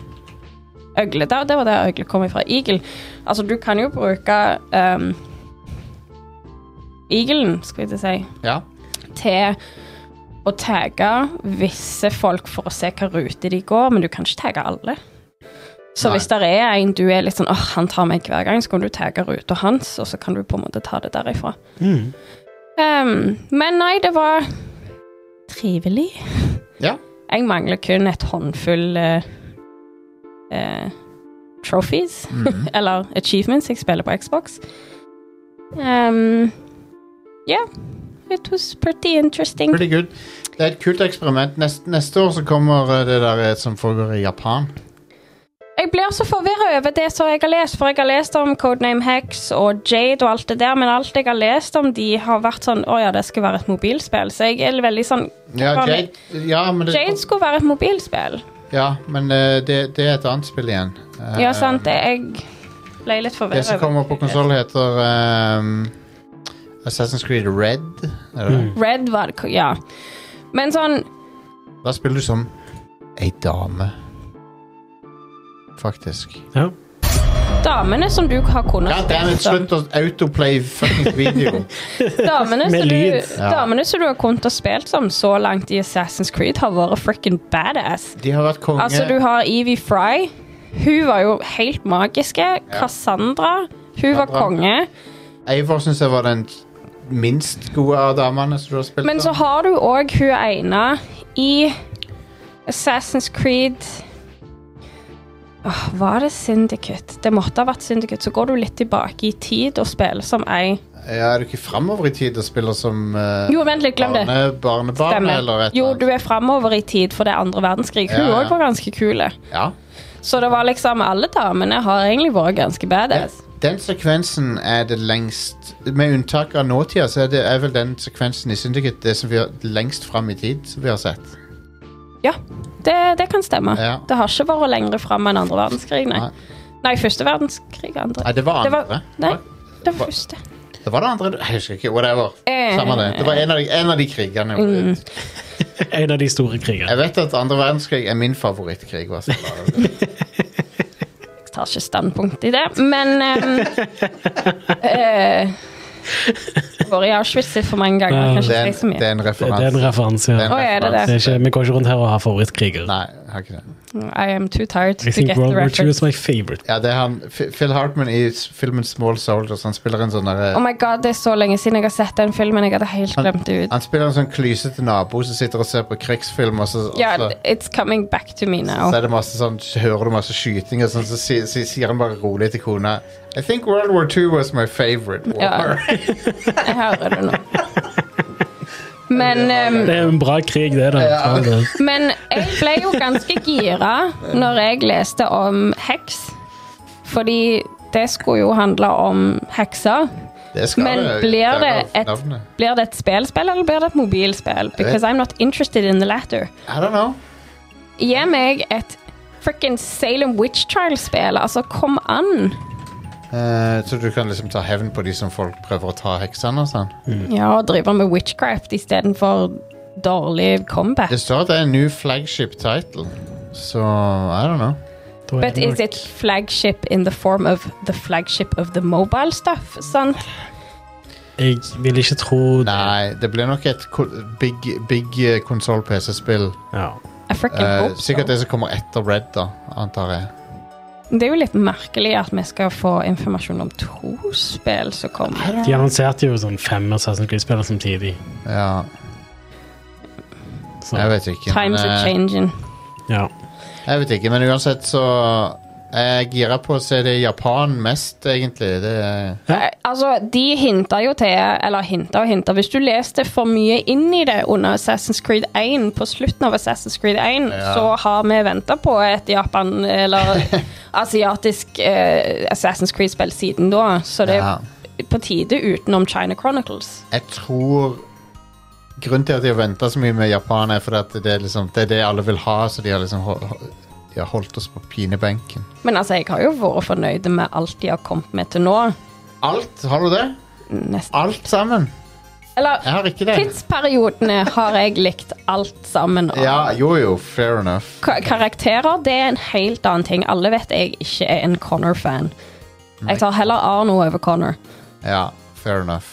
C: Øgle. Det, det var der øgle kom ifra. Eagle. Altså, du kan jo bruke um, eaglen, skal vi si,
A: Ja.
C: til å tagge visse folk for å se hva rute de går, men du kan ikke tagge alle. Så
A: Nei.
C: hvis det er en du er litt sånn åh, han tar meg hver gang, så kan du tagge ruta hans, og så kan du på en måte ta det derifra.
B: Mm.
C: Ehm, men nei, det var trivelig.
A: Ja.
C: Jeg mangler kun et håndfull eh, eh, trophies,
A: Mhm.
C: eller achievements. Jeg spiller på Xbox. Ehm, Ja. it was pretty interesting.
A: Pretty good. Det er et kult eksperiment. Neste, neste år så kommer eh, det der eh, som foregår i Japan.
C: Jeg blir så forvirra over det som jeg har lest, for jeg har lest om Codename Hex og Jade og alt det der, men alt jeg har lest om de, har vært sånn Å ja, det skal være et mobilspill. Så jeg er veldig sånn
A: Ja,
C: Hva med-
A: Jade, ja, men, det,
C: Jade skulle være et mobilspill.
A: ja, men eh, det, det er et annet spill igjen. Eh,
C: Ja, sant. det- Jeg ble litt
A: Det
C: forvirra.
A: som kommer på konsoll, heter ehm, Assassin's Creed Red. Er det det?
C: Red var det, ja. Men sånn
A: Da spiller du som ei dame. Faktisk.
B: Ja.
C: Damene som du har kunnet
A: God damn it, slutt å autoplay fuckings video.
C: damene,
B: Med
C: som du,
B: lyd.
A: Ja.
C: damene som du har kunnet å spille som så langt i Assassin's Creed, har vært frikken badass.
A: De har vært konge.
C: Altså, du har Evie Fry. Hun var jo helt magiske. Cassandra. Hun var
A: Cassandra.
C: konge.
A: Eivor syns jeg var den minst gode av damene som du har spilt
C: Men så
A: som.
C: har du òg hun ene i Assassin's Creed Åh, Var det Syndicate? Det måtte ha vært Syndicate. Så går du litt tilbake i tid og spiller som ei
A: Ja, er du ikke framover i tid og spiller som eh,
C: Jo, vent litt, glem det.
A: barne, barnebarn eller et
C: Jo,
A: eller
C: du er framover i tid, for det er andre verdenskrig. Hun
A: Ja, ja.
C: òg var ganske kul.
A: Ja.
C: Så det var liksom Alle damene har egentlig vært ganske badass.
A: Den sekvensen er det lengst Med unntak av nåtida, så er, det, er vel den sekvensen i Syndicate det som vi har lengst fram i tid som vi har sett.
C: Ja, det, det kan stemme.
A: Ja.
C: Det har ikke vært lenger fram enn andre verdenskrig, nei.
A: Nei.
C: Nei, første verdenskrig. Andre.
A: Nei, det var
C: Det
A: andre.
C: var- Nei, det
A: Hva?
C: var første.
A: Det var det andre Jeg husker ikke. Whatever.
C: Eh. Mm.
A: Samme det. Det var en av de, en av de krigene.
B: En av de store krigene.
A: Jeg vet at andre verdenskrig er min favorittkrig. hva som var.
C: Jeg tar ikke standpunkt i det, men um, Vært i Auschwitz for mange ganger.
A: Det
C: Kanskje
A: er,
C: ikke si så
A: en, det
C: mye.
A: er en
B: Det er en
A: referanse.
B: referanse.
A: Det er en
B: Ja.
C: Å, er det
A: referanse.
B: Det er ikke, vi går ikke rundt her og har favorittkriger.
A: Nei, jeg har ikke det.
C: I am too tired to
B: I think
C: get the
B: World War II is
C: reference.
B: my favorite.
A: Ja, det er han, F- Phil Hartman i s- filmen Small Soldiers. Han spiller en sånn derre-
C: Oh my god, det er så lenge siden jeg har sett den filmen. Jeg hadde helt glemt det ut.
A: Han spiller en sånn klysete nabo som sitter og ser på krigsfilm, og så, og
C: Ja,
A: så,
C: it's coming back to me now.
A: så er det masse sånn, så hører du masse skyting, og sånn, så si- si- sier han bare rolig til kona I think World War II was my favorite war.
C: Jeg hører det nå. Men, ehm,
B: Det er jo en bra krig, det, da. Faen, det.
C: men jeg ble jo ganske gira når jeg leste om heks. Fordi det skulle jo handle om hekser.
A: Det skal
C: Men
A: det.
C: blir det
A: derav
C: et-
A: navnet.
C: Blir det et spelspill, eller blir det et mobilspill? Because I'm not interested in the latter.
A: I don't know.
C: Gi meg et frickin' Salem Witch Trial-spill. Altså, kom an.
A: Eh, så du kan liksom ta hevn på de som folk prøver å ta heksene og sånn?
C: Ja, og drive med witchcraft istedenfor dårlig combat.
A: Det står at det er en new flagship title, så I don't know.
B: Da er
C: But
B: det nok-
C: is it flagship in the form of the flagship of the mobile stuff? Sånn, Sant?
B: Jeg vil ikke tro det.
A: Nei, det blir nok et ko- big, big eh, konsoll-PC-spill.
B: Ja.
C: Jeg frickin'
A: Eh,
C: hope so.
A: sikkert det som kommer etter Red, da, antar jeg.
C: Det er jo litt merkelig at vi skal få informasjon om to spill som kommer.
B: De annonserte jo sånn fem Assassin's Creed-spillere samtidig.
A: Ja,
B: Så,
A: jeg vet ikke. men,
C: Times are
A: eh,
C: changing.
B: ja.
A: Jeg vet ikke, men uansett så Jeg gira på å se det i Japan mest, egentlig. Det er
C: Eh, Altså, de hinta jo til Eller hinta og hinta. Hvis du leste for mye inn i det under Assassin's Creed 1, på slutten av Assassin's Creed 1,
A: Ja.
C: så har vi venta på et Japan- eller asiatisk eh, Assassin's Creed-spill siden da. Så det
A: Ja.
C: er på tide utenom China Chronicles.
A: Jeg tror Grunnen til at de har venta så mye med Japan, er fordi at det er, liksom, det er det alle vil ha, så de har liksom hol- hol- de har holdt oss på pinebenken.
C: Men altså, jeg har jo vært fornøyd med alt de har kommet med til nå.
A: Alt? Har du det?
C: Nesten.
A: Alt sammen?
C: Eller
A: Jeg har ikke det.
C: tidsperiodene har jeg likt alt sammen. av.
A: Ja, jo jo, fair enough.
C: Ka- Karakterer det er en helt annen ting. Alle vet jeg ikke er en Connor-fan. Jeg tar heller Arno over Connor.
A: Ja, fair enough.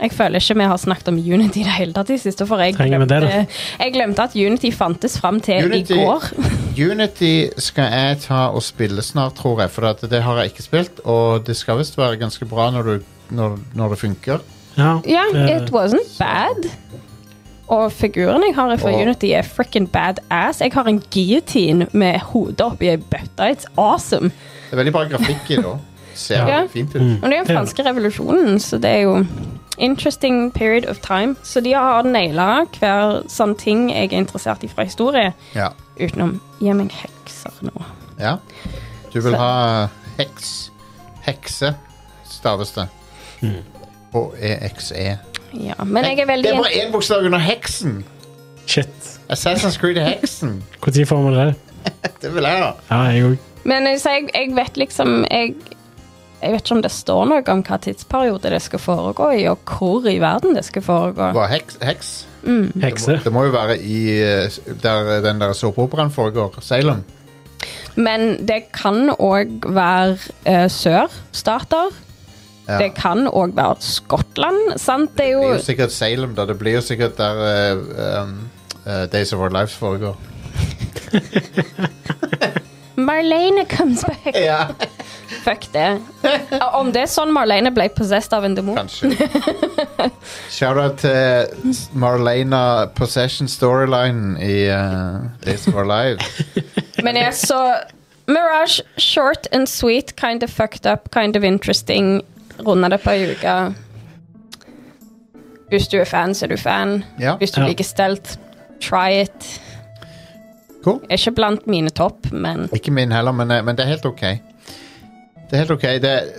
C: Jeg føler ikke vi har snakket om Unity i det hele tatt i siste, for jeg
B: Trenger vi
C: glemte,
B: det, da?
C: jeg glemte at Unity fantes fram til
A: Unity-
C: Eh, i går.
A: Unity skal jeg ta og spille snart, tror jeg. For at det har jeg ikke spilt, og det skal visst være ganske bra når, du, når, når det funker.
B: ja.
C: Ja,
B: eh,
C: it wasn't bad. Og figuren jeg har fra
A: Og-
C: Unity, er frickin' badass. Jeg har en guillotine med hodet oppi ei bøtte. It's awesome.
A: Det er veldig bra grafikk i det òg. Ser
C: Ja.
A: fint ut.
C: Mm. Men det er jo den
B: Ja.
C: franske revolusjonen, så det er jo interesting period of time. Så de har naila hver sånn ting jeg er interessert i fra historie,
A: Ja.
C: utenom gi meg hekser nå.
A: ja. Du vil
C: Så-
A: ha heks. Hekse, staves det. H-e-x-e.
C: Ja, men jeg er veldig
A: E. Det er bare én bokstav under heksen!
B: Shit.
A: Assassin's Creed Heksen.
B: Når får vi det?
A: Det vil jeg, da.
B: Ja, jeg òg.
C: Men eh, så jeg, jeg vet liksom jeg, jeg vet ikke om det står noe om hva tidsperiode det skal foregå i, og hvor i verden det skal foregå.
A: Hva, heks, heks?
B: Hekse.
A: Det må jo være i eh, der den der såpeoperaen foregår. Ceylon.
C: Men det kan òg være eh, sørstater.
A: Ja.
C: Det kan òg være Skottland. Sant? Det
A: Det
C: er jo
A: blir jo sikkert Salem, da. Det blir jo sikkert der eh, um, eh, Days of Our Lives foregår.
C: Marlene comes back!
A: Ja,
C: Fuck det. Ja, Om det er sånn Marlene ble possessed av en demon
A: kanskje. Shout-out til Marlena Possession Storyline i eh, Days of Our Lives.
C: Men jeg så Mirage, short and sweet, kind of fucked up, kind of interesting. Runda det på ei uke. Hvis du er fan, så er du fan.
A: Ja.
C: Hvis du
B: Ja.
C: liker stelt, try it.
A: Cool.
C: Ikke blant mine topp, men
A: Ikke min heller, men, eh, men det er helt ok. Det er helt ok. Det,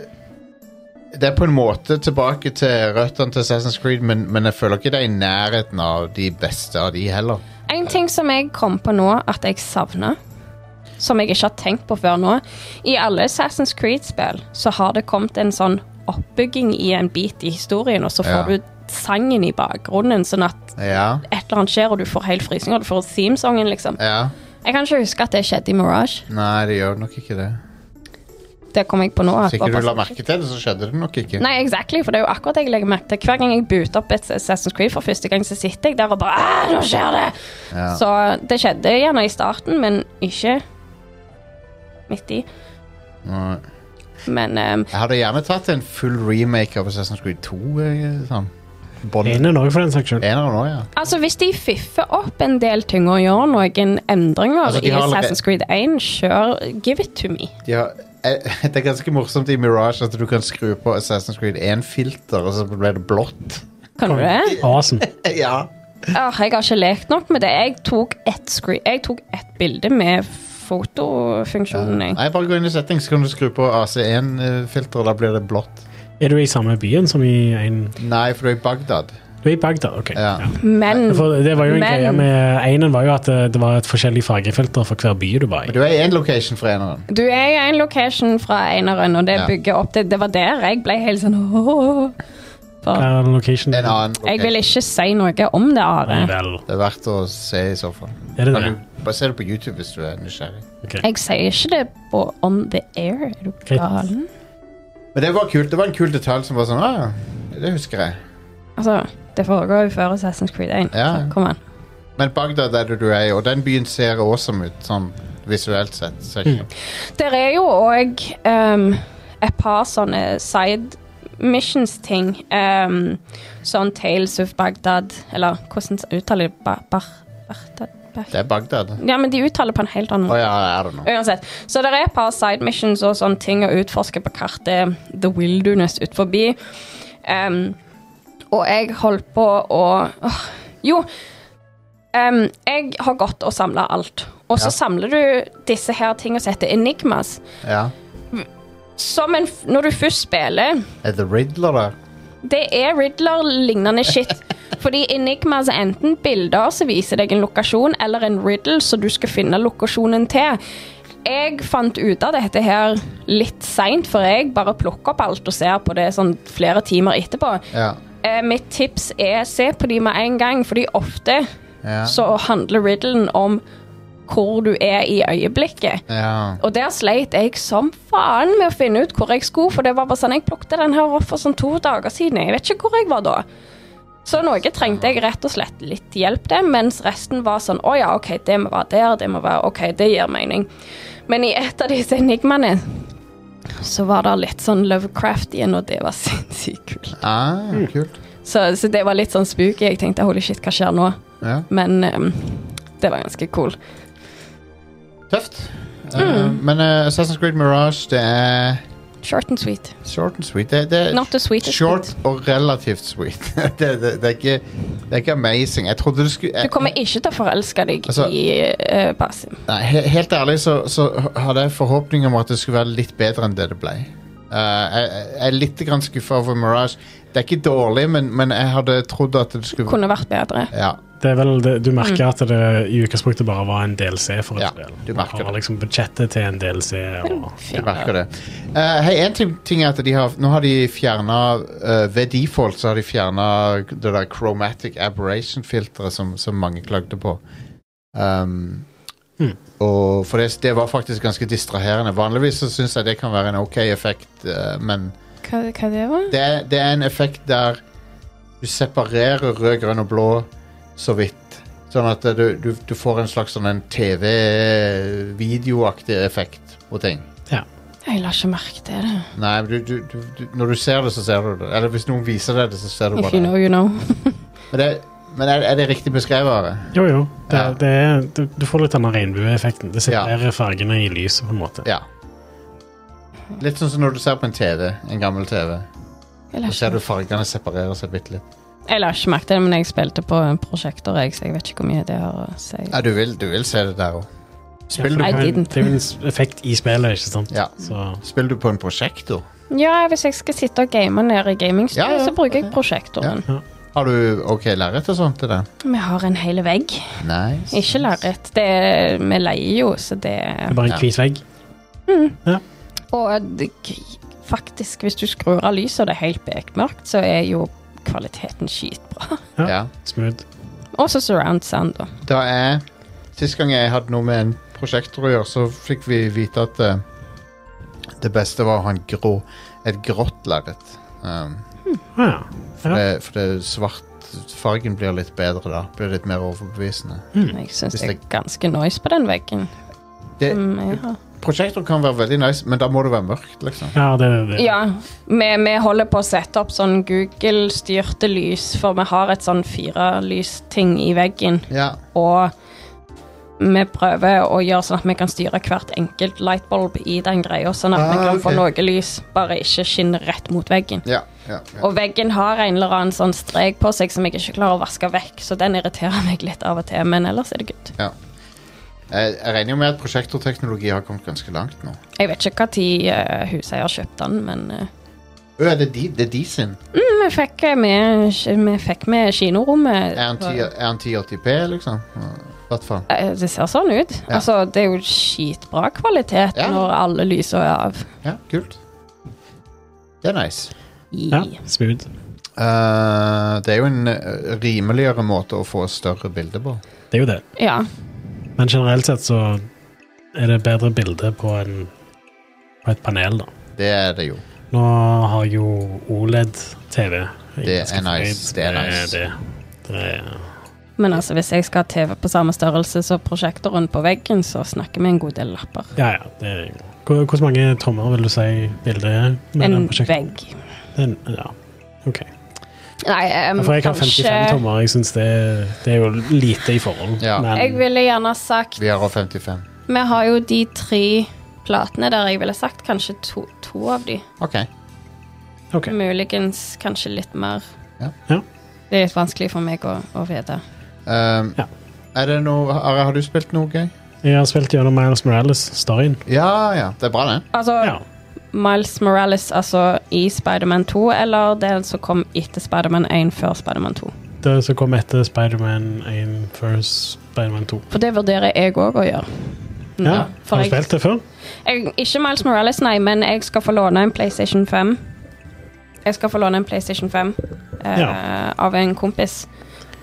A: det er på en måte tilbake til røttene til Assassin's Creed, men, men jeg føler ikke det er i nærheten av de beste av de heller.
C: En ting som jeg kom på nå at jeg savner, som jeg ikke har tenkt på før nå I alle Assassin's Creed-spill så har det kommet en sånn oppbygging i en bit i historien, og så får
A: Ja.
C: du sangen i bakgrunnen, sånn at
A: Ja,
C: et eller annet skjer, og du får helt frysninger. Du får themesongen, liksom.
A: ja.
C: Jeg kan ikke huske at det skjedde i Mirage.
A: Nei, det gjør nok ikke det.
C: Det kom jeg på nå. at
A: Hvis ikke
C: var
A: du la
C: passe-
A: merke til det, så skjedde det nok ikke.
C: Nei, exactly, for det er jo akkurat det jeg legger merke til. Hver gang jeg booter opp et Assassin's Creed for første gang, så sitter jeg der og bare «Ah, Nå skjer det!
A: Ja.
C: Så det skjedde gjerne i starten, men ikke midt i.
A: Nei.
C: Men ehm,
A: Jeg hadde gjerne tatt en full remake av Assassin's Creed 2. eh, Sånn. Bånd.
B: Ene òg, for den saks skyld.
A: Eneren òg, ja.
C: altså, hvis de fiffer opp en del ting og gjør noen endringer
A: Altså, de
C: i
A: har allerede-
C: Assassin's Creed 1, sure, give it to me.
A: De har, eh, det er ganske morsomt i Mirage at du kan skru på Assassin's Creed 1-filter, og så ble det blått.
C: Kan du det?
B: Awesome.
A: Ja.
C: Åh, jeg har ikke lekt nok med det. Jeg tok ett screen- jeg tok ett bilde med fotofunksjonen. jeg.
A: Nei, bare gå inn i settings, så kan du skru på AC1-filter, og da blir det blått.
B: Er du i samme byen som i en
A: Nei, for du er i Bagdad.
B: Du er i Bagdad, OK.
A: Ja.
C: Men
B: For det var jo en
C: Men-
B: greie med Einen var jo at eh, det var et forskjellig fargefilter for hver by du var
A: Men
B: i.
A: du er i én location for eneren.
C: du er i en location fra Einaren, og det
A: Ja.
C: bygger opp til Det var der jeg ble helt sånn åh.
B: Hva
C: For
B: er location?
A: En annen
C: jeg vil
A: location.
C: ikke si noe om det,
B: Nei,
C: Are.
B: vel.
A: Det er verdt å se, i så fall.
B: Er det
A: Kan
B: det?
A: du- Bare se det på YouTube hvis du er nysgjerrig.
B: Ok.
C: Jeg sier ikke det på on the air. Er du
B: Greit.
C: galen?
A: Men det var kult. Det var en kul detalj som var sånn ah, Det husker jeg.
C: Altså, det foregår jo før Assassin's Creed 1.
A: Ja.
C: Så, kom an.
A: Men Bagdad er det du er i, og den byen ser awesome ut, sånn visuelt sett. Så ikke-
C: Mm. Der er jo òg ehm, et par sånne side missions-ting. ehm, sånn Tales of Bagdad Eller hvordan uttaler de ba, bar, Baghdad? Bag-
A: Det er Bagdad. Å
C: Ja, men de uttaler på en helt annen måte.
A: ja, er det nå.
C: Uansett. Så det er et par side missions og sånne ting å utforske på kartet. The Wilderness ut forbi. Ehm, og jeg holdt på å åh, Jo. ehm, jeg har gått og samla alt. Og så
A: Ja.
C: samler du disse her tingene som heter enigmas
A: Ja.
C: som en, f- når du først spiller
A: Er det Riddler der?
C: Det er Riddler-lignende shit. Fordi Enigmas er enten bilder som viser deg en lokasjon, eller en riddle som du skal finne lokasjonen til. Jeg fant ut av dette her litt seint, for jeg bare plukker opp alt og ser på det sånn flere timer etterpå.
A: Ja.
C: Eh, mitt tips er se på de med en gang, fordi ofte
A: Ja.
C: så handler riddlen om hvor du er i øyeblikket.
A: ja.
C: Og der sleit jeg som faen med å finne ut hvor jeg skulle, for det var bare sånn, jeg plukte den her opp for sånn to dager siden. Jeg vet ikke hvor jeg var da. Så noe trengte jeg rett og slett litt hjelp til, mens resten var sånn, å ja, ok, det må være der, det må være, ok, det gir mening. Men i et av disse enigmene, så var det litt sånn Lovecraft igjen, og det var sinnssykt kult.
A: Ah,
C: Mm.
A: kult.
C: Så, så det var litt sånn spooky, jeg tenkte, holy shit, hva skjer nå?
A: Ja.
C: Men ehm, det var ganske cool. Mm.
A: Tøft. Eh, men eh, Assassin's Creed Mirage, det er
C: Short and sweet.
A: Short and sweet. Det, det,
C: Not the sweetest.
A: short og relativt sweet. det, det, det, er ikke, det er ikke amazing. Jeg trodde du skulle
C: Du kommer ikke til å forelske deg
A: Eh, Altså-
C: i eh, Basim.
A: Nei, he helt ærlig så, så hadde jeg forhåpning om at det skulle være litt bedre enn det det ble. Eh, jeg, jeg er litt grann skuffa over Mirage. Det er ikke dårlig, men, men jeg hadde trodd at det skulle
C: Kunne vært bedre.
A: Ja,
B: Det er vel det, du merker
C: Mm.
B: at det i utgangspunktet bare var en DLC for et
A: Ja,
B: spill.
A: du merker
B: Man har
A: det.
B: liksom budsjettet til en DLC.
C: Hm.
B: Og,
A: jeg merker det. Eh, Hei, En ting- ting er at de har Nå har de fjerna Ved default så har de fjerna det der chromatic aberration-filteret som, som mange klagde på. Um,
B: Mm.
A: Og for det, det var faktisk ganske distraherende. Vanligvis så syns jeg det kan være en ok effekt, eh, men
C: Hva, hva det var?
A: det er, det er en effekt der du separerer rød, grønn og blå så vidt. Sånn at eh, du, du, du får en slags sånn en TV-videoaktig effekt på ting.
C: Jeg la ikke merke til det.
A: Nei, men du, du, du, du, når du ser det, så ser du det. Eller hvis noen viser deg det, så ser du
C: If you
A: bare
C: know,
A: det.
C: you know.
A: Men, det, men er, er det riktig beskrevet? Are?
B: Jo, jo. Det,
A: Ja.
B: det er, du, du får litt denne regnbueeffekten. Det
A: Ja.
B: separerer fargene i lyset, på en måte.
A: Ja. Litt sånn som når du ser på en TV, en gammel TV.
C: Jeg la
A: Så ser
C: ikke,
A: du fargene separere seg bitte litt.
C: jeg la ikke merke til det, men jeg spilte på prosjekter, jeg, så jeg vet ikke hvor mye det har å si.
A: Ja, du vil, du vil se det der òg.
B: Ja, for
A: Spiller,
B: det
C: I
A: du-
B: kan-
C: didn't.
B: Det er jo en s- effekt i spillet, ikke sant?
A: ja.
B: Så
A: Spiller du på en prosjektor?
C: Ja, hvis jeg skal sitte og game nede i gamingstudio,
A: Ja, ja,
C: så bruker jeg prosjektoren.
A: Har du ok lerret og sånt til det?
C: Vi har en hel vegg.
A: Nice.
C: Ikke lerret. Det er- Vi leier jo, så det Mm.
B: det er bare en
A: Ja.
B: hvit vegg.
C: Og eh, det, faktisk, hvis du skrur av lyset og det er helt bekmørkt, så er jo kvaliteten skitbra.
A: Ja.
B: Smooth.
C: Også surround sound, da.
A: Da jeg Sist gang jeg hadde noe med en prosjektor å gjøre, så fikk vi vite at eh, det beste var å ha en grå, et grått lerret. Um,
B: Ah, ja.
A: for, det- for det svart fargen blir litt bedre da. Blir litt mer overbevisende.
C: Jeg syns
A: Mm. Hvis
C: det er
A: det-
C: ganske nice på den veggen. Mm,
A: Det-
C: som jeg har.
A: Prosjektor kan være veldig nice, men da må det være mørkt, liksom.
B: ja, det er det.
C: Ja, vi, vi holder på å sette opp sånn Google-styrte lys, for vi har et sånn firelysting i veggen.
A: Ja.
C: Og vi prøver å gjøre sånn at vi kan styre hvert enkelt lightbulb i den greia, sånn at
A: Ah,
C: vi kan få
A: ok.
C: noe lys, bare ikke skinne rett mot veggen.
A: Ja, ja, ja.
C: Og veggen har en eller annen sånn strek på seg som jeg ikke klarer å vaske vekk, så den irriterer meg litt av og til, men ellers er det good.
A: ja. Jeg, jeg regner jo med at prosjektorteknologi har kommet ganske langt nå.
C: Jeg vet ikke når uh, huseier kjøpte den, men eh,
A: Ø, er det de, det er de sin?
C: Mm, vi, fikk eh, med, vi fikk med kinorommet.
A: Er han 10 er han 1080p, liksom? I hvert fall.
C: Eh, Det ser sånn ut.
A: Ja.
C: Altså, det er jo skitbra kvalitet
A: Ja.
C: når alle lysa er av.
A: Ja, kult. Det er nice.
B: Ja, smooth.
A: Eh, det er jo en eh, rimeligere måte å få større bilder på.
B: Det er jo det.
C: ja.
B: Men generelt sett så er det bedre bilde på, en, på et panel, da.
A: Det er det jo.
B: Nå har jeg jo E OLED-TV. Jeg
A: Det er
B: ganske fornøyd
A: nice, det er
B: med
A: nice.
B: Det. Det er,
C: Men altså, hvis jeg skal ha TV på samme størrelse som prosjektoren på veggen, så snakker vi en god del lapper.
B: ja, ja. Det er, hvor, hvor mange tommer vil du si bildet er? med
C: En
B: den prosjekten?
C: vegg.
B: Den, ja, ok.
C: Nei, um,
B: Ja, for jeg har 55 tommer. Jeg syns det, det er jo lite i forhold.
A: Ja.
B: Men
C: Jeg ville gjerne sagt
A: Vi har også 55.
C: Vi har jo de tre platene der jeg ville sagt kanskje to, to av de.
A: OK.
B: ok.
C: Muligens kanskje litt mer.
A: Ja.
B: Ja.
C: Det er litt vanskelig for meg å, å vite.
A: Um,
B: Ja.
A: Er det noe Are, har du spilt noe gøy?
B: Jeg har spilt gjennom Miles Morales, storyen.
A: Ja ja. Det er bra, det.
C: Altså,
B: Ja.
C: Miles Morales altså i Spiderman 2, eller den som kom etter Spiderman 1 før Spiderman 2.
B: Det som kom etter Spiderman 1 før Spiderman 2.
C: For det vurderer jeg òg å gjøre.
B: Ja,
C: Mm. for
B: Har du
C: jeg-
B: spilt det før?
C: Jeg, ikke Miles Morales, nei, men jeg skal få låne en PlayStation 5. Jeg skal få låne en PlayStation 5 eh,
B: Ja.
C: av en kompis.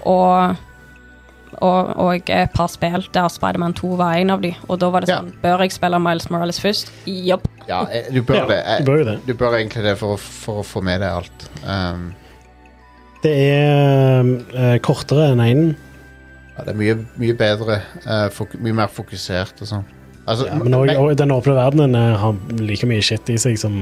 C: Og, og, og et par spill der Spiderman 2 var en av de. Og da var det
A: Ja.
C: sånn Bør jeg spille Miles Morales først? Jopp.
A: Ja, eh, du bør
B: Ja,
A: det. Eh,
B: du bør jo det.
A: Du bør egentlig det for, å- for å få med deg alt. Um,
B: Det er eh, kortere enn én,
A: ja, det er mye, mye bedre. eh, fok mye mer fokusert og sånn. Altså,
B: men også, og den åpne verdenen eh, har like mye shit i seg som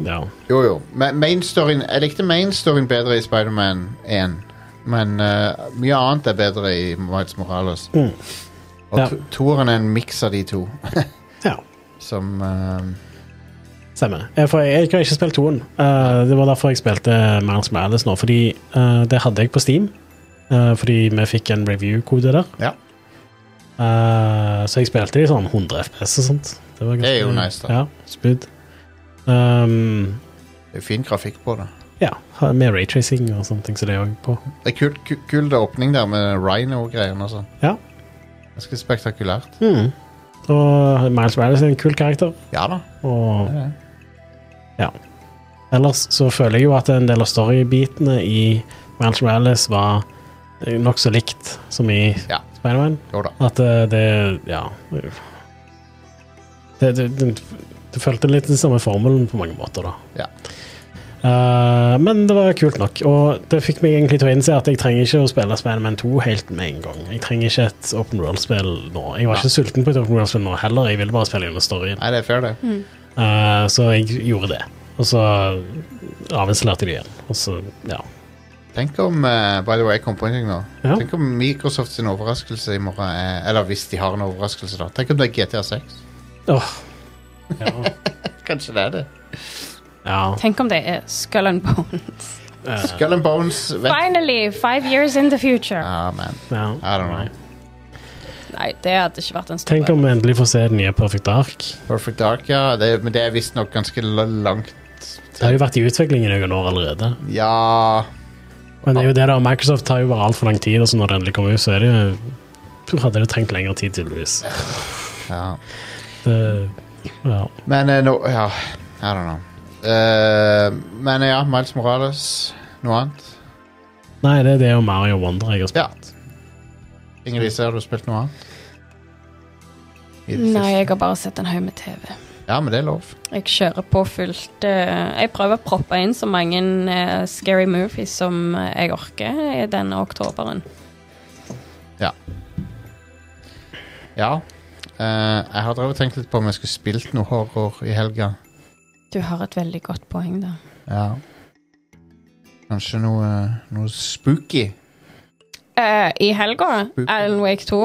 B: Ja.
A: Jo, jo. Ma- Main storyen, jeg likte mainstoryen bedre i Spiderman 1. Men eh, mye annet er bedre i Miles Morales.
B: Mm.
A: Og
B: Ja.
A: to- toeren er en miks av de to.
B: ja.
A: Som eh,
B: Stemmer. Eh, For jeg, jeg har ikke spilt toen. Eh, det var derfor jeg spilte Miles Morales nå, fordi eh, det hadde jeg på Steam. Eh, fordi vi fikk en review-kode der.
A: Ja.
B: Eh, så jeg spilte i sånn 100 FPS og sånt. Det, var
A: Det er jo nice, da.
B: Ja, smooth. Um,
A: Det er fin grafikk på det.
B: ja, med raytracing og sånne ting, så det er òg på.
A: Det er kult, ku- kul det åpning der med Rhino-greiene og sånn.
B: Ja.
A: Ganske spektakulært.
B: Mm. Og Miles Morales er en kul karakter.
A: Ja da.
B: Og
A: det er det.
B: Ellers så føler jeg jo at en del av storybitene i Miles Morales var nokså likt som i
A: Ja.
B: Spiderman.
A: Jo da.
B: At eh, det Ja. Det, det, det, det følte litt den samme formelen på mange måter, da.
A: Ja.
B: Eh, men det var kult nok, og det fikk meg egentlig til å innse at jeg trenger ikke å spille Spiderman 2 helt med en gang. Jeg trenger ikke et Open World-spill nå. Jeg var ikke sulten på et Open World-spill nå heller, jeg ville bare spille gjennom storyen.
A: Nei, det er fair, det.
B: Eh, så jeg gjorde det. Og så avinstallerte jeg det igjen. Og så, ja.
A: Tenk om eh, By the way, jeg kom på en ting nå.
B: Ja.
A: Tenk om Microsoft sin overraskelse i morgen er Eller hvis de har en overraskelse, da. Tenk om det er GTA 6.
B: Åh. Ja.
A: Kanskje det er det.
B: ja.
C: Tenk om det er skull and bones.
A: Skull and Bones vet
C: Finally, five years in the future.
A: Ah, man.
B: ja.
A: I don't know.
C: Nei, det hadde ikke vært en stor
B: Tenk om vi endelig får se den nye Perfect Ark.
A: Perfect Dark, ja. Det, er- men det er visstnok ganske l- langt
B: Det har jo vært i utvikling i noen år allerede.
A: Ja
B: Men det er jo det da, Microsoft tar jo bare altfor lang tid, og så når det endelig kommer ut, så er det jo Hadde det trengt lengre tid, tydeligvis.
A: Ja.
B: Det, ja.
A: Men eh, nå Ja, I don't know. Eh, men eh, ja, Miles Morales. Noe annet?
B: Nei, det, det er jo Mario Wonder jeg har
A: Ja.
B: spilt.
A: Ingrid, har du spilt noe annet? I det
C: Nei,
A: siste?
C: jeg har bare sett en haug med TV.
A: Ja, men det er lov.
C: Jeg kjører på fullt. eh, Jeg prøver å proppe inn så mange eh, scary movies som eh, jeg orker i denne oktoberen.
A: Ja. Eh, jeg har drevet og tenkt litt på om jeg skulle spilt noe horror i helga.
C: Du har et veldig godt poeng, da.
A: Ja. Kanskje noe, noe spooky.
C: Eh, I helga,
A: Spooky.
C: Alan Wake 2.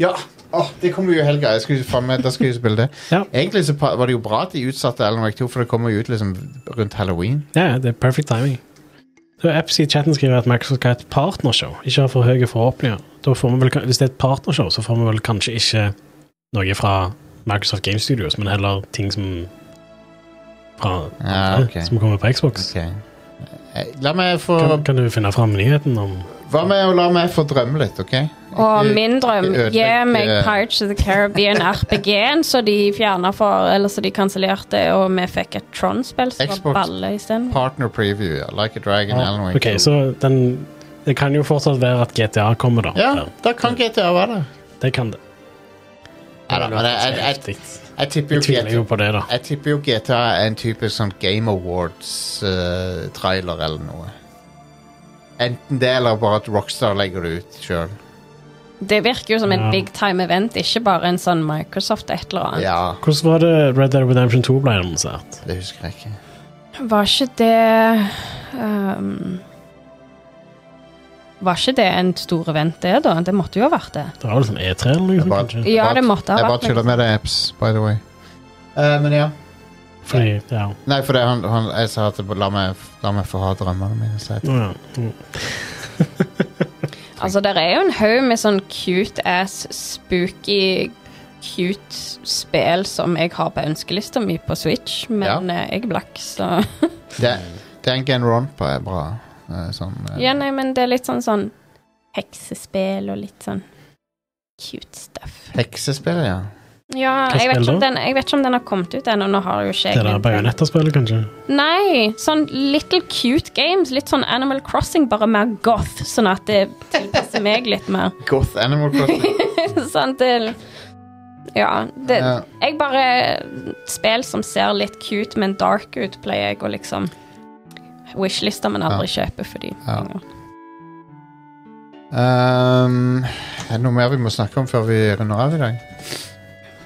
A: Ja! Åh, det kommer jo i helga. Jeg skulle faen meg- Da skal jeg spille det.
B: Ja.
A: Egentlig så pa- var det jo bra at de utsatte Alan Wake 2, for det kommer jo ut liksom rundt halloween.
B: Ja, ja, det er perfect timing. Så Apps i chatten skriver at Microsoft skal ha et partnershow. Ikke ha for høye forhåpninger. Da får vi vel, kan- hvis det er et partnershow, så får vi vel kanskje ikke noe fra Microsoft Game Studios, men heller ting som fra
A: Ja,
B: andre,
A: Ah, ok.
B: som kommer på Xbox.
A: Ok. Eh, La meg få
B: Kan, kan du finne fram nyheten om
A: Hva med å la meg få drømme litt, OK?
C: Og
A: Ikke-
C: min drøm
A: ikke ødelegg,
C: Gi meg
A: eh,
C: Pirates of the Caribbean RPG-en, så de fjerna for Eller så de kansellerte, og vi fikk et Tron-spill som
A: Xbox.
C: var balle isteden.
A: Partner preview, ja. Like a Dragon, Alan Wake.
B: OK,
A: 2.
B: så den Det kan jo fortsatt være at GTA kommer, da.
A: Ja, da kan GTA være det.
B: Det kan det.
A: Neida, men jeg, jeg, jeg,
B: Heftig.
A: jeg tipper jo
B: Jeg tviler jo
A: GTA
B: på det, da.
A: Jeg tipper jo GTA er en typisk sånn Game Awards-trailer eller noe. Enten det, eller bare at Rockstar legger det ut sjøl.
C: Det virker jo som
B: Ja.
C: en big time event, ikke bare en sånn Microsoft et eller annet.
A: Ja,
B: Hvordan var det Red Dead Redemption 2 ble annonsert?
A: det husker jeg ikke.
C: Var ikke det ehm, Var ikke det en stor event, det, da? Det måtte jo ha vært det.
B: Det var vel sånn E3 eller noe?
A: Jeg bare-
B: sånt, kanskje?
C: Ja, det måtte ha
A: Jeg bare
C: vært
A: tuller med det, Apps, by the way. Eh, men ja.
B: Fordi, ja.
A: Nei, for det, han, han, jeg sa at det- la meg, la meg få ha drømmene mine. sa jeg.
B: Å, ja. Mm.
C: Altså, det er jo en haug med sånn cute ass, spooky, cute spill som jeg har på ønskelista mi på Switch, men eh, jeg er blakk, så
A: Det, den Gen Rompa er bra. eh, Sånn, eh,
C: Ja, nei, men det er litt sånn sånn heksespill og litt sånn cute stuff.
A: Heksespill, ja.
C: Ja,
B: Hva
C: jeg vet,
B: spill
C: ikke om
B: da?
C: den, jeg vet ikke om den har kommet ut ennå. Nå har jo ikke
B: Det
C: jeg
B: der
C: den.
B: bajonetterspillet, kanskje?
C: Nei, sånn little cute games. Litt sånn Animal Crossing, bare mer goth, sånn at det tilpasser meg litt mer.
A: Goth Animal Crossing.
C: Sånn til Ja. Det,
A: Ja.
C: Jeg bare Spill som ser litt cute, men dark ut, pleier jeg å liksom Wishlista, men aldri kjøpe for de
A: Ja.
C: penger.
A: Ehm, er det noe mer vi må snakke om før vi runder av i dag?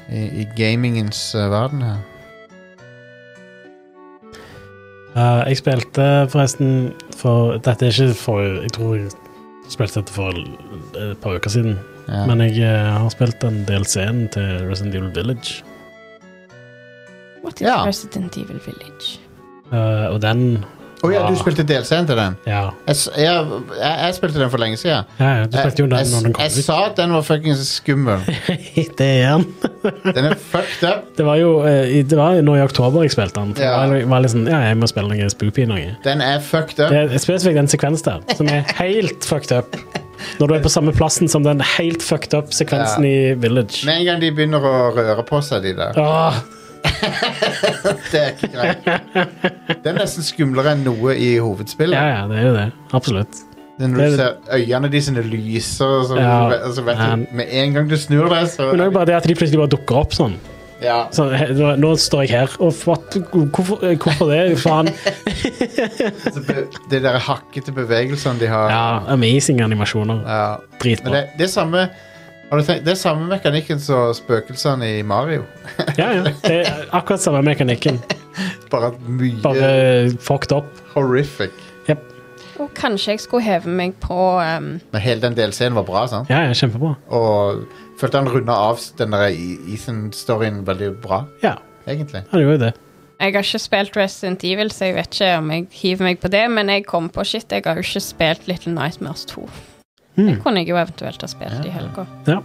A: I, i gamingens eh, verden her.
B: Eh, jeg spilte forresten for Dette er ikke for Jeg tror jeg spilte dette for l- et par uker siden.
A: Ja.
B: Men jeg eh, har spilt en del scenen til Resident Evil Village.
C: What til
A: Ja.
C: Resident Evil Village.
B: Eh, og den
A: Å ja, du
B: Ja.
A: spilte DLC-en til den?
B: Ja,
A: Jeg, s- jeg, jeg, jeg spilte den for lenge siden.
B: ja ja, du spilte jo den når
A: Eh,
B: den
A: jeg,
B: kom
A: jeg sa at den var fuckings skummel.
B: ut. det er den.
A: Den er fucked up.
B: Det var jo eh, i- det var nå i oktober jeg spilte den. for
A: Ja.
B: Det var, var litt sånn, ja, jeg må spille noe spoopy noe.
A: Den er fucked up.
B: Det er spesifikt en sekvens der som er helt fucked up. Når du er på samme plassen som den helt fucked up sekvensen i Village.
A: Med en gang de begynner å røre på seg, de der.
B: Åh,
A: Det er ikke greit. Det er nesten skumlere enn noe i
B: ja,
A: hovedspillet.
B: ja, det er jo det. Absolutt.
A: Når
B: Det
A: du
B: er-
A: ser øynene de sine lyser, og så,
B: Ja.
A: og så vet
B: Men-
A: du Med en gang du snur deg, så
B: Men det er jo bare det at de plutselig bare dukker opp sånn.
A: ja.
B: sånn he- nå, nå står jeg her, og what, hvorfor, eh, hvorfor det? Faen.
A: så altså, be- De der hakkete bevegelsene de har.
B: Ja, amazing animasjoner.
A: Ja. Men
B: Dritbra.
A: det, det er samme har du tenkt, Det er samme mekanikken som spøkelsene i Mario.
B: Ja, ja. Det er akkurat samme mekanikken,
A: Bare at mye
B: bare fucked up.
A: horrific.
B: Jep.
C: Og kanskje jeg skulle heve meg på um,
A: Men hele den delscenen var bra, sant?
B: Ja, ja, kjempebra.
A: Og følte han runda av den der E- Ethan-storyen veldig bra,
B: Ja,
A: egentlig.
B: han gjorde jo det.
C: Jeg har ikke spilt Resident Evil, så jeg vet ikke om jeg hiver meg på det, men jeg kom på shit, jeg har jo ikke spilt Little Nightmares 2. Det
B: Mm.
C: kunne jeg jo eventuelt ha spilt i helga.
B: Ja.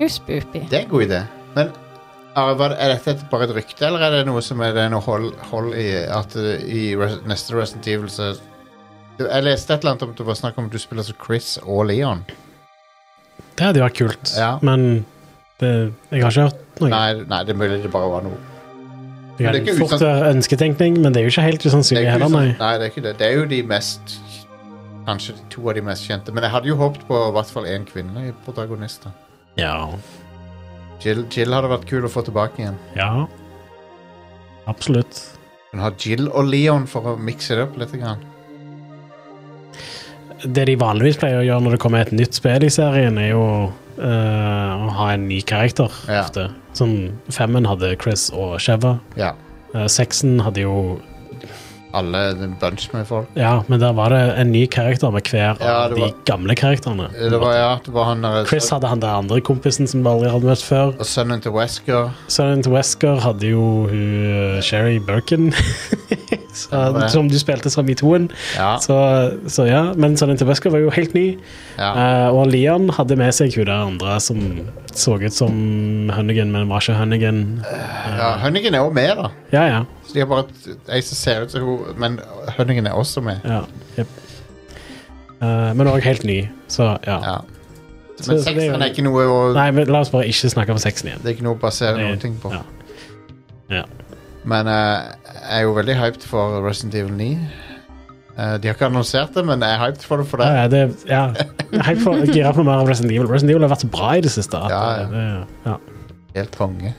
C: Jo, spoopy.
A: Det er en god idé. Men er, var, er dette et- bare et rykte, eller er det noe som er det er noe hold, hold i at uh, i res, neste Resident Evil så Du, Jeg leste et eller annet om det var snakk om at du spiller som Chris og Leon.
B: Det hadde jo vært kult,
A: Ja.
B: men det, jeg har ikke hørt noe.
A: Nei, nei, det er mulig det bare var noe.
B: Det
A: Men det er
B: kan
A: ikke
B: fort
A: usann-
B: være eh, ønsketenkning, men det er jo ikke helt
A: Det
B: usannsynlig
A: er, ikke
B: heller, nei.
A: sånn- nei, det er ikke det. Det er jo de mest Kanskje to av de mest kjente. Men jeg hadde jo håpet på i hvert fall én kvinnelig protagonist. da.
B: Ja.
A: Jill, Jill hadde vært kul å få tilbake igjen.
B: ja. Absolutt.
A: Hun har Jill og Leon for å mikse det opp litt. Grann.
B: Det de vanligvis pleier å gjøre når det kommer et nytt spill i serien, er jo eh, å ha en ny karakter,
A: Ja.
B: ofte. Som femmen hadde Chris og Sheva.
A: Ja.
B: Eh, Seksen hadde jo
A: Alle en bunch med folk.
B: Ja, men der var det en ny karakter med hver
A: Ja,
B: av
A: det
B: de
A: var-
B: gamle karakterene.
A: Det var, ja, det var han der, eh,
B: Chris hadde han der andre kompisen som vi aldri hadde møtt før.
A: Og sønnen til Wesker.
B: Sønnen til Wesker hadde jo hun eh, Sherry Birkin, så,
A: Stemmer det.
B: som du spilte som i toen.
A: Ja,
B: Så, så ja, men sønnen til Wesker var jo helt ny.
A: ja.
B: Eh, og Lian hadde med seg hun der andre som så ut som Hunnigan, men var ikke Hunnigan.
A: ja Hønningen er også med, da.
B: Ja, ja.
A: Så de har bare et- ei som ser ut som hun, men Hønningen er også med.
B: ja jep. Eh, men òg helt ny, så ja.
A: Ja.
B: Så-
A: Men
B: så det er jo-
A: sekseren er ikke noe å
B: Nei, men la oss bare ikke snakke om sexen igjen.
A: Det er ikke noe å basere noen
B: Det-
A: ting på.
B: ja. Ja.
A: Men eh, jeg er jo veldig hyped for Resident Evil 9. Eh, de har ikke annonsert det, men jeg er hyped for det for det.
B: Ja, ja, det, ja. Jeg får gira på mer av Resident Evil. Resident Evil har vært så bra i det siste. at
A: Ja, ja.
B: det- ja.
A: Helt konge.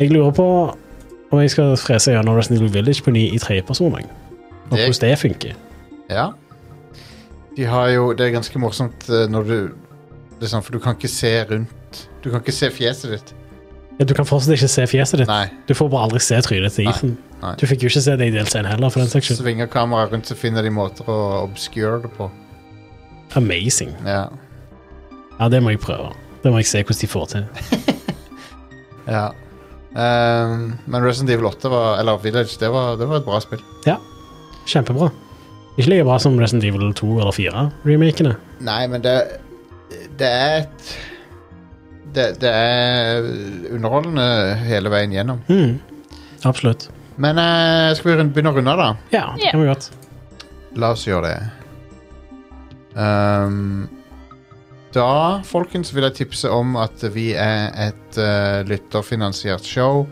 B: Jeg lurer på om jeg skal frese gjennom Resident Evil Village på ny i tredjeperson. jeg. Og
A: Det-
B: hvordan det funker.
A: Ja. De har jo Det er ganske morsomt eh, når du det er sånn, For du kan ikke se rundt. Du kan ikke se fjeset ditt.
B: Ja, Du kan fortsatt ikke se fjeset ditt.
A: Nei.
B: Du får bare aldri se trynet til
A: Nei,
B: Ethan.
A: nei.
B: Du fikk jo ikke se det i delsen heller. for den saks skyld.
A: Svinger kameraet rundt, så finner de måter å obscure det på.
B: Amazing.
A: Ja.
B: Ja, det må jeg prøve. Det må jeg se hvordan de får til.
A: ja. Ehm, men Resident Evil 8 var, eller Village, det var, det var et bra spill.
B: Kjempebra. Ikke like bra som Resident Evil 2 eller 4-remakene.
A: Nei, men det Det er et det, det er underholdende hele veien gjennom.
B: Mm. Absolutt.
A: Men eh, skal vi rund- begynne å runde av, da?
B: Ja, det
C: Ja.
B: kan vi godt.
A: La oss gjøre det. Ehm, da, folkens, vil jeg tipse om at vi er et eh, lytterfinansiert show.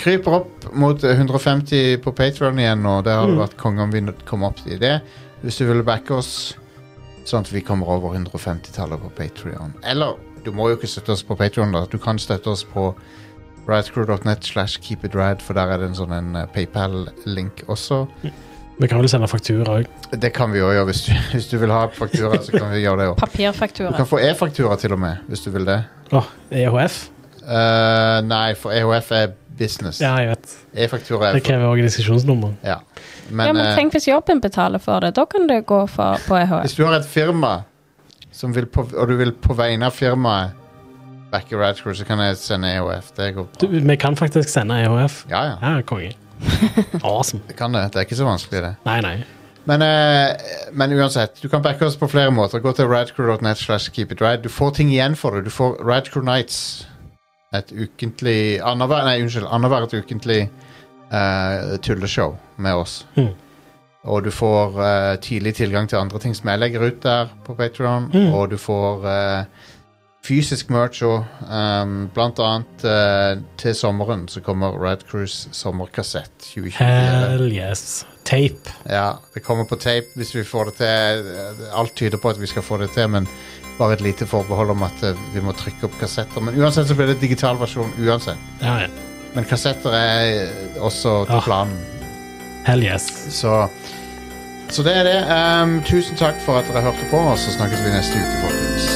A: Kryper opp mot 150 på Patron igjen nå. Det hadde vært konge om vi nå- kom opp i det. Hvis du vil backe oss, sånn at vi kommer over 150-tallet på Patreon Eller du må jo ikke støtte oss på Patreon da. Du kan støtte oss på radcrew.net slash keepitrad, for der er det en sånn en eh, PayPal-link også.
B: Vi kan vel sende faktura òg.
A: Det kan vi jo gjøre hvis du, hvis du vil ha faktura. så kan vi gjøre det også. Du
C: Papirfaktura.
A: kan få e-faktura til og med, hvis du vil det.
B: Åh, E EHF?
A: Eh, nei, for EHF er business.
B: Ja, jeg vet.
A: E-faktura er
B: Det krever organisasjonsnummer.
A: Ja. Men,
C: Ja, men
A: eh,
C: tenk hvis jobben betaler for det. Da kan det gå for, på E EHF.
A: hvis du har et firma som vil på, og du vil på vegne av firmaet backer Radcrew, så kan jeg sende EOF. Det går
B: Du,
A: bra.
B: vi kan faktisk sende EHF.
A: Ja, ja.
B: Ja, konge. Awesome.
A: Jeg kan det. Det er ikke så vanskelig, det.
B: Nei, nei.
A: Men, eh, men uansett, du kan backe oss på flere måter. Gå til radcrew.net slash keep it rad. Du får ting igjen for det. Du får Radcrew Nights. Et ukentlig annenhver- Nei, unnskyld. Annethvert ukentlig eh, tulleshow med oss.
B: Mhm.
A: Og du får eh, tidlig tilgang til andre ting som jeg legger ut der på Patreon
B: Mhm.
A: Og du får eh, fysisk merch og ehm, blant annet eh, til sommeren så kommer Radcrews sommerkassett 2024.
B: Hell yes. Tape.
A: Ja, det kommer på tape hvis vi får det til. Alt tyder på at vi skal få det til, men bare et lite forbehold om at eh, vi må trykke opp kassetter. Men uansett så blir det digital versjon uansett.
B: Ja, ja.
A: Men kassetter er eh, også
B: Ah.
A: til planen.
B: Hell yes.
A: Så, så det er det. Ehm, tusen takk for at dere hørte på, og så snakkes vi neste uke, folkens.